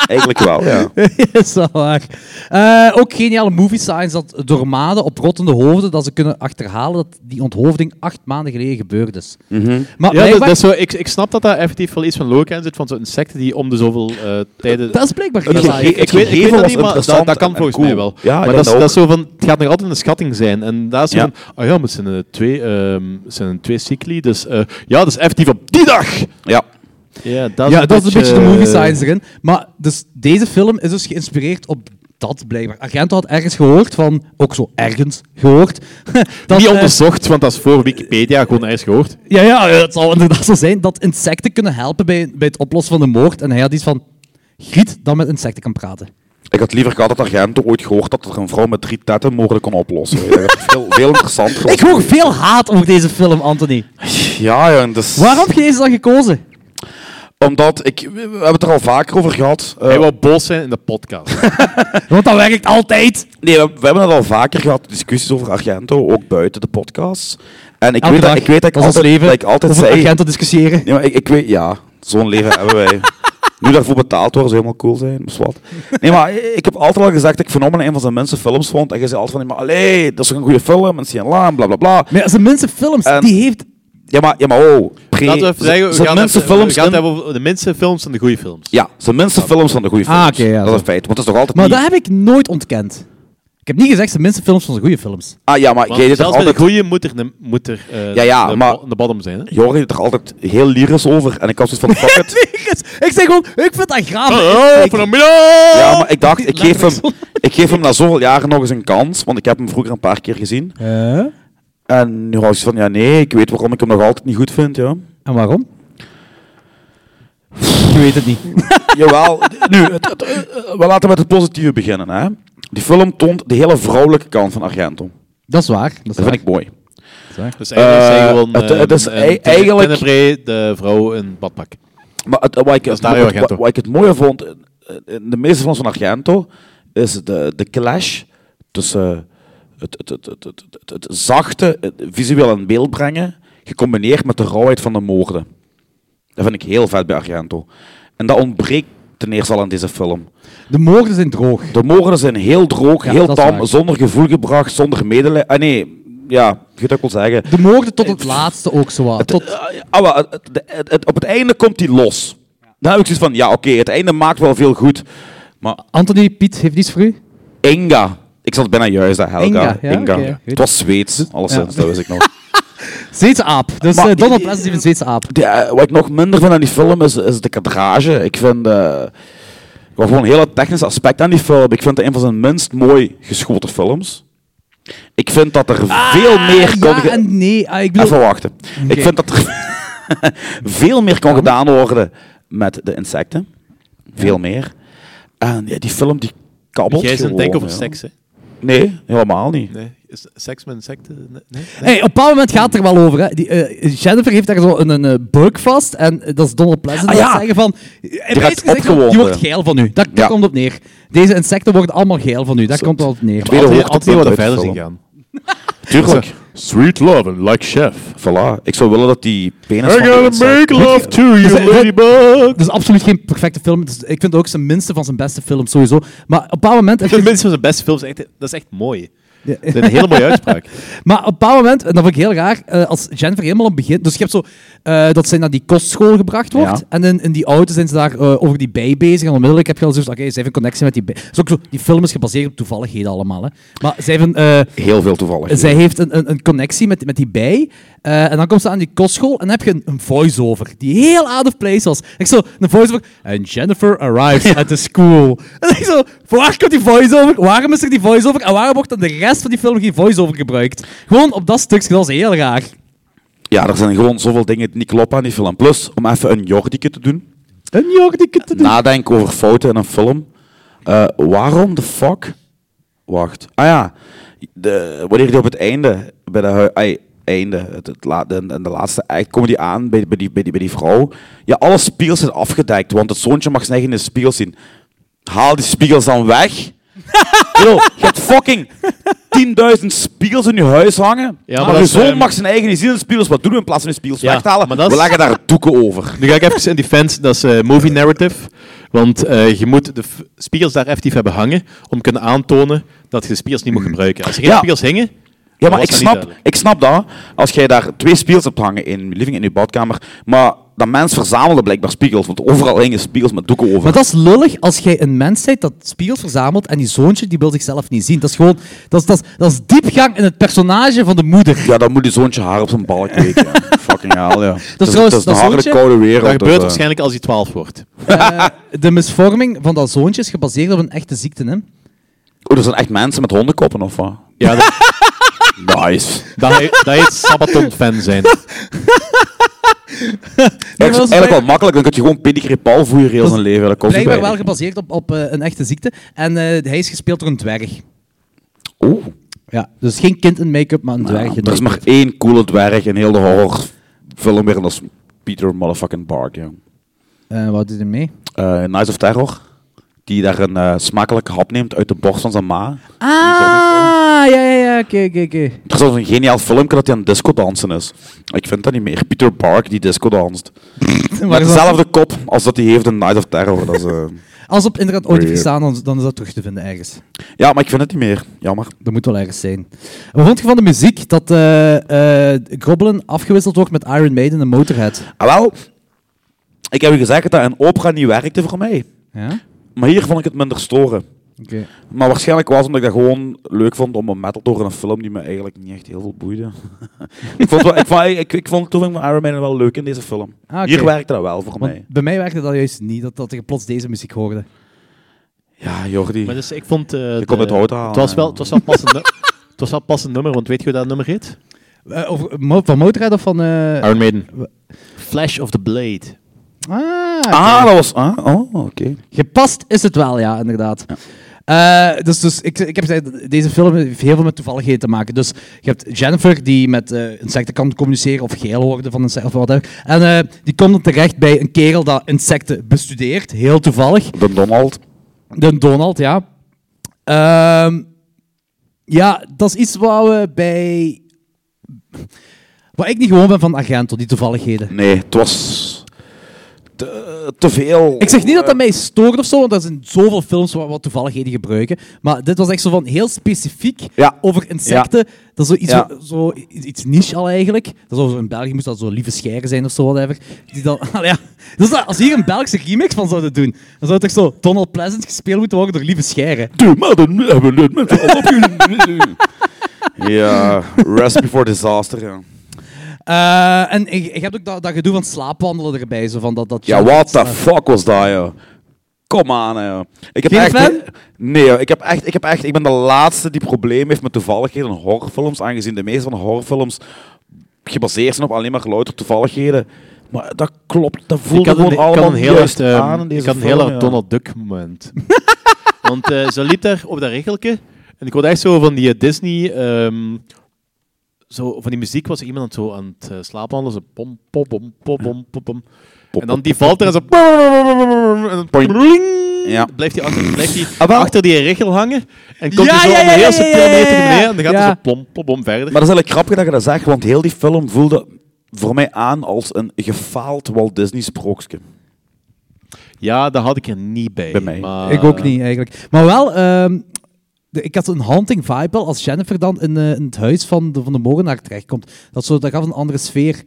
Speaker 7: Eigenlijk wel,
Speaker 8: <laughs>
Speaker 7: ja.
Speaker 8: is wel waar. Eh, ook geniale movie science dat door maden op rottende hoofden dat ze kunnen achterhalen dat die onthoofding acht maanden geleden gebeurd is.
Speaker 7: Mhm.
Speaker 8: Maar
Speaker 6: Ja, dat,
Speaker 8: blijkbaar-
Speaker 6: dat is zo, ik, ik snap dat daar effectief wel iets van logica in zit, van zo'n insecten die om de zoveel eh, tijden...
Speaker 8: blijkbaar
Speaker 7: Dat is
Speaker 8: heel
Speaker 7: een
Speaker 6: ik, ik,
Speaker 8: live.
Speaker 7: het
Speaker 6: weet, ik
Speaker 7: gegeven
Speaker 6: weet dat
Speaker 7: was
Speaker 6: niet, maar dat,
Speaker 7: interessant
Speaker 6: dat kan
Speaker 7: en
Speaker 6: volgens
Speaker 7: cool.
Speaker 6: mij wel.
Speaker 7: Ja, ik
Speaker 6: maar
Speaker 7: denk
Speaker 6: dat is,
Speaker 7: dat
Speaker 6: dat is zo van, het gaat nog altijd een schatting zijn. En daar is zo
Speaker 7: Ja.
Speaker 6: van, ah ja, maar het zijn eh, twee, ehm, het zijn twee cycli, dus eh, ja, dat is effectief op die dag!
Speaker 7: Ja.
Speaker 6: Ja, dat
Speaker 8: Ja, dat is een beetje eh, de movie science erin. Maar dus deze film is dus geïnspireerd op dat blijkbaar. Agent had ergens gehoord van, ook zo ergens gehoord. <laughs> dat,
Speaker 6: niet
Speaker 8: eh,
Speaker 6: onderzocht, want dat is voor Wikipedia gewoon eens
Speaker 7: Oh.
Speaker 6: gehoord.
Speaker 8: ja, ja, eh, het zal inderdaad zo zijn dat insecten kunnen helpen bij, bij het oplossen van de moord. En hij had iets van, giet dat met insecten kan praten.
Speaker 7: Ik had liever gehad dat Argento ooit gehoord dat er een vrouw met drie tetten mogelijk kon oplossen. Ja, dat is veel, veel interessanter.
Speaker 8: <laughs> Ik hoor veel haat over deze film, Anthony.
Speaker 7: Ja, ja. en Dus...
Speaker 8: Waarom heb je deze dan gekozen?
Speaker 7: Omdat ik, we hebben het er al vaker over gehad. Eh,
Speaker 6: Hij wou boos zijn in de podcast.
Speaker 8: Want dat werkt altijd.
Speaker 7: nee, we, we hebben het al vaker gehad, discussies over Argento, ook buiten de podcast. En ik,
Speaker 8: Elke
Speaker 7: weet dat,
Speaker 8: dag.
Speaker 7: ik weet dat ik
Speaker 8: Dat is ons
Speaker 7: altijd,
Speaker 8: leven.
Speaker 7: dat ik altijd
Speaker 8: Over
Speaker 7: zei.
Speaker 8: agent te discussiëren.
Speaker 7: Nee, maar ik, ik weet, ja, zo'n leven <laughs> hebben wij. Nu daarvoor betaald worden, zou helemaal cool zijn. Dus wat. Nee, maar ik heb altijd al gezegd dat ik Phenomenon een van zijn minste films vond. En je zei altijd van, maar allee, dat is toch een goede film, en CNLA, en bla bla bla.
Speaker 8: Maar ja, zijn mensen films,
Speaker 7: Ehm,
Speaker 8: die heeft...
Speaker 7: Ja, maar, ja, maar oh. Pre,
Speaker 6: Laten we even zeggen, we
Speaker 7: zijn
Speaker 6: gaan,
Speaker 7: minste
Speaker 6: even- we
Speaker 7: films
Speaker 6: gaan het
Speaker 7: in-
Speaker 6: hebben over de minste films en de goede films.
Speaker 7: Ja, zijn minste films van de goede films.
Speaker 8: Ah, oké, ja,
Speaker 7: dat is
Speaker 8: zo.
Speaker 7: een feit, want dat is toch altijd
Speaker 8: Maar
Speaker 7: niet...
Speaker 8: dat heb ik nooit ontkend. Ik heb niet gezegd, zijn mensen films van zijn goede <laughs> films.
Speaker 7: Ah ja, maar
Speaker 6: Want
Speaker 7: jij deed er
Speaker 6: zelfs bij de
Speaker 7: altijd...
Speaker 6: goede moet er, een- moet er eh,
Speaker 7: Ja, ja,
Speaker 6: de,
Speaker 7: maar-
Speaker 6: bo- de bottom zijn. Hè?
Speaker 7: Jorgen deed er altijd heel lyrisch over en ik had zoiets van,
Speaker 8: <laughs>
Speaker 7: fuck it. <laughs>
Speaker 8: ik zeg gewoon, ik vind dat graaf.
Speaker 6: Hallo, vanmiddag!
Speaker 7: Ja, maar ik dacht, ik geef,
Speaker 8: Letterlijk
Speaker 7: hem, ik geef hem na zoveel jaren nog eens een kans, want ik heb hem vroeger een paar keer gezien.
Speaker 8: Eh,
Speaker 7: En nu was ik van, ja nee, ik weet waarom ik hem nog altijd niet goed vind, ja.
Speaker 8: En waarom? Ik weet het niet.
Speaker 7: <laughs> Jawel, nu, het- het- eh, we laten met het positieve beginnen, hè. Die film toont de hele vrouwelijke kant van Argento.
Speaker 8: Dat is waar. Dat is
Speaker 7: Dat
Speaker 8: waar.
Speaker 7: vind ik mooi.
Speaker 6: Dus eigenlijk
Speaker 7: Eh,
Speaker 6: zijn gewoon...
Speaker 7: het- het is ei- eigenlijk-
Speaker 6: eigenlijk... de vrouw in badpak.
Speaker 7: Maar het, wat, ik,
Speaker 6: is Dario
Speaker 7: wat- wat,
Speaker 6: Argento.
Speaker 7: wat ik het mooie vond, in- in de meeste films van Argento, is de, de clash tussen het, het, het, het, het, het- het zachte, het visueel in beeld brengen, gecombineerd met de rauwheid van de moorden. Dat vind ik heel vet bij Argento. En dat ontbreekt ten eerste al aan deze film.
Speaker 8: De moorden zijn droog.
Speaker 7: De moorden zijn heel droog,
Speaker 8: Ja,
Speaker 7: heel
Speaker 8: dat is
Speaker 7: tam,
Speaker 8: waar.
Speaker 7: zonder gevoel gebracht, zonder medelijden. Ah nee, ja, je kunt ook wel zeggen.
Speaker 8: De moorden tot het laatste ook zo wat. Tot,
Speaker 7: Eh, ah, wel, het- de- het- het- op het einde komt hij los. Dan heb ik zoiets van, ja oké, het einde maakt wel veel goed. Maar
Speaker 8: Anthony, Piet, heeft iets voor u?
Speaker 7: Inga, ik zat bijna juist aan Helga.
Speaker 8: Inga, ja,
Speaker 7: Inga.
Speaker 8: oké, goed.
Speaker 7: Het was Zweeds, alleszins,
Speaker 8: Ja.
Speaker 7: dat wist ik nog. <laughs>
Speaker 8: Zweedse aap. Dus
Speaker 7: Maar-
Speaker 8: eh, Donald Pleasant heeft een Zweedse aap.
Speaker 7: De, eh, wat ik nog minder vind aan die film is, is de kadrage. Ik vind eh, wel gewoon een hele technisch aspect aan die film. Ik vind het een van zijn minst mooi geschoten films. Ik vind dat er veel meer kon...
Speaker 8: Ja
Speaker 7: ge-
Speaker 8: en nee. Ah, ik bedoel...
Speaker 7: Even wachten. Ik vind dat er <laughs> veel meer kon gedaan worden met de insecten. Veel meer. En ja, die film die kabbelt
Speaker 6: Jij is een
Speaker 7: gewoon,
Speaker 6: denk over
Speaker 7: ja.
Speaker 6: seks, hè?
Speaker 7: Nee, helemaal niet.
Speaker 6: Nee. Is seks met insecten? Nee? Nee?
Speaker 8: Hey, op een bepaald moment gaat het er wel over. Hè. Die, eh, Jennifer heeft daar zo een, een eh, bug vast. En eh, dat is Donald Pleasant.
Speaker 7: Ah,
Speaker 8: dat
Speaker 7: ja.
Speaker 8: zeggen van... eh,
Speaker 7: raakt
Speaker 8: meest gezegd,
Speaker 7: opgewonden.
Speaker 8: Die wordt geil van u. Dat, dat
Speaker 7: Ja.
Speaker 8: komt op neer. Deze insecten worden allemaal geil van u. Dat komt wel op neer.
Speaker 7: Tweede
Speaker 6: Altijd-
Speaker 7: hoogtepunt
Speaker 6: altijd wat
Speaker 7: uit de
Speaker 6: verder zien
Speaker 7: film.
Speaker 6: <laughs> gaan.
Speaker 7: Tuurlijk.
Speaker 6: Sweet love and like chef.
Speaker 7: Voilà. Ik zou willen dat die penis
Speaker 6: I
Speaker 7: van de
Speaker 6: gotta
Speaker 7: insect-
Speaker 6: make love to you,
Speaker 8: Dus, eh,
Speaker 6: ladybug.
Speaker 8: Dat is absoluut geen perfecte film. Het is- ik vind het ook zijn minste van zijn beste films, sowieso. Maar op een bepaald moment... heb je-
Speaker 6: Tenminste, van zijn beste films, echt, dat is echt mooi.
Speaker 8: Ja.
Speaker 6: Dat is een hele mooie uitspraak.
Speaker 8: Maar op een bepaald moment, en dat vond ik heel raar, eh, als Jennifer helemaal aan het begin... Dus je hebt zo eh, dat zij naar die kostschool gebracht wordt.
Speaker 7: Ja.
Speaker 8: En in, in die auto zijn ze daar eh, over die bij bezig. En onmiddellijk heb je al zoiets oké, zij heeft een connectie met die bij. Dus ook zo, die film is gebaseerd op toevalligheden allemaal. Hè. Maar zij heeft een... eh,
Speaker 7: Heel veel toevallig.
Speaker 8: zij heeft een, een, een connectie met, met die bij. eh, en dan komt ze aan die kostschool en dan heb je een, een voice-over. Die heel out of place was. Ik zo, een voice-over. And Jennifer arrives at the school. <laughs> En ik zo, van waar komt die voice-over? Waarom is er die voice-over? En waarom wordt dan de rest van die film geen voice-over gebruikt? Gewoon op dat stukje, dat was heel raar.
Speaker 7: Ja, er zijn gewoon zoveel dingen die niet kloppen aan die film. Plus, om even een jordieke te doen.
Speaker 8: Een jongen die kunt
Speaker 7: Nadenken over fouten in een film. Eh, waarom de fuck? Wacht. Ah ja. De, wanneer die op het einde, bij de hui- ai, einde, het, het la- de, de- de laatste act, komen die aan bij, bij, die, bij, die, bij die vrouw. Ja, alle spiegels zijn afgedekt, want het zoontje mag zijn eigen in de spiegel zien. Haal die spiegels dan weg. Yo, je hebt fucking 10.000 spiegels in je huis hangen.
Speaker 6: maar
Speaker 7: maar
Speaker 6: dat
Speaker 7: je
Speaker 6: is,
Speaker 7: zoon
Speaker 6: ehm,
Speaker 7: mag zijn eigen niet zien in de spiegels. Wat doen we in plaats van de spiegels
Speaker 6: Ja,
Speaker 7: weg te halen?
Speaker 6: maar dat is-
Speaker 7: We leggen daar doeken over.
Speaker 6: <laughs> Nu ga ik even in die fans, dat is eh, movie narrative. Want eh, je moet de f- spiegels daar effectief hebben hangen om kunnen aantonen dat je de spiegels niet moet gebruiken. Als er geen
Speaker 7: Ja.
Speaker 6: spiegels hingen,
Speaker 7: Ja,
Speaker 6: was
Speaker 7: maar ik
Speaker 6: dat niet
Speaker 7: snap,
Speaker 6: duidelijk.
Speaker 7: ik snap dat. Als jij daar twee spiegels hebt hangen in je living en in je badkamer. Maar dat mens verzamelde blijkbaar spiegels. Want overal hingen spiegels met doeken over.
Speaker 8: Maar dat is lullig als jij een mens bent dat spiegels verzamelt en die zoontje die wil zichzelf niet zien. Dat is gewoon, dat is, dat is, dat is diepgang in het personage van de moeder.
Speaker 7: Ja, dan moet die zoontje haar op zijn balk weken. ja. Fucking hell, ja. Dat
Speaker 8: trouwens-
Speaker 7: het is een
Speaker 8: dat
Speaker 7: harde,
Speaker 8: zoontje-
Speaker 7: koude wereld.
Speaker 6: dat gebeurt
Speaker 7: dus, eh.
Speaker 6: waarschijnlijk als hij 12 wordt.
Speaker 8: De misvorming van dat zoontje is gebaseerd op een echte ziekte. Hè?
Speaker 7: Oh, er zijn echt mensen met hondenkoppen of wat?
Speaker 6: Ja, dat,
Speaker 7: Nice.
Speaker 6: dat, hij- dat heet Sabaton-fan zijn.
Speaker 7: Dat is
Speaker 8: dat is
Speaker 7: eigenlijk wel
Speaker 8: blijkbaar-
Speaker 7: makkelijk. Dan kun je gewoon pedigree Paul voeren heel zijn leven. Dat komt
Speaker 8: Blijkbaar
Speaker 7: erbij.
Speaker 8: wel gebaseerd op, op eh, een echte ziekte. En eh, hij is gespeeld door een dwerg.
Speaker 7: Oeh.
Speaker 8: Ja, dus geen kind in make-up, maar een
Speaker 7: Nou,
Speaker 8: dwerg. in
Speaker 7: er is maar
Speaker 8: make-up.
Speaker 7: één coole dwerg in heel de horrorfilm weer. En dat is Peter motherfucking Bark, ja.
Speaker 8: Eh, wat doet hij mee?
Speaker 7: eh Knights of Terror. Die daar een eh, smakelijke hap neemt uit de borst van zijn ma.
Speaker 8: Ah, ja, ja, ja, oké, oké, oké. <laughs>
Speaker 7: Er is zelfs een geniaal filmpje dat hij aan het disco dansen is. Ik vind dat niet meer. Peter Park die disco danst.
Speaker 8: Waar
Speaker 7: Met
Speaker 8: is dat?
Speaker 7: dezelfde kop als dat hij heeft in Night of Terror. Dat is,
Speaker 8: <laughs>
Speaker 7: eh,
Speaker 8: Als op internet ooit heeft
Speaker 7: Weird.
Speaker 8: gestaan, dan, dan is dat terug te vinden ergens.
Speaker 7: Ja, maar ik vind het niet meer. Jammer.
Speaker 8: Dat moet wel ergens zijn. Wat vond je van de muziek? Dat eh eh Goblin afgewisseld wordt met Iron Maiden en Motorhead.
Speaker 7: Ah, wel, ik heb u gezegd dat een opera niet werkte voor mij.
Speaker 8: Ja?
Speaker 7: Maar hier vond ik het minder storen.
Speaker 8: Oké.
Speaker 7: Maar waarschijnlijk was het omdat ik dat gewoon leuk vond om een metal door in een film die me eigenlijk niet echt heel veel boeide. ik, vond wel, ik, vond, ik, ik vond de toevoeging van Iron Man wel leuk in deze film.
Speaker 8: Ah, oké.
Speaker 7: Hier werkte dat wel voor
Speaker 8: Want
Speaker 7: mij.
Speaker 8: bij mij werkte dat juist niet, dat, dat je plots deze muziek hoorde.
Speaker 7: Ja, Jordi.
Speaker 6: Maar dus, ik vond... eh, de-
Speaker 7: kon het hout halen,
Speaker 6: Het was wel,
Speaker 7: ja.
Speaker 6: het was wel pas een... nu- <laughs> Het was wel pas een nummer, want weet je hoe dat nummer heet?
Speaker 8: Eh, over- mo- van Motorhead of van... eh,
Speaker 6: Iron Maiden. Flash of the Blade.
Speaker 8: Ah, oké.
Speaker 7: Ah, dat was... Ah, oh, oké.
Speaker 8: Gepast is het wel, ja, inderdaad. Eh, dus dus ik, ik heb gezegd, deze film heeft heel veel met toevalligheden te maken. Dus je hebt Jennifer die met eh, insecten kan communiceren of geel worden van insecten of wat dan ook. En eh, die komt dan terecht bij een kerel dat insecten bestudeert, heel toevallig.
Speaker 7: De Donald.
Speaker 8: De Donald, ja. Ehm, ja, dat is iets wat we bij... Wat ik niet gewoon ben van Argento, die toevalligheden.
Speaker 7: Nee, het was... de- te veel.
Speaker 8: Ik zeg niet
Speaker 7: Eh,
Speaker 8: dat dat mij stoort of zo, want er zijn zoveel films waar wat toevalligheden gebruiken. Maar dit was echt zo van heel specifiek
Speaker 7: Ja.
Speaker 8: over insecten. Dat is zo iets,
Speaker 7: Ja.
Speaker 8: wa- zo i- iets niche al eigenlijk. Dat zou zo in België moest dat zo lieve scheren zijn of zo, whatever. Die dan, <laughs> Allee, ja. Dus dat- als hier een Belgische remix van zouden doen, dan zou het toch zo Donald Pleasant gespeeld moeten worden door lieve scheren.
Speaker 7: Doe maar dan hebben we het met z'n allen. Ja, rest before disaster. Ja,
Speaker 8: Eh, en ik, ik heb ook dat, dat gedoe van slaapwandelen erbij. Zo van dat, dat
Speaker 7: ja what the fuck was dat, joh? Kom aan, joh. Ik heb
Speaker 8: Geen
Speaker 7: echt...
Speaker 8: fan?
Speaker 7: Nee, joh, ik, heb echt, ik heb echt... Ik ben de laatste die problemen heeft met toevalligheden in horrorfilms, aangezien de meeste van de horrorfilms gebaseerd zijn op alleen maar louter toevalligheden. Maar dat klopt, dat
Speaker 6: Ik
Speaker 7: voelde
Speaker 6: had een,
Speaker 7: gewoon
Speaker 6: ik had
Speaker 7: allemaal
Speaker 6: een heel
Speaker 7: juist
Speaker 6: hard, ehm,
Speaker 7: aan in deze
Speaker 6: ik had een
Speaker 7: film,
Speaker 6: heel hard
Speaker 7: ja.
Speaker 6: Donald Duck moment. Want eh, ze liep daar op dat regeltje en ik hoorde echt zo van die eh, Disney... ehm, zo, van die muziek was iemand aan het zo aan het eh, slaapwandelen. Zo pom, pom, pom, pom, pom, pom, pom. En dan die valt er en zo... En dan pling.
Speaker 7: Ja.
Speaker 6: blijft hij achter, blijft die
Speaker 7: Ah, wel.
Speaker 6: achter die regel hangen. En komt
Speaker 8: Ja,
Speaker 6: hij zo
Speaker 8: ja,
Speaker 6: op een
Speaker 8: ja, ja,
Speaker 6: heel subtiel
Speaker 8: ja, ja,
Speaker 6: meter
Speaker 8: ja.
Speaker 6: beneden. En dan gaat hij
Speaker 8: Ja.
Speaker 6: zo pom, pom, pom verder.
Speaker 7: Maar dat is eigenlijk grappig dat je dat zegt, want heel die film voelde voor mij aan als een gefaald Walt Disney sprookje.
Speaker 6: Ja, dat had ik er niet bij.
Speaker 7: Bij mij.
Speaker 6: maar-
Speaker 8: Ik ook niet eigenlijk. Maar wel, ehm, de- ik had een haunting vibe al als Jennifer dan in, eh, in het huis van de, van de mogenaar terechtkomt. Dat, zo, dat gaf een andere sfeer.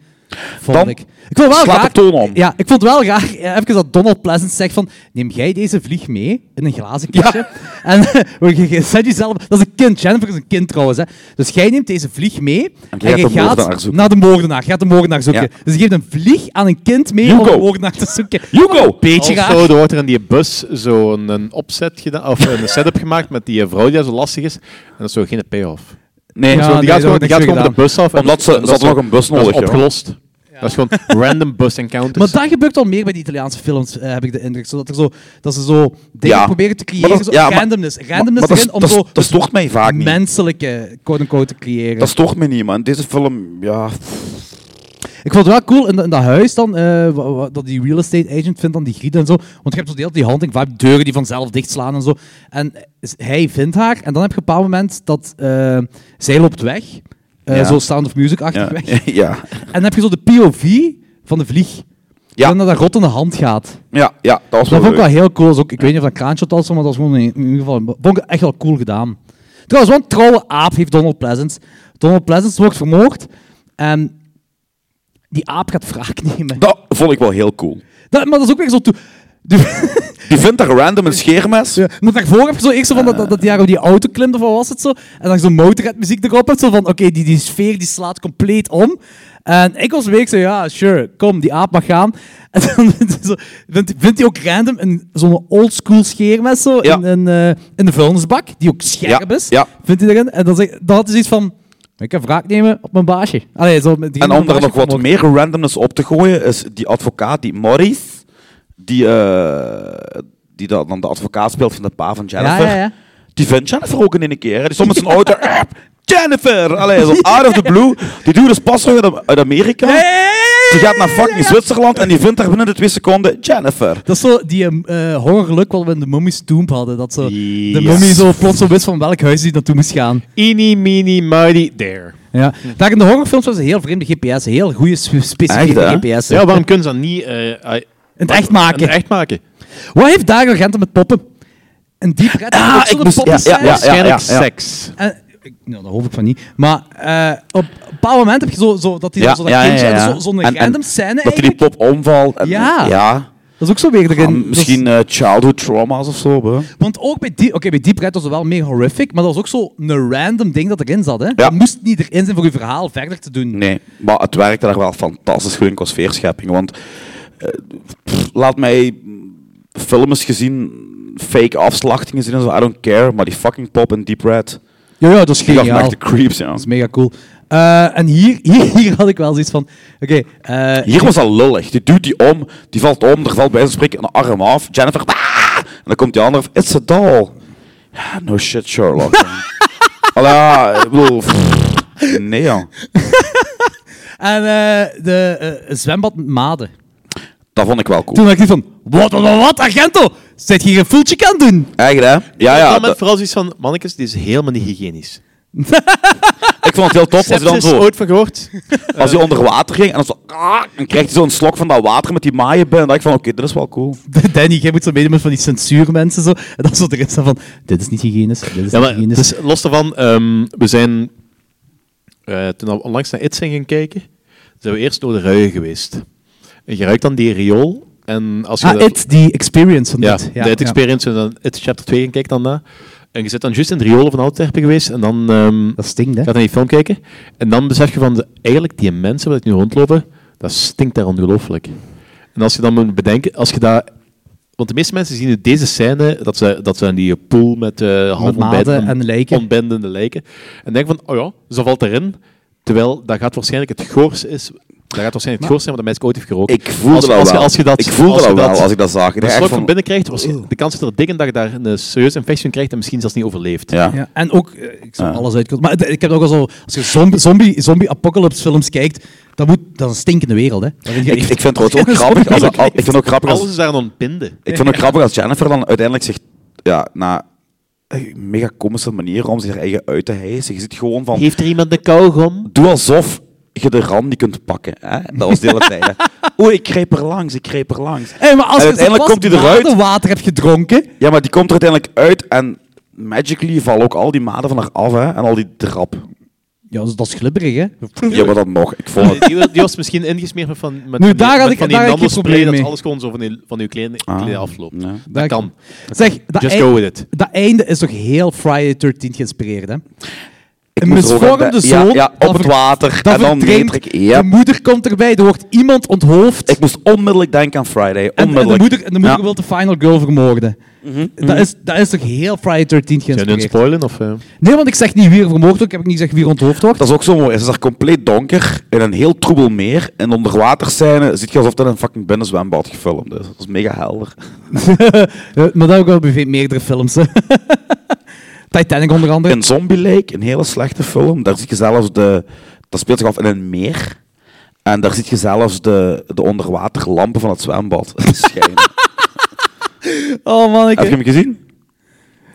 Speaker 8: Vond
Speaker 7: Dan
Speaker 8: ik. Ik vond wel
Speaker 7: slaat de
Speaker 8: graag.
Speaker 7: toon om.
Speaker 8: Ja, ik vond wel graag. eh, Even dat Donald Pleasant zegt van. Neem jij deze vlieg mee in een glazen kistje? En <laughs> we- je- je zet jezelf. Dat is een kind. Jennifer is een kind trouwens. Hè. Dus jij neemt deze vlieg mee. En,
Speaker 7: jij gaat
Speaker 8: je
Speaker 7: de moordenaar
Speaker 8: gaat
Speaker 7: zoeken.
Speaker 8: naar de moordenaar. Je gaat de moordenaar zoeken.
Speaker 7: Ja.
Speaker 8: Dus je geeft een vlieg aan een kind mee om
Speaker 7: Hugo.
Speaker 8: de moordenaar te zoeken.
Speaker 7: Hugo!
Speaker 8: Beetje raar.
Speaker 6: Of zo, er wordt er in die bus zo'n een opzet gedaan, of
Speaker 8: <laughs>
Speaker 6: een setup gemaakt met die eh, vrouw die daar zo lastig is. En dat is zo geen payoff.
Speaker 7: Nee,
Speaker 8: Ja.
Speaker 6: zo,
Speaker 8: nee, daar
Speaker 6: die gaat gewoon,
Speaker 8: wordt
Speaker 6: die
Speaker 8: niks
Speaker 6: gaat
Speaker 8: mee
Speaker 6: gewoon de
Speaker 8: gedaan.
Speaker 6: bus af. en
Speaker 7: Omdat ze-
Speaker 6: dat
Speaker 7: ze had
Speaker 6: is zo-
Speaker 7: nog een bus
Speaker 6: Dat
Speaker 7: nodig,
Speaker 6: is
Speaker 7: ja.
Speaker 6: opgelost. Dat is
Speaker 8: <laughs>
Speaker 6: gewoon random bus encounters.
Speaker 7: Dus-
Speaker 8: Maar dat gebeurt al meer bij de Italiaanse films, eh, heb ik de indruk. Zodat er zo, dat ze zo dingen
Speaker 7: Ja.
Speaker 8: proberen te creëren,
Speaker 7: Maar dat-
Speaker 8: zo
Speaker 7: ja, maar-
Speaker 8: randomness.
Speaker 7: Maar
Speaker 8: Randomness
Speaker 7: dat,
Speaker 8: erin om
Speaker 7: dat-
Speaker 8: zo
Speaker 7: dat stoort mij vaak niet.
Speaker 8: menselijke, quote-unquote, te creëren.
Speaker 7: Dat stoort mij niet, man. Deze film, ja...
Speaker 8: Ik vond het wel cool, in, dat- in dat huis dan, eh, wa- wa- dat die real estate agent vindt dan die Griet en zo. Want je hebt zo de hele tijd die hunting vibe, deuren die vanzelf dichtslaan en zo. En is- hij vindt haar, en dan heb je op een bepaald moment dat eh, zij loopt weg. Eh,
Speaker 7: Ja.
Speaker 8: Zo Sound of Music-achtig
Speaker 7: <laughs> Ja,
Speaker 8: weg.
Speaker 7: ja,
Speaker 8: En dan heb je zo de POV van de vlieg.
Speaker 7: Ja.
Speaker 8: Dan naar dat rottende hand gaat.
Speaker 7: ja, ja, dat was
Speaker 8: Dat
Speaker 7: wel
Speaker 8: vond ik wel
Speaker 7: leuk.
Speaker 8: heel cool. Dat is ook, ik weet niet of dat kraantje was, maar dat was gewoon in, in ieder geval vond ik echt wel cool gedaan. Trouwens, want trouwe aap heeft Donald Pleasant. Donald Pleasant wordt vermoord en die aap gaat wraak <laughs> nemen.
Speaker 7: Dat vond ik wel heel cool.
Speaker 8: Dat- maar dat is ook weer zo toe. <laughs> De,
Speaker 7: Die vindt daar random een scheermes.
Speaker 8: maar daarvoor heb je zo eerst zo van dat, dat, dat die daar op die auto klimt of wat was het zo. En dan zo'n motorheadmuziek erop hebt. Zo van, oké, die, die sfeer die slaat compleet om. En ik was week zo, ja, sure, kom, die aap mag gaan. <laughs> En dan zo, vindt, vindt hij ook random een- zo'n oldschool scheermes zo
Speaker 7: Ja.
Speaker 8: in, in, eh, in de vuilnisbak, die ook scherp
Speaker 7: Ja,
Speaker 8: is.
Speaker 7: ja.
Speaker 8: Vindt hij erin. En dan, zeg, dan had hij zoiets van, ik ga wraak nemen op mijn baasje. Allee, zo, met
Speaker 7: En om er nog wat
Speaker 8: meer.
Speaker 7: meer randomness op te gooien, is die advocaat, die Morris, die, eh, die dat dan de advocaat speelt van de pa van
Speaker 8: Ja,
Speaker 7: Jennifer.
Speaker 8: ja, ja.
Speaker 7: Die vindt Jennifer ook in één keer. hè. Die stond met
Speaker 8: <laughs>
Speaker 7: zijn auto. eh, Jennifer! Allee, zo out of the blue. Die dude is pas terug uit- uit Amerika. Die gaat naar fucking Zwitserland en die vindt daar binnen de twee seconden Jennifer.
Speaker 8: Dat is zo die eh horrorluk wat we in de Mummy's Tomb hadden. Dat zo, de
Speaker 6: Yes.
Speaker 8: mummy zo plots zo wist van welk huis hij naartoe moest gaan.
Speaker 6: Eeny, meeny, mighty, there.
Speaker 8: Ja. Daar in de horrorfilms was een heel vreemde GPS. Heel goede specifieke
Speaker 7: Echt, hè?
Speaker 8: GPS.
Speaker 6: Ja, waarom kunnen ze dat niet... eh, ah,
Speaker 8: het echt
Speaker 6: en
Speaker 8: maken.
Speaker 6: het echt maken.
Speaker 8: Wat heeft daar agenten met poppen? Een diep red.
Speaker 7: Ah, ik moest- ja, ja, ja, ja.
Speaker 6: Waarschijnlijk seks.
Speaker 8: En, ik, nou, dat hoop ik van niet. Maar eh, op een bepaald moment heb je zo, zo dat hij zo dat kindje en zo- zo'n
Speaker 7: En- en
Speaker 8: random scène
Speaker 7: Dat hij die
Speaker 8: eigenlijk.
Speaker 7: pop omvalt. en-
Speaker 8: Ja.
Speaker 7: ja.
Speaker 8: Dat is ook zo weer erin.
Speaker 7: Ah,
Speaker 8: Dat is-
Speaker 7: misschien eh, childhood trauma's of zo. hè.
Speaker 8: Want ook bij, die, oké bij Deep Red was het wel meer horrific, maar dat was ook zo'n random ding dat erin zat. Hè? Dat moest niet erin zijn voor je verhaal verder te doen.
Speaker 7: Nee, maar het werkte daar wel fantastisch goed in qua sfeerschepping. Want eh, pff, laat mij films gezien, fake afslachtingen zien en zo, I don't care. Maar die fucking pop in Deep Red,
Speaker 8: Ja, ja, dat is
Speaker 7: die gaf me
Speaker 8: geniaal.
Speaker 7: echt de
Speaker 8: Dat
Speaker 7: creeps. Ja.
Speaker 8: is mega cool. Eh, en hier, <laughs> hier, hier had ik wel zoiets van... Oké, eh,
Speaker 7: Hier was al lullig. Die duwt die om, die valt om, er valt bij wijze van spreken een arm af. Jennifer, "Ah!" en dan komt die andere af, it's a doll. Ja, no shit,
Speaker 6: <laughs>
Speaker 7: Sherlock. Allee, ja, ik bedoel, pff, nee ja.
Speaker 8: en eh, de eh, zwembad met maden.
Speaker 7: Dat vond ik wel cool.
Speaker 8: Toen dacht ik van... Wat, wat, wat, wat, agento? Zet je geen voeltje kan doen? <laughs>
Speaker 7: Echt hè? Ja,
Speaker 6: Ja,
Speaker 7: ja.
Speaker 6: met
Speaker 7: dat-
Speaker 6: vooral zoiets van, mannetjes, dit is helemaal niet hygiënisch.
Speaker 7: Ik vond het heel top. Als hij, dan
Speaker 6: Sepsis,
Speaker 7: zo,
Speaker 6: ooit van gehoord?
Speaker 7: als hij onder water ging en dan zo... ah, en krijgt hij zo'n slok van dat water met die maaienbui. En dacht ik van, oké, dit is wel cool.
Speaker 8: Danny, jij moet zo meedoen met van die censuurmensen zo. En dan zo erin staan van, dit is niet hygiënisch, dit is
Speaker 6: Ja,
Speaker 8: niet
Speaker 6: maar
Speaker 8: hygiënisch.
Speaker 6: dus los daarvan, ehm, we zijn eh, toen we onlangs naar It zijn gaan kijken, zijn we eerst door de ruien geweest. En je ruikt dan die riool. En als je
Speaker 8: ah,
Speaker 6: dat-
Speaker 8: it, die experience van
Speaker 6: ja,
Speaker 8: dit.
Speaker 6: de It Experience en dan It Chapter 2 gaan kijken dan na. En je zit dan juist in de riolen van Antwerpen geweest en dan ehm,
Speaker 8: Dat stinkt, hè?
Speaker 6: gaat naar die film kijken. En dan besef je van, de- eigenlijk die mensen wat ik nu rondlopen, dat stinkt daar ongelooflijk. En als je dan moet bedenken, als je daar... Want de meeste mensen zien in deze scène, dat ze, dat ze aan die pool met eh half ontbijt-
Speaker 8: maden en lijken.
Speaker 6: ontbindende lijken. En denk van, oh ja, dus dat valt erin. Terwijl, dat gaat waarschijnlijk het goors is... Dat gaat waarschijnlijk het goors zijn wat dat meisje ooit heeft gerookt.
Speaker 7: Ik voelde
Speaker 6: als,
Speaker 7: dat
Speaker 6: als, je-
Speaker 7: wel.
Speaker 6: Als je dat,
Speaker 7: ik voelde
Speaker 6: als
Speaker 7: dat
Speaker 6: je
Speaker 7: wel als ik dat zag. Ik
Speaker 6: als
Speaker 7: dacht
Speaker 6: je
Speaker 7: echt
Speaker 6: slok
Speaker 7: van-
Speaker 6: van binnen krijgt, was- de kans is er dik in dat je daar een serieuze infectie krijgt en misschien zelfs niet overleeft.
Speaker 7: Ja. Ah.
Speaker 8: Ja, en ook, eh, ik zal alles uitkomen, maar het- ik heb het ook al zo, als je zombie, zombie, zombie apocalypse films kijkt, dat, moet, dat is een stinkende wereld, hè. Dat weet je
Speaker 7: Ik,
Speaker 8: niet.
Speaker 7: ik vind het trouwens
Speaker 8: <laughs>
Speaker 7: ook grappig als... al- Ik vind ook grappig als...
Speaker 6: Alles is daar dan ontbinden.
Speaker 7: Ik vind het ook grappig als Jennifer dan uiteindelijk zegt, ja, na een mega komische manier om zich haar eigen uit te hijsen. Je ziet gewoon van,
Speaker 6: Heeft er iemand een kauwgom?
Speaker 7: doe alsof je de rand niet kunt pakken. Hè? Dat was de hele
Speaker 8: <laughs>
Speaker 7: tijd. hè. Oei, ik greep er langs, ik greep er langs.
Speaker 8: Hey, maar als
Speaker 7: En
Speaker 8: je zo'n
Speaker 7: uiteindelijk
Speaker 8: plas
Speaker 7: komt hij eruit.
Speaker 8: water hebt gedronken,
Speaker 7: Ja, maar die komt er uiteindelijk uit en magically vallen ook al die maden van haar af hè? en al die drap.
Speaker 8: ja, dus dat is- dat is glibberig, hè.
Speaker 7: Ja, maar dat nog. Ik vond het...
Speaker 6: Oh,
Speaker 8: <laughs>
Speaker 6: Die, die was misschien ingesmeerd met van, met,
Speaker 8: daar
Speaker 6: van die-
Speaker 8: had
Speaker 6: met
Speaker 8: ik-
Speaker 6: van die
Speaker 8: daar had ik geen
Speaker 6: nandospray,
Speaker 8: probleem mee. Ah,
Speaker 6: dat alles gewoon zo van, die, van uw kleden, kleden afloopt.
Speaker 7: ja.
Speaker 8: Dat-
Speaker 6: Dat kan.
Speaker 8: Zeg, dat,
Speaker 6: Just
Speaker 8: ei-
Speaker 6: go with it.
Speaker 8: dat einde is toch heel Friday 13 geïnspireerd, hè? Een
Speaker 7: moet er ook aan
Speaker 8: misvormde
Speaker 7: de- ja,
Speaker 8: zoon.
Speaker 7: ja, op
Speaker 8: dat
Speaker 7: het
Speaker 8: ver-
Speaker 7: water
Speaker 8: dat
Speaker 7: en dan
Speaker 8: verdrinkt.
Speaker 7: neertrek- ja.
Speaker 8: De moeder komt erbij, er wordt iemand onthoofd.
Speaker 7: Ik moest onmiddellijk denken aan Friday.
Speaker 8: en, en
Speaker 7: Onmiddellijk.
Speaker 8: de moeder, en de moeder
Speaker 7: Ja. Mhm.
Speaker 8: wil de final girl vermoorden. dat, is, dat is toch heel Friday 13
Speaker 6: Zijn we nu aan het
Speaker 8: geïnspireerd?
Speaker 6: spoilen? Of, eh?
Speaker 8: <laughs> Nee, want ik zeg niet wie er vermoord wordt. Ik heb ook niet gezegd wie er onthoofd wordt.
Speaker 7: Dat is ook zo mooi. Ze is daar compleet donker in een heel troebel meer. En onder waterscène ziet je alsof dat een fucking binnenzwembad gefilmd is. Dat is mega helder.
Speaker 8: Ja, <laughs> maar dat ook wel bij ve- meerdere films. hè. <laughs> Titanic onder andere.
Speaker 7: In Zombie Lake, een hele slechte film, daar zie je zelfs de... Dat speelt zich af in een meer. En daar zie je zelfs de, de onderwaterlampen van het zwembad <laughs> schijnen.
Speaker 8: <laughs> Oh man, ik...
Speaker 7: Heb je hem gezien?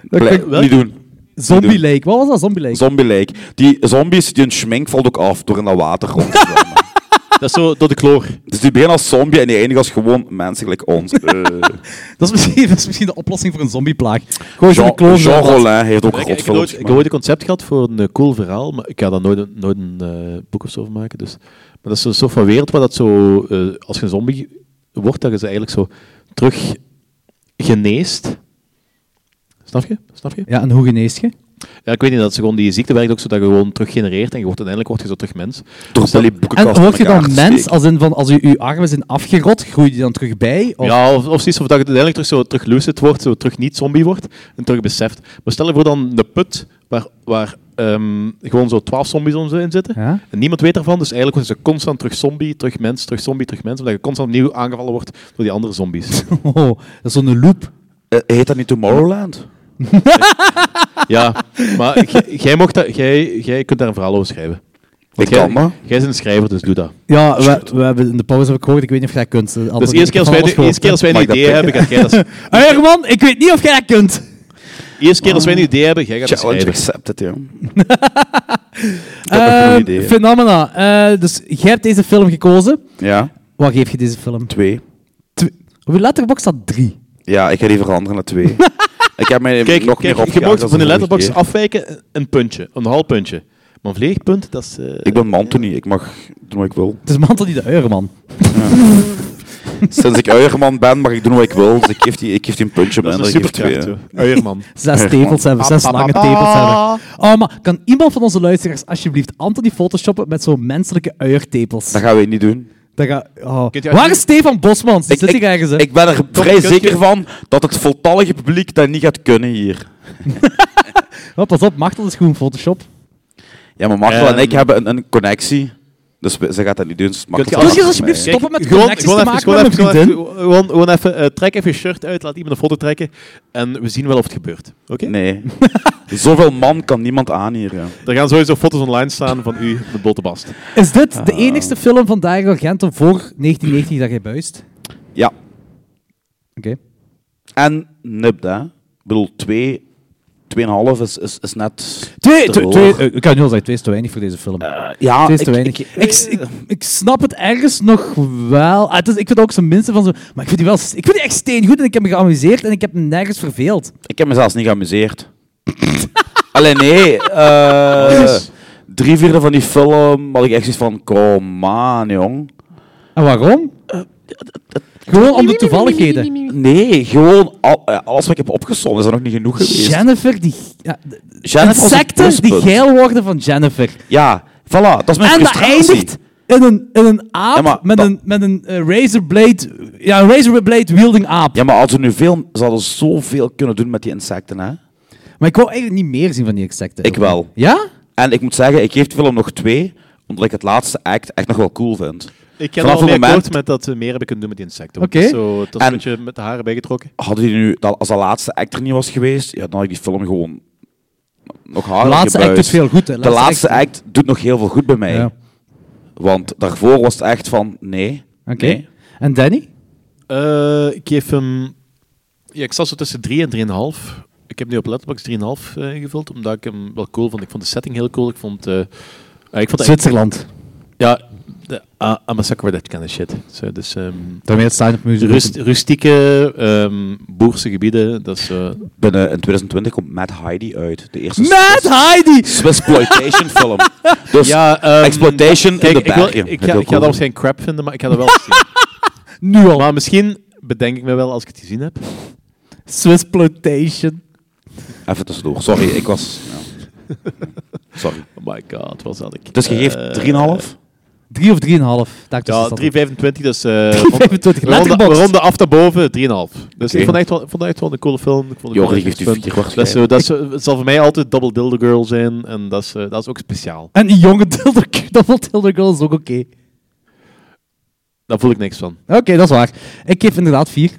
Speaker 8: dat
Speaker 7: Blij-
Speaker 8: kan-
Speaker 7: niet doen.
Speaker 8: Zombie
Speaker 7: niet
Speaker 8: Lake. Wat was dat, Zombie Lake?
Speaker 7: Zombie Lake. Die zombies, die hun schmink valt ook af door in dat water rond
Speaker 8: <laughs>
Speaker 7: te zwemmen.
Speaker 6: Dat is zo door de kloor.
Speaker 7: dus die beginnen als zombie en die eindigen als gewoon mensen gelijk ons. Eh.
Speaker 8: <laughs> dat, is misschien, <laughs> dat is misschien de oplossing voor een zombieplaag. Gewoon zo'n
Speaker 7: Jean,
Speaker 8: kloon.
Speaker 7: Jean Rollin heeft ook
Speaker 6: Ik, ik, heb
Speaker 7: rotfilms
Speaker 6: ooit, ik heb
Speaker 7: gemaakt.
Speaker 6: ooit een concept gehad voor een eh, cool verhaal, maar ik ga daar nooit, een- nooit een eh, boek of zo van maken. Dus. Maar dat is een soort van wereld waar dat zo, eh, als je een zombie wordt, dat je ze eigenlijk zo terug geneest. Snap je? Snap je?
Speaker 8: Ja, en hoe genees je?
Speaker 6: Ja, ik weet niet, dat ze gewoon die ziekte werkt ook zo dat je gewoon terug genereert en je wordt uiteindelijk word je zo terug mens.
Speaker 7: Door
Speaker 6: Dus dan-
Speaker 7: die boekenkasten
Speaker 8: En word je
Speaker 7: elkaar
Speaker 8: dan
Speaker 7: te
Speaker 8: mens,
Speaker 7: steken.
Speaker 8: als in van als je uw armen zijn afgerot, groei die dan terug bij? Of,
Speaker 6: Ja, of, of zoiets, of dat je uiteindelijk terug, zo, terug lucid wordt, zo terug niet zombie wordt en terug beseft. Maar stel je voor dan de put waar, waar ehm, gewoon zo twaalf zombies om zo in zitten.
Speaker 8: Ja.
Speaker 6: En niemand weet ervan, dus eigenlijk worden ze constant terug zombie, terug mens, terug zombie, terug mens. Omdat je constant opnieuw aangevallen wordt door die andere
Speaker 7: <laughs>
Speaker 8: <laughs>
Speaker 6: zombies.
Speaker 8: Oh, dat is zo'n loop.
Speaker 7: Eh, heet dat niet Tomorrowland?
Speaker 6: ja, maar jij- jij mocht dat- jij- jij kunt daar een verhaal over schrijven.
Speaker 7: Ik
Speaker 6: Jij-
Speaker 7: kan maar.
Speaker 6: Jij bent een schrijver, dus doe dat.
Speaker 8: Ja, we, we hebben in de pauze heb ik gehoord, ik weet niet of jij dat kunt. eh,
Speaker 6: Dus
Speaker 8: antwoord-
Speaker 6: eerst
Speaker 8: ik heb
Speaker 6: keer als
Speaker 8: van
Speaker 6: wij,
Speaker 8: alles
Speaker 6: de,
Speaker 8: gehoord.
Speaker 6: eerst keer als wij een
Speaker 7: Mag ik dat
Speaker 6: idee hebben, gaat jij dat...
Speaker 8: Hey, Herman, ik weet niet of jij dat kunt.
Speaker 6: Eerst keer als wij een
Speaker 7: Ah.
Speaker 6: idee hebben, jij gaat dus dat
Speaker 7: Challenge
Speaker 6: schrijven.
Speaker 7: accepted,
Speaker 6: <laughs>
Speaker 7: ja.
Speaker 8: Eh,
Speaker 7: goeie idee.
Speaker 8: Phenomena. Eh, dus jij hebt deze film gekozen.
Speaker 7: Ja,
Speaker 8: Wat geef je deze film?
Speaker 7: twee.
Speaker 8: Op je letterbox staat drie.
Speaker 7: Ja, ik ga die veranderen naar
Speaker 6: <laughs>
Speaker 7: twee. ik heb mij nog meer
Speaker 6: Kijk, kijk je
Speaker 7: opgejaagd
Speaker 6: mag
Speaker 7: dan
Speaker 6: van de
Speaker 7: vorige
Speaker 6: letterbox
Speaker 7: keer.
Speaker 6: afwijken een puntje, een half puntje. Maar een vleegpunt, dat is... eh,
Speaker 7: Ik ben Mantony, ik mag doen wat ik wil.
Speaker 8: Het is mantel die de Eurman.
Speaker 7: Sinds ik uierman ben, mag ik doen wat ik wil. Dus ik geef die, ik geef die een puntje
Speaker 6: dat is
Speaker 7: minder.
Speaker 6: een
Speaker 7: Ik geef
Speaker 6: superkracht,
Speaker 7: twee.
Speaker 6: hoor. Uierman.
Speaker 8: Zes tepels hebben, zes lange tepels hebben. Oh, maar kan iemand van onze luisteraars alsjeblieft Anthony photoshoppen met zo'n menselijke uiertepels?
Speaker 7: Dat gaan we niet doen.
Speaker 8: Dat ga, oh.
Speaker 6: Kunt je
Speaker 8: Waar
Speaker 6: alsjeblieft-
Speaker 8: is Stefan Bosmans? Die
Speaker 7: Ik,
Speaker 8: zit
Speaker 7: ik,
Speaker 8: hier ergens. hè?
Speaker 7: ik ben er vrij
Speaker 6: kunt
Speaker 7: zeker
Speaker 6: je-
Speaker 7: van dat het voltallige publiek dat niet gaat kunnen hier.
Speaker 8: Oh, pas op, Machtel is gewoon Photoshop.
Speaker 7: Ja, maar Martel en
Speaker 6: Ehm.
Speaker 7: ik hebben een, een connectie. Dus we- ze gaat dat niet doen. Dus Martel
Speaker 6: je
Speaker 7: staat
Speaker 6: als-
Speaker 8: Kun
Speaker 7: achter
Speaker 8: je alsjeblieft
Speaker 7: mij.
Speaker 8: stoppen met
Speaker 6: Gewoon,
Speaker 8: connecties
Speaker 6: gewoon,
Speaker 8: te
Speaker 6: even,
Speaker 8: maken
Speaker 6: gewoon,
Speaker 8: met
Speaker 6: even,
Speaker 8: mijn
Speaker 6: gewoon,
Speaker 8: vriendin?
Speaker 6: even, gewoon, gewoon even, eh, trek even je shirt uit, laat iemand een foto trekken en we zien wel of het gebeurt.
Speaker 8: <laughs>
Speaker 6: Oké?
Speaker 7: Nee. Zoveel man kan niemand aan hier. Ja.
Speaker 6: Er gaan sowieso foto's online staan van u met blote bast.
Speaker 8: Is dit de enigste film van Dario Argento voor 1990 dat jij buist? Oké.
Speaker 7: ja. En Nibda. Ik bedoel, twee 2,5 is, is, is net.
Speaker 8: Twee,
Speaker 7: te
Speaker 8: twee,
Speaker 7: hoog.
Speaker 8: twee- eh, ik kan nu al zeggen, twee is te weinig voor deze film.
Speaker 7: Eh, ja,
Speaker 8: twee is te
Speaker 7: ik-
Speaker 8: weinig.
Speaker 7: ik-
Speaker 8: Ik, ik, ik snap het ergens nog wel. Ah, het is, ik vind ook zijn minste van zo. Maar ik vind die wel. Ik vind die echt steengoed en ik heb me geamuseerd en ik heb me nergens verveeld.
Speaker 7: Ik heb me zelfs niet geamuseerd. <laughs> Alleen nee.
Speaker 8: Oh,
Speaker 7: eh, drie vierde van die film had ik echt zoiets van: kom aan, jong.
Speaker 8: En waarom? Gewoon om de toevalligheden.
Speaker 7: Nee, gewoon al- eh, alles wat ik heb opgezond is er nog niet genoeg geweest.
Speaker 8: Jennifer, die. Ja, de-
Speaker 7: Jennifer was het
Speaker 8: insecten die
Speaker 7: pluspunt.
Speaker 8: geil worden van Jennifer.
Speaker 7: Ja, voilà, dat is mijn
Speaker 8: En dat
Speaker 7: frustratie.
Speaker 8: eindigt in een, in een aap
Speaker 7: Ja, maar
Speaker 8: met,
Speaker 7: dat-
Speaker 8: een, met een eh, razorblade. Ja, een razorblade wielding aap.
Speaker 7: Ja, maar als er nu veel, ze hadden zoveel kunnen doen met die insecten, hè.
Speaker 8: Maar ik wou eigenlijk niet meer zien van die insecten.
Speaker 7: Ik wel.
Speaker 8: Ja?
Speaker 7: En ik moet zeggen, ik geef de film nog twee, omdat ik het laatste act echt nog wel cool vind.
Speaker 6: Ik ken
Speaker 7: Vanaf
Speaker 6: al
Speaker 7: het
Speaker 6: mee
Speaker 7: moment-
Speaker 6: akkoord met dat we meer hebben kunnen doen met die insecten. want
Speaker 8: Oké.
Speaker 6: Dat is, zo, dat is
Speaker 7: En-
Speaker 6: een beetje met de haren bijgetrokken.
Speaker 7: Hadden die nu, dat- als de laatste act er niet was geweest, ja, dan had ik die film gewoon nog
Speaker 8: De
Speaker 7: harder
Speaker 8: laatste act
Speaker 7: gebuist.
Speaker 8: doet veel goed. hè.
Speaker 7: De laatste act doet nog heel veel goed bij mij.
Speaker 8: Ja.
Speaker 7: Want daarvoor was het echt van, nee,
Speaker 8: Oké.
Speaker 7: nee.
Speaker 8: En Danny?
Speaker 6: Eh, ik geef hem... Ja, ik zat zo tussen 3 en 3,5. Ik heb nu op Letterboxd 3,5 eh, ingevuld, omdat ik hem wel cool vond. Ik vond de setting heel cool. Ik vond... eh, eh, ik vond eigenlijk-
Speaker 8: Zwitserland.
Speaker 6: Ja, de, ah, I'm a sucker for that kind of shit. Zo, dus ehm,
Speaker 8: Daarmee het staan op muziek.
Speaker 6: rust, rustieke, ehm, boerse gebieden, dat is... eh,
Speaker 7: Binnen in 2020 komt Mad Heidi uit. De eerste
Speaker 8: Met Heidi!
Speaker 7: Swissploitation film. Dus
Speaker 6: ja, ehm,
Speaker 7: exploitation
Speaker 6: kijk,
Speaker 7: in de
Speaker 6: ik, wil,
Speaker 7: bergen.
Speaker 6: ik,
Speaker 7: Heel
Speaker 6: ga, ik ga
Speaker 7: cool.
Speaker 6: dat waarschijnlijk crap vinden, maar ik ga <laughs> dat wel zien.
Speaker 8: Nu al.
Speaker 6: Maar misschien bedenk ik me wel als ik het gezien heb.
Speaker 8: Swissploitation.
Speaker 7: Even tussendoor, sorry, ik was... ja. Sorry.
Speaker 6: Oh my god, wat zat ik?
Speaker 7: Dus je geeft
Speaker 6: Eh,
Speaker 7: 3,5?
Speaker 8: Drie of drieënhalf. Daar tussen
Speaker 6: Ja,
Speaker 8: zat
Speaker 6: 3,25,
Speaker 7: <laughs>
Speaker 6: dus... eh,
Speaker 8: het. 25.
Speaker 6: we ronden, we
Speaker 8: Letterboxd.
Speaker 6: ronden af naar boven, 3,5. Dus
Speaker 7: Oké.
Speaker 6: ik vond echt wel, ik vond echt wel een coole film. Ik vond het
Speaker 7: Joris
Speaker 6: wel
Speaker 7: geeft die
Speaker 6: interessant.
Speaker 7: vier kwart
Speaker 6: dat, is, zo- dat is zo- het zal voor mij altijd Double Dildo Girl zijn, en dat is, eh, dat is ook speciaal.
Speaker 8: En die jonge Tilder, <laughs> Double Tilder Girl is ook oké.
Speaker 6: Daar voel ik niks van.
Speaker 8: Oké, dat is waar. Ik geef inderdaad vier.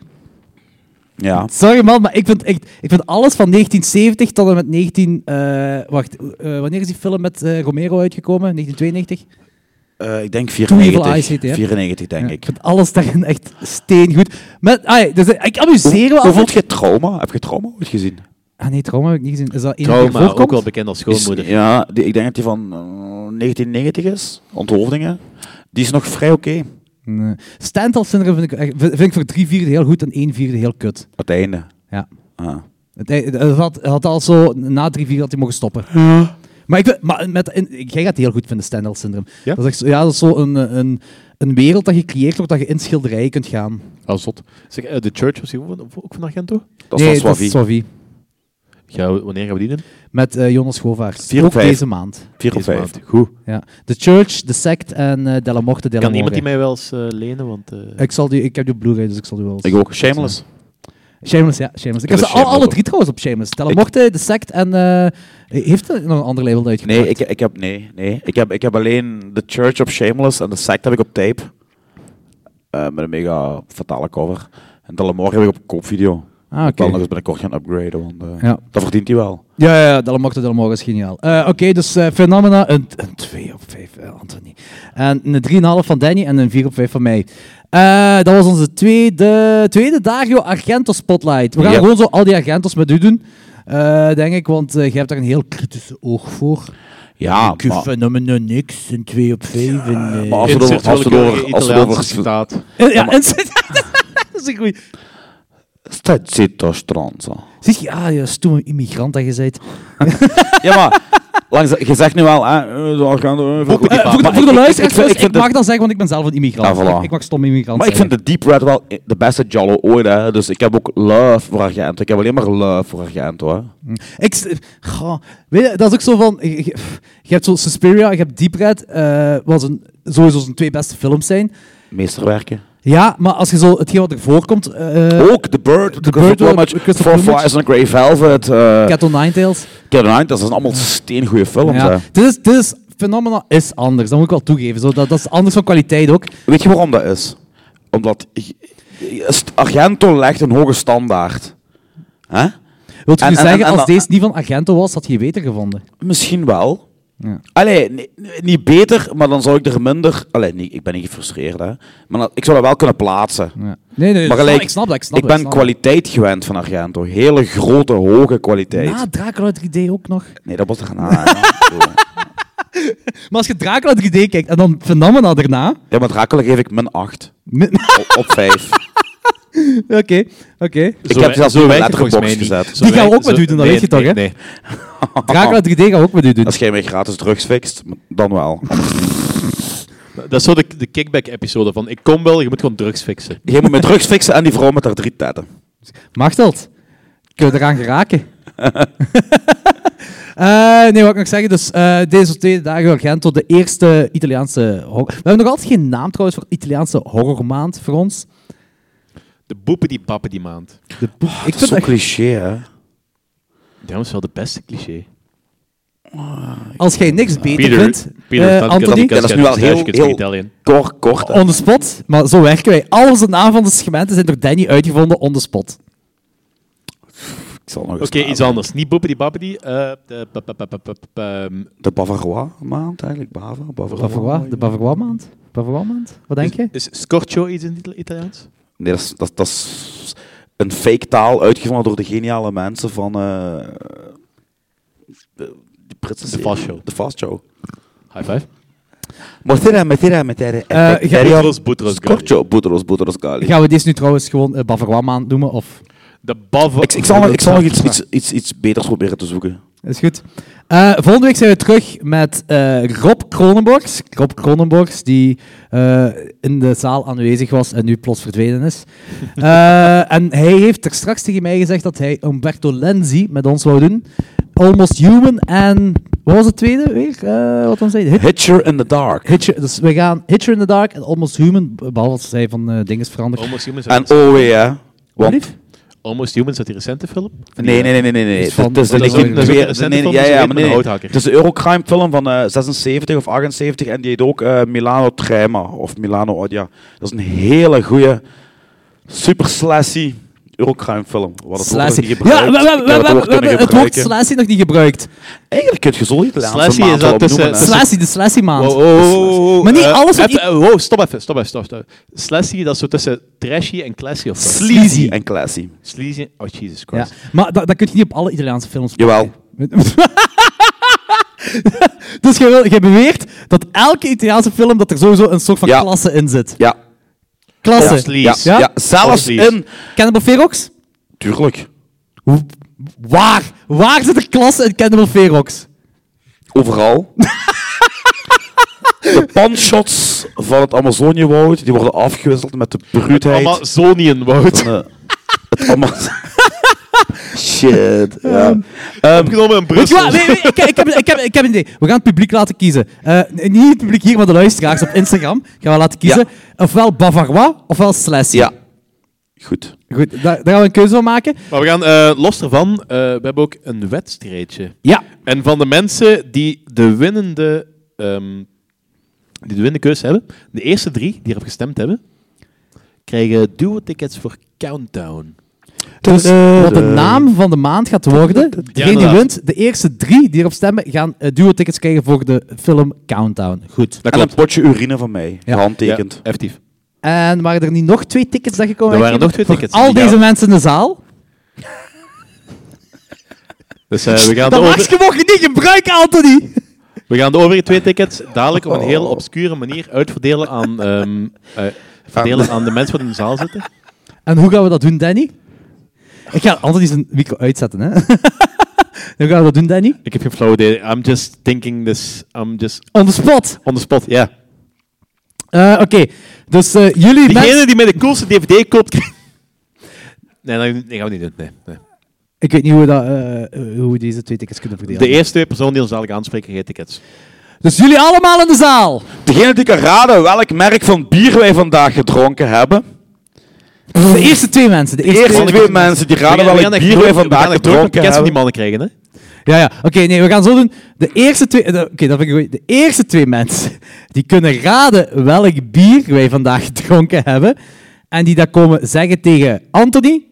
Speaker 7: Ja.
Speaker 8: Sorry man, maar ik vind, echt, ik vind alles van 1970 tot en met 19... eh, wacht, eh, wanneer is die film met eh, Romero uitgekomen? 1992?
Speaker 7: Eh, ik denk
Speaker 8: Evil
Speaker 7: 94.
Speaker 8: Eyes heet die, hè?
Speaker 7: 94, denk
Speaker 8: Ja,
Speaker 7: ik.
Speaker 8: vind alles daarin echt steengoed. Met, ah, ja, dus, eh, ik amuseer me
Speaker 7: Hoe, hoe
Speaker 8: altijd.
Speaker 7: vond je trauma? Heb je trauma ooit gezien?
Speaker 8: Ah nee, trauma heb ik niet gezien. Is dat één die
Speaker 6: Trauma,
Speaker 8: voorkomt?
Speaker 6: ook wel bekend als schoonmoeder.
Speaker 7: Is- ja, die, ik denk dat die van eh, 1990 is. Onthoofdingen. Die is nog vrij oké.
Speaker 8: Nee. Stand-up syndrome vind ik, echt- vind vind ik voor drie vierde heel goed en één vierde heel kut.
Speaker 7: Het einde.
Speaker 8: Ja.
Speaker 7: Ah.
Speaker 8: Het, het- het had, het had al zo, na drie vierde had hij mogen stoppen. Maar, ik, vind- maar met, in- jij gaat het heel goed vinden, stand-up syndrome.
Speaker 6: Ja?
Speaker 8: Dat is echt zo, ja, dat is zo een, eh, een, een wereld dat gecreëerd wordt, dat je in schilderijen kunt gaan.
Speaker 6: Ah, zot. Zeg, eh, The Church was die ook van- ook van Argento?
Speaker 7: Dat is
Speaker 8: nee,
Speaker 7: van
Speaker 8: dat is
Speaker 7: Swavi.
Speaker 8: Swavi.
Speaker 6: Ja, wanneer gaan we die doen?
Speaker 8: Met eh, Jonas Govaerts.
Speaker 7: Vier op
Speaker 8: Ook
Speaker 7: vijf.
Speaker 8: deze maand.
Speaker 7: 4 op
Speaker 6: Deze
Speaker 7: 5.
Speaker 6: maand. Goed.
Speaker 8: Ja. The Church, The Sect en eh Della Morte, Della
Speaker 6: Kan iemand die
Speaker 8: More.
Speaker 6: mij wel eens eh, lenen? Want, eh,
Speaker 8: ik, zal die, ik heb die op Blu-ray, dus ik zal die wel eens-
Speaker 7: Ik ook. Shameless.
Speaker 8: Shameless, ja, Shameless. Ik
Speaker 7: Ja,
Speaker 8: heb ze
Speaker 7: dat is
Speaker 8: al, alle
Speaker 7: Shameless
Speaker 8: drie trouwens op Shameless. Tellen
Speaker 7: Ik-
Speaker 8: mochten, The Sect en... eh, heeft er nog een ander label uitgebracht?
Speaker 7: Nee, ik, ik heb, nee, nee. Ik, heb, ik heb alleen The Church op Shameless en The Sect heb ik op tape. Eh, met een mega fatale cover. En Dalamore heb ik op koopvideo.
Speaker 8: Ah,
Speaker 7: Ik
Speaker 8: oké.
Speaker 7: wil nog eens binnenkort gaan upgraden, want eh,
Speaker 8: Ja.
Speaker 7: dat verdient hij wel.
Speaker 8: Ja, ja, ja, Delamochte, Delamoga is geniaal. Eh, oké, dus eh Phenomena, een 2 op 5, Anthony. En een 3,5 van Danny en een 4 op 5 van mij. Eh, dat was onze tweede, tweede Dario Argento Spotlight. We gaan
Speaker 7: Ja.
Speaker 8: gewoon zo al die Argentos met u doen, eh, denk ik, want eh, je hebt daar een heel kritische oog voor.
Speaker 7: Ja,
Speaker 8: Ik
Speaker 7: Ah, maar,
Speaker 8: Phenomena niks, een 2 op 5. en, eh,
Speaker 7: maar als we door...
Speaker 6: insert
Speaker 7: Als we
Speaker 6: welke
Speaker 7: door... Als we
Speaker 6: Italiaanse
Speaker 7: door...
Speaker 6: citaat.
Speaker 8: eh, ja, en, <laughs> dat is een goeie.
Speaker 7: Stazzito stronzo.
Speaker 8: Zeg je, ah, je stomme immigrant dat je bent.
Speaker 7: Ja, maar... Langs, je zegt nu wel, hè, eh, zo gaan we...
Speaker 8: Eh, voor, de-
Speaker 7: Maar
Speaker 8: voor de
Speaker 7: ik- ik-
Speaker 8: luisteraars,
Speaker 7: ik vind-
Speaker 8: thuis,
Speaker 7: ik
Speaker 8: ik,
Speaker 7: vind
Speaker 8: mag
Speaker 7: de-
Speaker 8: dat zeggen, want ik ben zelf een immigrant.
Speaker 7: Ja, voilà.
Speaker 8: ik, ik mag stom immigrant
Speaker 7: Maar ik
Speaker 8: zeggen.
Speaker 7: vind de Deep Red wel de beste Jallo ooit, hè. Dus ik heb ook love voor Argento. Ik heb alleen maar love voor Argento, hè.
Speaker 8: Ik, s- goh, weet je, dat is ook zo van... Je, je- je hebt zo Suspiria, je hebt Deep Red, eh, wat een, sowieso zijn twee beste films zijn.
Speaker 7: Meesterwerken.
Speaker 8: Ja, maar als je zo hetgeen wat ervoor komt... eh eh,
Speaker 7: Ook The Bird, The Bird
Speaker 8: Bird,
Speaker 7: Plumage,
Speaker 8: eh, Christopher
Speaker 7: Four
Speaker 8: Plumage.
Speaker 7: Flies on Grey Velvet, eh
Speaker 8: Cat on Ninetales.
Speaker 7: Get Out, dat zijn allemaal steengoede films.
Speaker 8: Ja.
Speaker 7: hè.
Speaker 8: Dit is... Dit is Phenomena is anders, dat moet ik wel toegeven. Zo, dat, dat is anders van kwaliteit ook.
Speaker 7: Weet je waarom dat is? Omdat i- i- st- Argento legt een hoge standaard. Hè?
Speaker 8: Wilt je
Speaker 7: En-
Speaker 8: nu
Speaker 7: en-
Speaker 8: zeggen,
Speaker 7: en- en-
Speaker 8: als deze niet van Argento was, had je je beter gevonden?
Speaker 7: Misschien wel. Allee, nee, nee, niet beter, maar dan zou ik er minder... Allee, nee, ik ben niet gefrustreerd, hè. Maar dan- ik zou dat wel kunnen plaatsen.
Speaker 8: Ja. Nee, nee,
Speaker 7: Maar
Speaker 8: ik, snap,
Speaker 7: gelijk,
Speaker 8: ik snap dat. Ik, snap
Speaker 7: Ik
Speaker 8: dat,
Speaker 7: ben
Speaker 8: snap
Speaker 7: kwaliteit gewend van Argento. Hele grote, hoge
Speaker 8: dat.
Speaker 7: kwaliteit.
Speaker 8: Na Dracula 3D ook nog.
Speaker 7: Nee, dat was er gaan
Speaker 8: <laughs>
Speaker 7: aan. hè.
Speaker 8: Maar als je Dracula 3D kijkt en dan Phenomena daarna...
Speaker 7: Ja, maar Dracula geef ik min 8.
Speaker 8: Oké,
Speaker 7: Op, op 5.
Speaker 8: <laughs> oké.
Speaker 7: ik heb zelfs
Speaker 6: zo
Speaker 7: op mijn
Speaker 6: weinig volgens mij
Speaker 7: letterbox
Speaker 6: niet.
Speaker 7: gezet.
Speaker 6: Zo
Speaker 8: Die gaan we
Speaker 6: weinig-
Speaker 8: ook met
Speaker 6: zo-
Speaker 8: u doen, dat
Speaker 6: nee,
Speaker 8: weet je toch,
Speaker 6: nee,
Speaker 8: hè?
Speaker 6: Nee,
Speaker 7: ah.
Speaker 8: Dracula 3D gaan we ook met u doen.
Speaker 7: Als jij mij gratis drugs fixt, dan wel.
Speaker 6: Dat is zo de, de kickback-episode van ik kom wel, je moet gewoon drugs fixen.
Speaker 7: Jij moet met drugs fixen en die vrouw met haar drie tetten.
Speaker 8: Mag dat? Kunnen we eraan geraken? <laughs> Eh, nee, wat ik nog zeggen, dus eh, deze twee dagen Argento, de eerste Italiaanse horror... We hebben nog altijd geen naam trouwens voor Italiaanse horrormaand voor ons.
Speaker 6: De boepen die bappen die maand.
Speaker 8: De boek- ik
Speaker 7: Ah, Dat is
Speaker 8: vind
Speaker 7: zo'n
Speaker 8: echt,
Speaker 7: cliché, hè?
Speaker 6: Dat is wel de beste cliché.
Speaker 8: als jij niks
Speaker 7: Ah,
Speaker 8: beter
Speaker 6: Peter-
Speaker 8: vindt,
Speaker 6: Peter,
Speaker 8: eh,
Speaker 6: dat-
Speaker 8: Anthony,
Speaker 7: dat is nu wel heel,
Speaker 6: Huisjes van
Speaker 7: heel
Speaker 6: Italië.
Speaker 7: kort, kort. hè.
Speaker 8: on the spot, maar zo werken wij. Alles de naam van de segmenten zijn door Danny uitgevonden on the spot.
Speaker 7: Ik zal nog eens
Speaker 6: Oké,
Speaker 7: praten.
Speaker 6: iets anders. Niet boepen die bappen die. eh, de pa- pa- pa- pa- pa- pa- ehm,
Speaker 7: De Bavarois maand eigenlijk, Bava, Bavarois.
Speaker 8: Bavarois, de Bavarois maand? Bavarois maand? Wat denk je?
Speaker 6: Is Scorcio iets in het Italiaans?
Speaker 7: Nee, dat is, dat, dat is een fake taal uitgevonden door de geniale mensen van... eh de, de prinses...
Speaker 6: De Fast Show.
Speaker 7: De Fast Show.
Speaker 6: High five.
Speaker 7: Matera, matera, matera.
Speaker 8: Eh, ga-
Speaker 6: Boutros, Boutros,
Speaker 7: Scorcio, Boutros, Boutros, Gali.
Speaker 8: Gaan we deze nu trouwens gewoon eh, Bavarois maand noemen? Of...
Speaker 6: De Bava.
Speaker 7: Ik, ik zal nog, ik zal nog iets, iets, iets, iets beters proberen te zoeken.
Speaker 8: Is goed. Eh, volgende week zijn we terug met eh, Rob Kronenborgs. Rob Kronenborgs, die eh, in de zaal aanwezig was en nu plots verdwenen <laughs> is. Eh, en hij heeft er straks tegen mij gezegd dat hij Umberto Lenzi met ons wou doen. Almost Human en... Wat was het tweede weer? Eh, wat dan zei hij? Hit-
Speaker 7: Hitcher in the Dark.
Speaker 8: Hitcher, dus we gaan Hitcher in the Dark en Almost Human, behalve dat zij van eh dingen is veranderd.
Speaker 6: Almost Humans.
Speaker 7: En
Speaker 6: En
Speaker 7: OW, hè? Want
Speaker 8: Lief?
Speaker 6: Almost Humans uit die recente film? Van die,
Speaker 7: Nee, nee, nee, nee, nee. nee.
Speaker 8: Iets van-
Speaker 7: Dat is de
Speaker 8: dat is ook-
Speaker 7: Linkin
Speaker 8: dat is
Speaker 6: ook een
Speaker 7: Park-
Speaker 6: recente
Speaker 7: nee, nee,
Speaker 6: film,
Speaker 7: ja,
Speaker 6: dus je
Speaker 7: ja,
Speaker 6: weet
Speaker 7: maar
Speaker 6: met een
Speaker 7: nee, nee.
Speaker 6: houthakker.
Speaker 7: Het is de Eurocrime film van eh 76 of 78 en die heet ook eh, Milano Trema of Milano Odia. Dat is een hele goede, super slashy Eurocrime film. Wat het woord nog
Speaker 8: Slashy.
Speaker 7: niet
Speaker 8: Ja, we,
Speaker 7: gebruikt.
Speaker 8: we-
Speaker 7: Ik heb
Speaker 8: we- we-
Speaker 7: het
Speaker 8: we-
Speaker 7: woord
Speaker 8: we hebben
Speaker 7: kunnen
Speaker 8: het woord
Speaker 7: gebruiken. Dus
Speaker 8: slashy nog niet gebruikt.
Speaker 7: Eigenlijk kun je zo niet de laatste
Speaker 6: Slashy
Speaker 7: maand
Speaker 6: is dat
Speaker 7: wel
Speaker 6: tussen-
Speaker 7: opnoemen, hè.
Speaker 6: tussen-
Speaker 8: Slashy, de slashy maand.
Speaker 7: oh.
Speaker 6: Wow, wow, wow, wow, wow.
Speaker 8: Maar niet
Speaker 6: Eh,
Speaker 8: alles wat
Speaker 6: even- eh, wow, stop even, stop even, stop even. Slashy, dat is zo tussen trashy en classy of zo.
Speaker 7: Sleazy en classy.
Speaker 6: Sleazy, oh Jesus
Speaker 8: Ja.
Speaker 6: Christ.
Speaker 8: Maar dat, dat kun je niet op alle Italiaanse films
Speaker 7: Jawel.
Speaker 8: plakken. <laughs> dus jij, wil, jij beweert dat elke Italiaanse film dat er sowieso een soort van
Speaker 7: Ja.
Speaker 8: klasse in zit.
Speaker 7: Ja,
Speaker 8: Klasse.
Speaker 6: Of
Speaker 7: ja,
Speaker 6: sleaze.
Speaker 7: ja.
Speaker 8: Ja?
Speaker 7: Zelfs
Speaker 6: Of sleaze.
Speaker 7: in...
Speaker 8: Cannibal Ferox?
Speaker 7: Tuurlijk.
Speaker 8: Hoe- Waar? Waar zit er klasse in Cannibal Ferox?
Speaker 7: overal. <laughs> de panshots van het Amazoniëwoud die worden afgewisseld met de bruutheid.
Speaker 6: Amazonian, Wout. <laughs>
Speaker 7: van, eh, het Amaz- <laughs> Shit. Ja. Ehm,
Speaker 6: Opgenomen in
Speaker 8: Weet je
Speaker 6: Brussel.
Speaker 8: wat? Nee, nee, ik, ik, heb, ik, heb, ik heb een idee. We gaan het publiek laten kiezen. Eh, nee, niet het publiek hier, maar de luisteraars op Instagram. Gaan we laten kiezen. Ofwel Bavarois, ofwel Slashy.
Speaker 7: ja. Goed.
Speaker 8: Goed, daar, daar gaan we een keuze van maken.
Speaker 6: Maar we gaan, eh, los daarvan, eh, we hebben ook een wedstrijdje.
Speaker 8: Ja.
Speaker 6: En van de mensen die de winnende, ehm, die de winnende keus hebben, de eerste drie die erop gestemd hebben, krijgen duo-tickets voor Countdown.
Speaker 8: Dus wat de naam van de maand gaat worden, degene die
Speaker 6: inderdaad.
Speaker 8: wint, de eerste drie die erop stemmen, gaan eh, duo-tickets krijgen voor de film Countdown. Goed.
Speaker 6: Dat
Speaker 7: En een
Speaker 6: klopt.
Speaker 7: potje urine van mij.
Speaker 8: Ja.
Speaker 7: Handtekend.
Speaker 6: Ja, effectief.
Speaker 8: En waren er niet nog twee tickets dat je kon
Speaker 6: Er waren
Speaker 8: weggeven
Speaker 6: nog twee
Speaker 8: voor
Speaker 6: tickets.
Speaker 8: al
Speaker 6: Ja.
Speaker 8: deze mensen in de zaal?
Speaker 6: Dus eh, <laughs> we, gaan de
Speaker 8: Dat
Speaker 6: over-
Speaker 8: mag je mocht je niet gebruiken, Anthony!
Speaker 6: we gaan de overige twee tickets dadelijk op een heel obscure manier uitverdelen aan, ehm, eh, verdelen aan de mensen die in de zaal zitten.
Speaker 8: En hoe gaan we dat doen, Danny? Ik ga Anthony zijn micro uitzetten, hè. <laughs> hoe gaan we dat doen, Danny?
Speaker 6: Ik heb geen flauw idee. I'm just thinking this. I'm just
Speaker 8: On the spot!
Speaker 6: on the spot. Ja.
Speaker 8: Eh, Oké, dus eh, jullie mensen...
Speaker 6: Diegene die mij de coolste DVD koopt. krijgt- Nee, dat nee, gaan we niet doen. Nee, nee.
Speaker 8: Ik weet niet hoe we, dat, eh, hoe we deze twee tickets kunnen verdelen.
Speaker 6: De eerste twee personen die ons dadelijk aanspreken, geen tickets.
Speaker 8: Dus jullie allemaal in de zaal!
Speaker 7: Degene die kan raden welk merk van bier wij vandaag gedronken hebben.
Speaker 8: De eerste twee mensen. De
Speaker 7: De
Speaker 8: eerste
Speaker 7: eerste
Speaker 8: twee
Speaker 7: twee mensen die raden
Speaker 6: we
Speaker 7: welk
Speaker 6: echt
Speaker 7: bier
Speaker 6: nooit-
Speaker 7: wij
Speaker 6: we gaan
Speaker 7: vandaag
Speaker 6: echt nooit
Speaker 7: gedronken
Speaker 6: tickets van
Speaker 7: hebben.
Speaker 6: die mannen krijgen, hè?
Speaker 8: Ja, ja. Oké, nee, we gaan zo doen. De eerste twee... eh, de- Oké, dat vind ik goed. De eerste twee mensen die kunnen raden welk bier wij vandaag <laughs> gedronken hebben. En die dat komen zeggen tegen Anthony.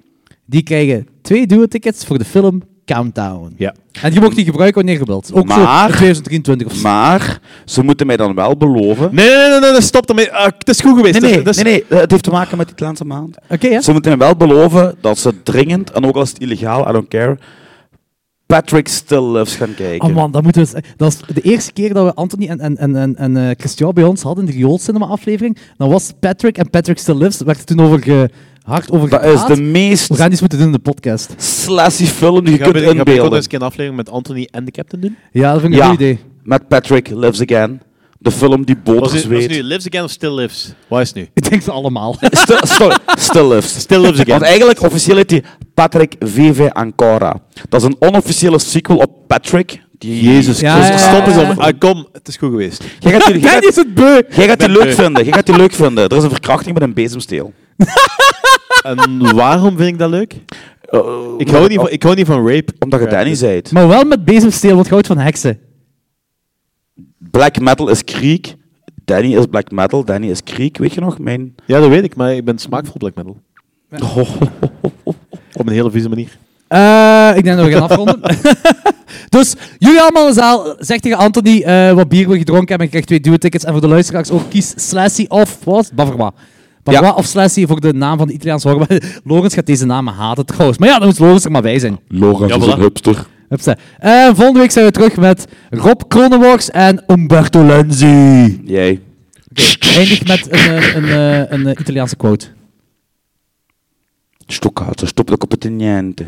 Speaker 8: Die krijgen twee duo-tickets voor de film Countdown.
Speaker 6: Ja.
Speaker 8: En je mocht die gebruiken wanneer je wilt. Ook zo
Speaker 7: Maar-
Speaker 8: in 2023 of zo.
Speaker 7: Maar ze moeten mij dan wel beloven.
Speaker 6: Nee, nee, nee, nee, nee, stop ermee. Ah, het is goed geweest.
Speaker 7: Nee, nee,
Speaker 6: Dat is-
Speaker 7: nee, nee, eh, het heeft te maken met die laatste maand.
Speaker 8: Oké, ja?
Speaker 7: Ze moeten mij wel beloven dat ze dringend, en ook als het illegaal, I don't care, Patrick Still Loves gaan kijken.
Speaker 8: Oh man, dat, moeten we, eens- dat is de eerste keer dat we Anthony en, en, en, en, en eh, Christian bij ons hadden in de Riool Cinema aflevering. Dan was Patrick en Patrick Still Lives, werd er toen over ge, hard over
Speaker 7: dat is
Speaker 8: gepraat.
Speaker 7: de meest
Speaker 8: We gaan iets moeten doen in de podcast.
Speaker 7: slashy film die je
Speaker 6: Gaan we-
Speaker 7: kunt
Speaker 6: gaan we ook
Speaker 7: inbeelden.
Speaker 6: eens een keer een aflevering met Anthony en de captain doen?
Speaker 8: Ja, dat vind ik een
Speaker 7: Ja.
Speaker 8: goed idee. <laughs>
Speaker 7: Met Patrick Lives Again. De film die
Speaker 6: Was
Speaker 7: boters
Speaker 6: het was het
Speaker 7: weet.
Speaker 6: nu Lives Again of Still Lives? Waar is het nu?
Speaker 8: Ik denk ze allemaal.
Speaker 7: Still, still, still Lives.
Speaker 6: Still Lives Again.
Speaker 7: Want eigenlijk, officieel heet die Patrick VV Ancora. Dat is een onofficiële sequel op Patrick. Die...
Speaker 6: Jezus
Speaker 8: Ja,
Speaker 6: Christus.
Speaker 8: ja, ja,
Speaker 6: Stop eens
Speaker 8: ja.
Speaker 6: om. Ah, kom, het is goed geweest.
Speaker 7: Jij <laughs>
Speaker 8: <laughs>
Speaker 6: <laughs>
Speaker 7: gaat die, jij
Speaker 8: Ben
Speaker 7: gaat-
Speaker 8: is het beu!
Speaker 7: jij gaat die
Speaker 6: Ben
Speaker 7: leuk
Speaker 6: beu.
Speaker 7: vinden. Jij gaat die leuk vinden. Er is een verkrachting met een bezemsteel.
Speaker 6: En waarom vind ik dat leuk?
Speaker 7: Eh,
Speaker 6: Oh, Ik hou niet van, ik hou niet van rape.
Speaker 7: Omdat je Danny zijt.
Speaker 8: Maar wel met bezemsteel, wat goud van heksen.
Speaker 7: Black metal is kriek. Danny is black metal. Danny is kriek. Weet je nog? Mijn...
Speaker 6: Ja, dat weet ik, maar ik ben smaakvol black metal. <laughs> Op een hele vieze manier.
Speaker 8: Eh, ik denk dat we gaan <laughs> afronden. dus jullie allemaal in de zaal, zeg tegen Anthony eh, wat bier we gedronken hebben. Ik krijg twee duo-tickets. En voor de luisteraars ook, kies Slashy of wat? was het? Bavarma. Bavarma of Slashy voor de naam van de Italiaanse horror. <laughs> Lorenz gaat deze namen haten trouwens. Maar ja, dan moet Lorenz er maar bij zijn.
Speaker 7: Lorenz
Speaker 6: is een
Speaker 7: hupster.
Speaker 8: Hupsa. En volgende week zijn we terug met Rob Kronenworks en Umberto Lenzi.
Speaker 7: Jij.
Speaker 8: Eindig met een, eh, een, eh, een, eh, Italiaanse quote.
Speaker 7: Stokkater, stop de competente.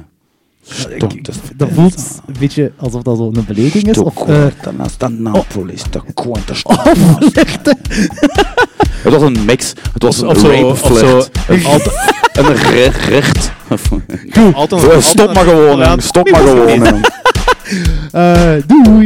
Speaker 7: Stop de
Speaker 8: Dat voelt een beetje alsof dat zo'n belediging is. Of, eh, Oh.
Speaker 7: naast Napolis, de quarter
Speaker 8: <laughs>
Speaker 7: Het was een mix. Het was een
Speaker 6: Of zo-
Speaker 7: rape
Speaker 6: of zo-
Speaker 7: flirt. Een alt- Een re- recht.
Speaker 6: Altijd
Speaker 7: Stop maar gewoon,
Speaker 6: Ja,
Speaker 7: hè. stop maar gewoon. hè.
Speaker 8: eh, doei!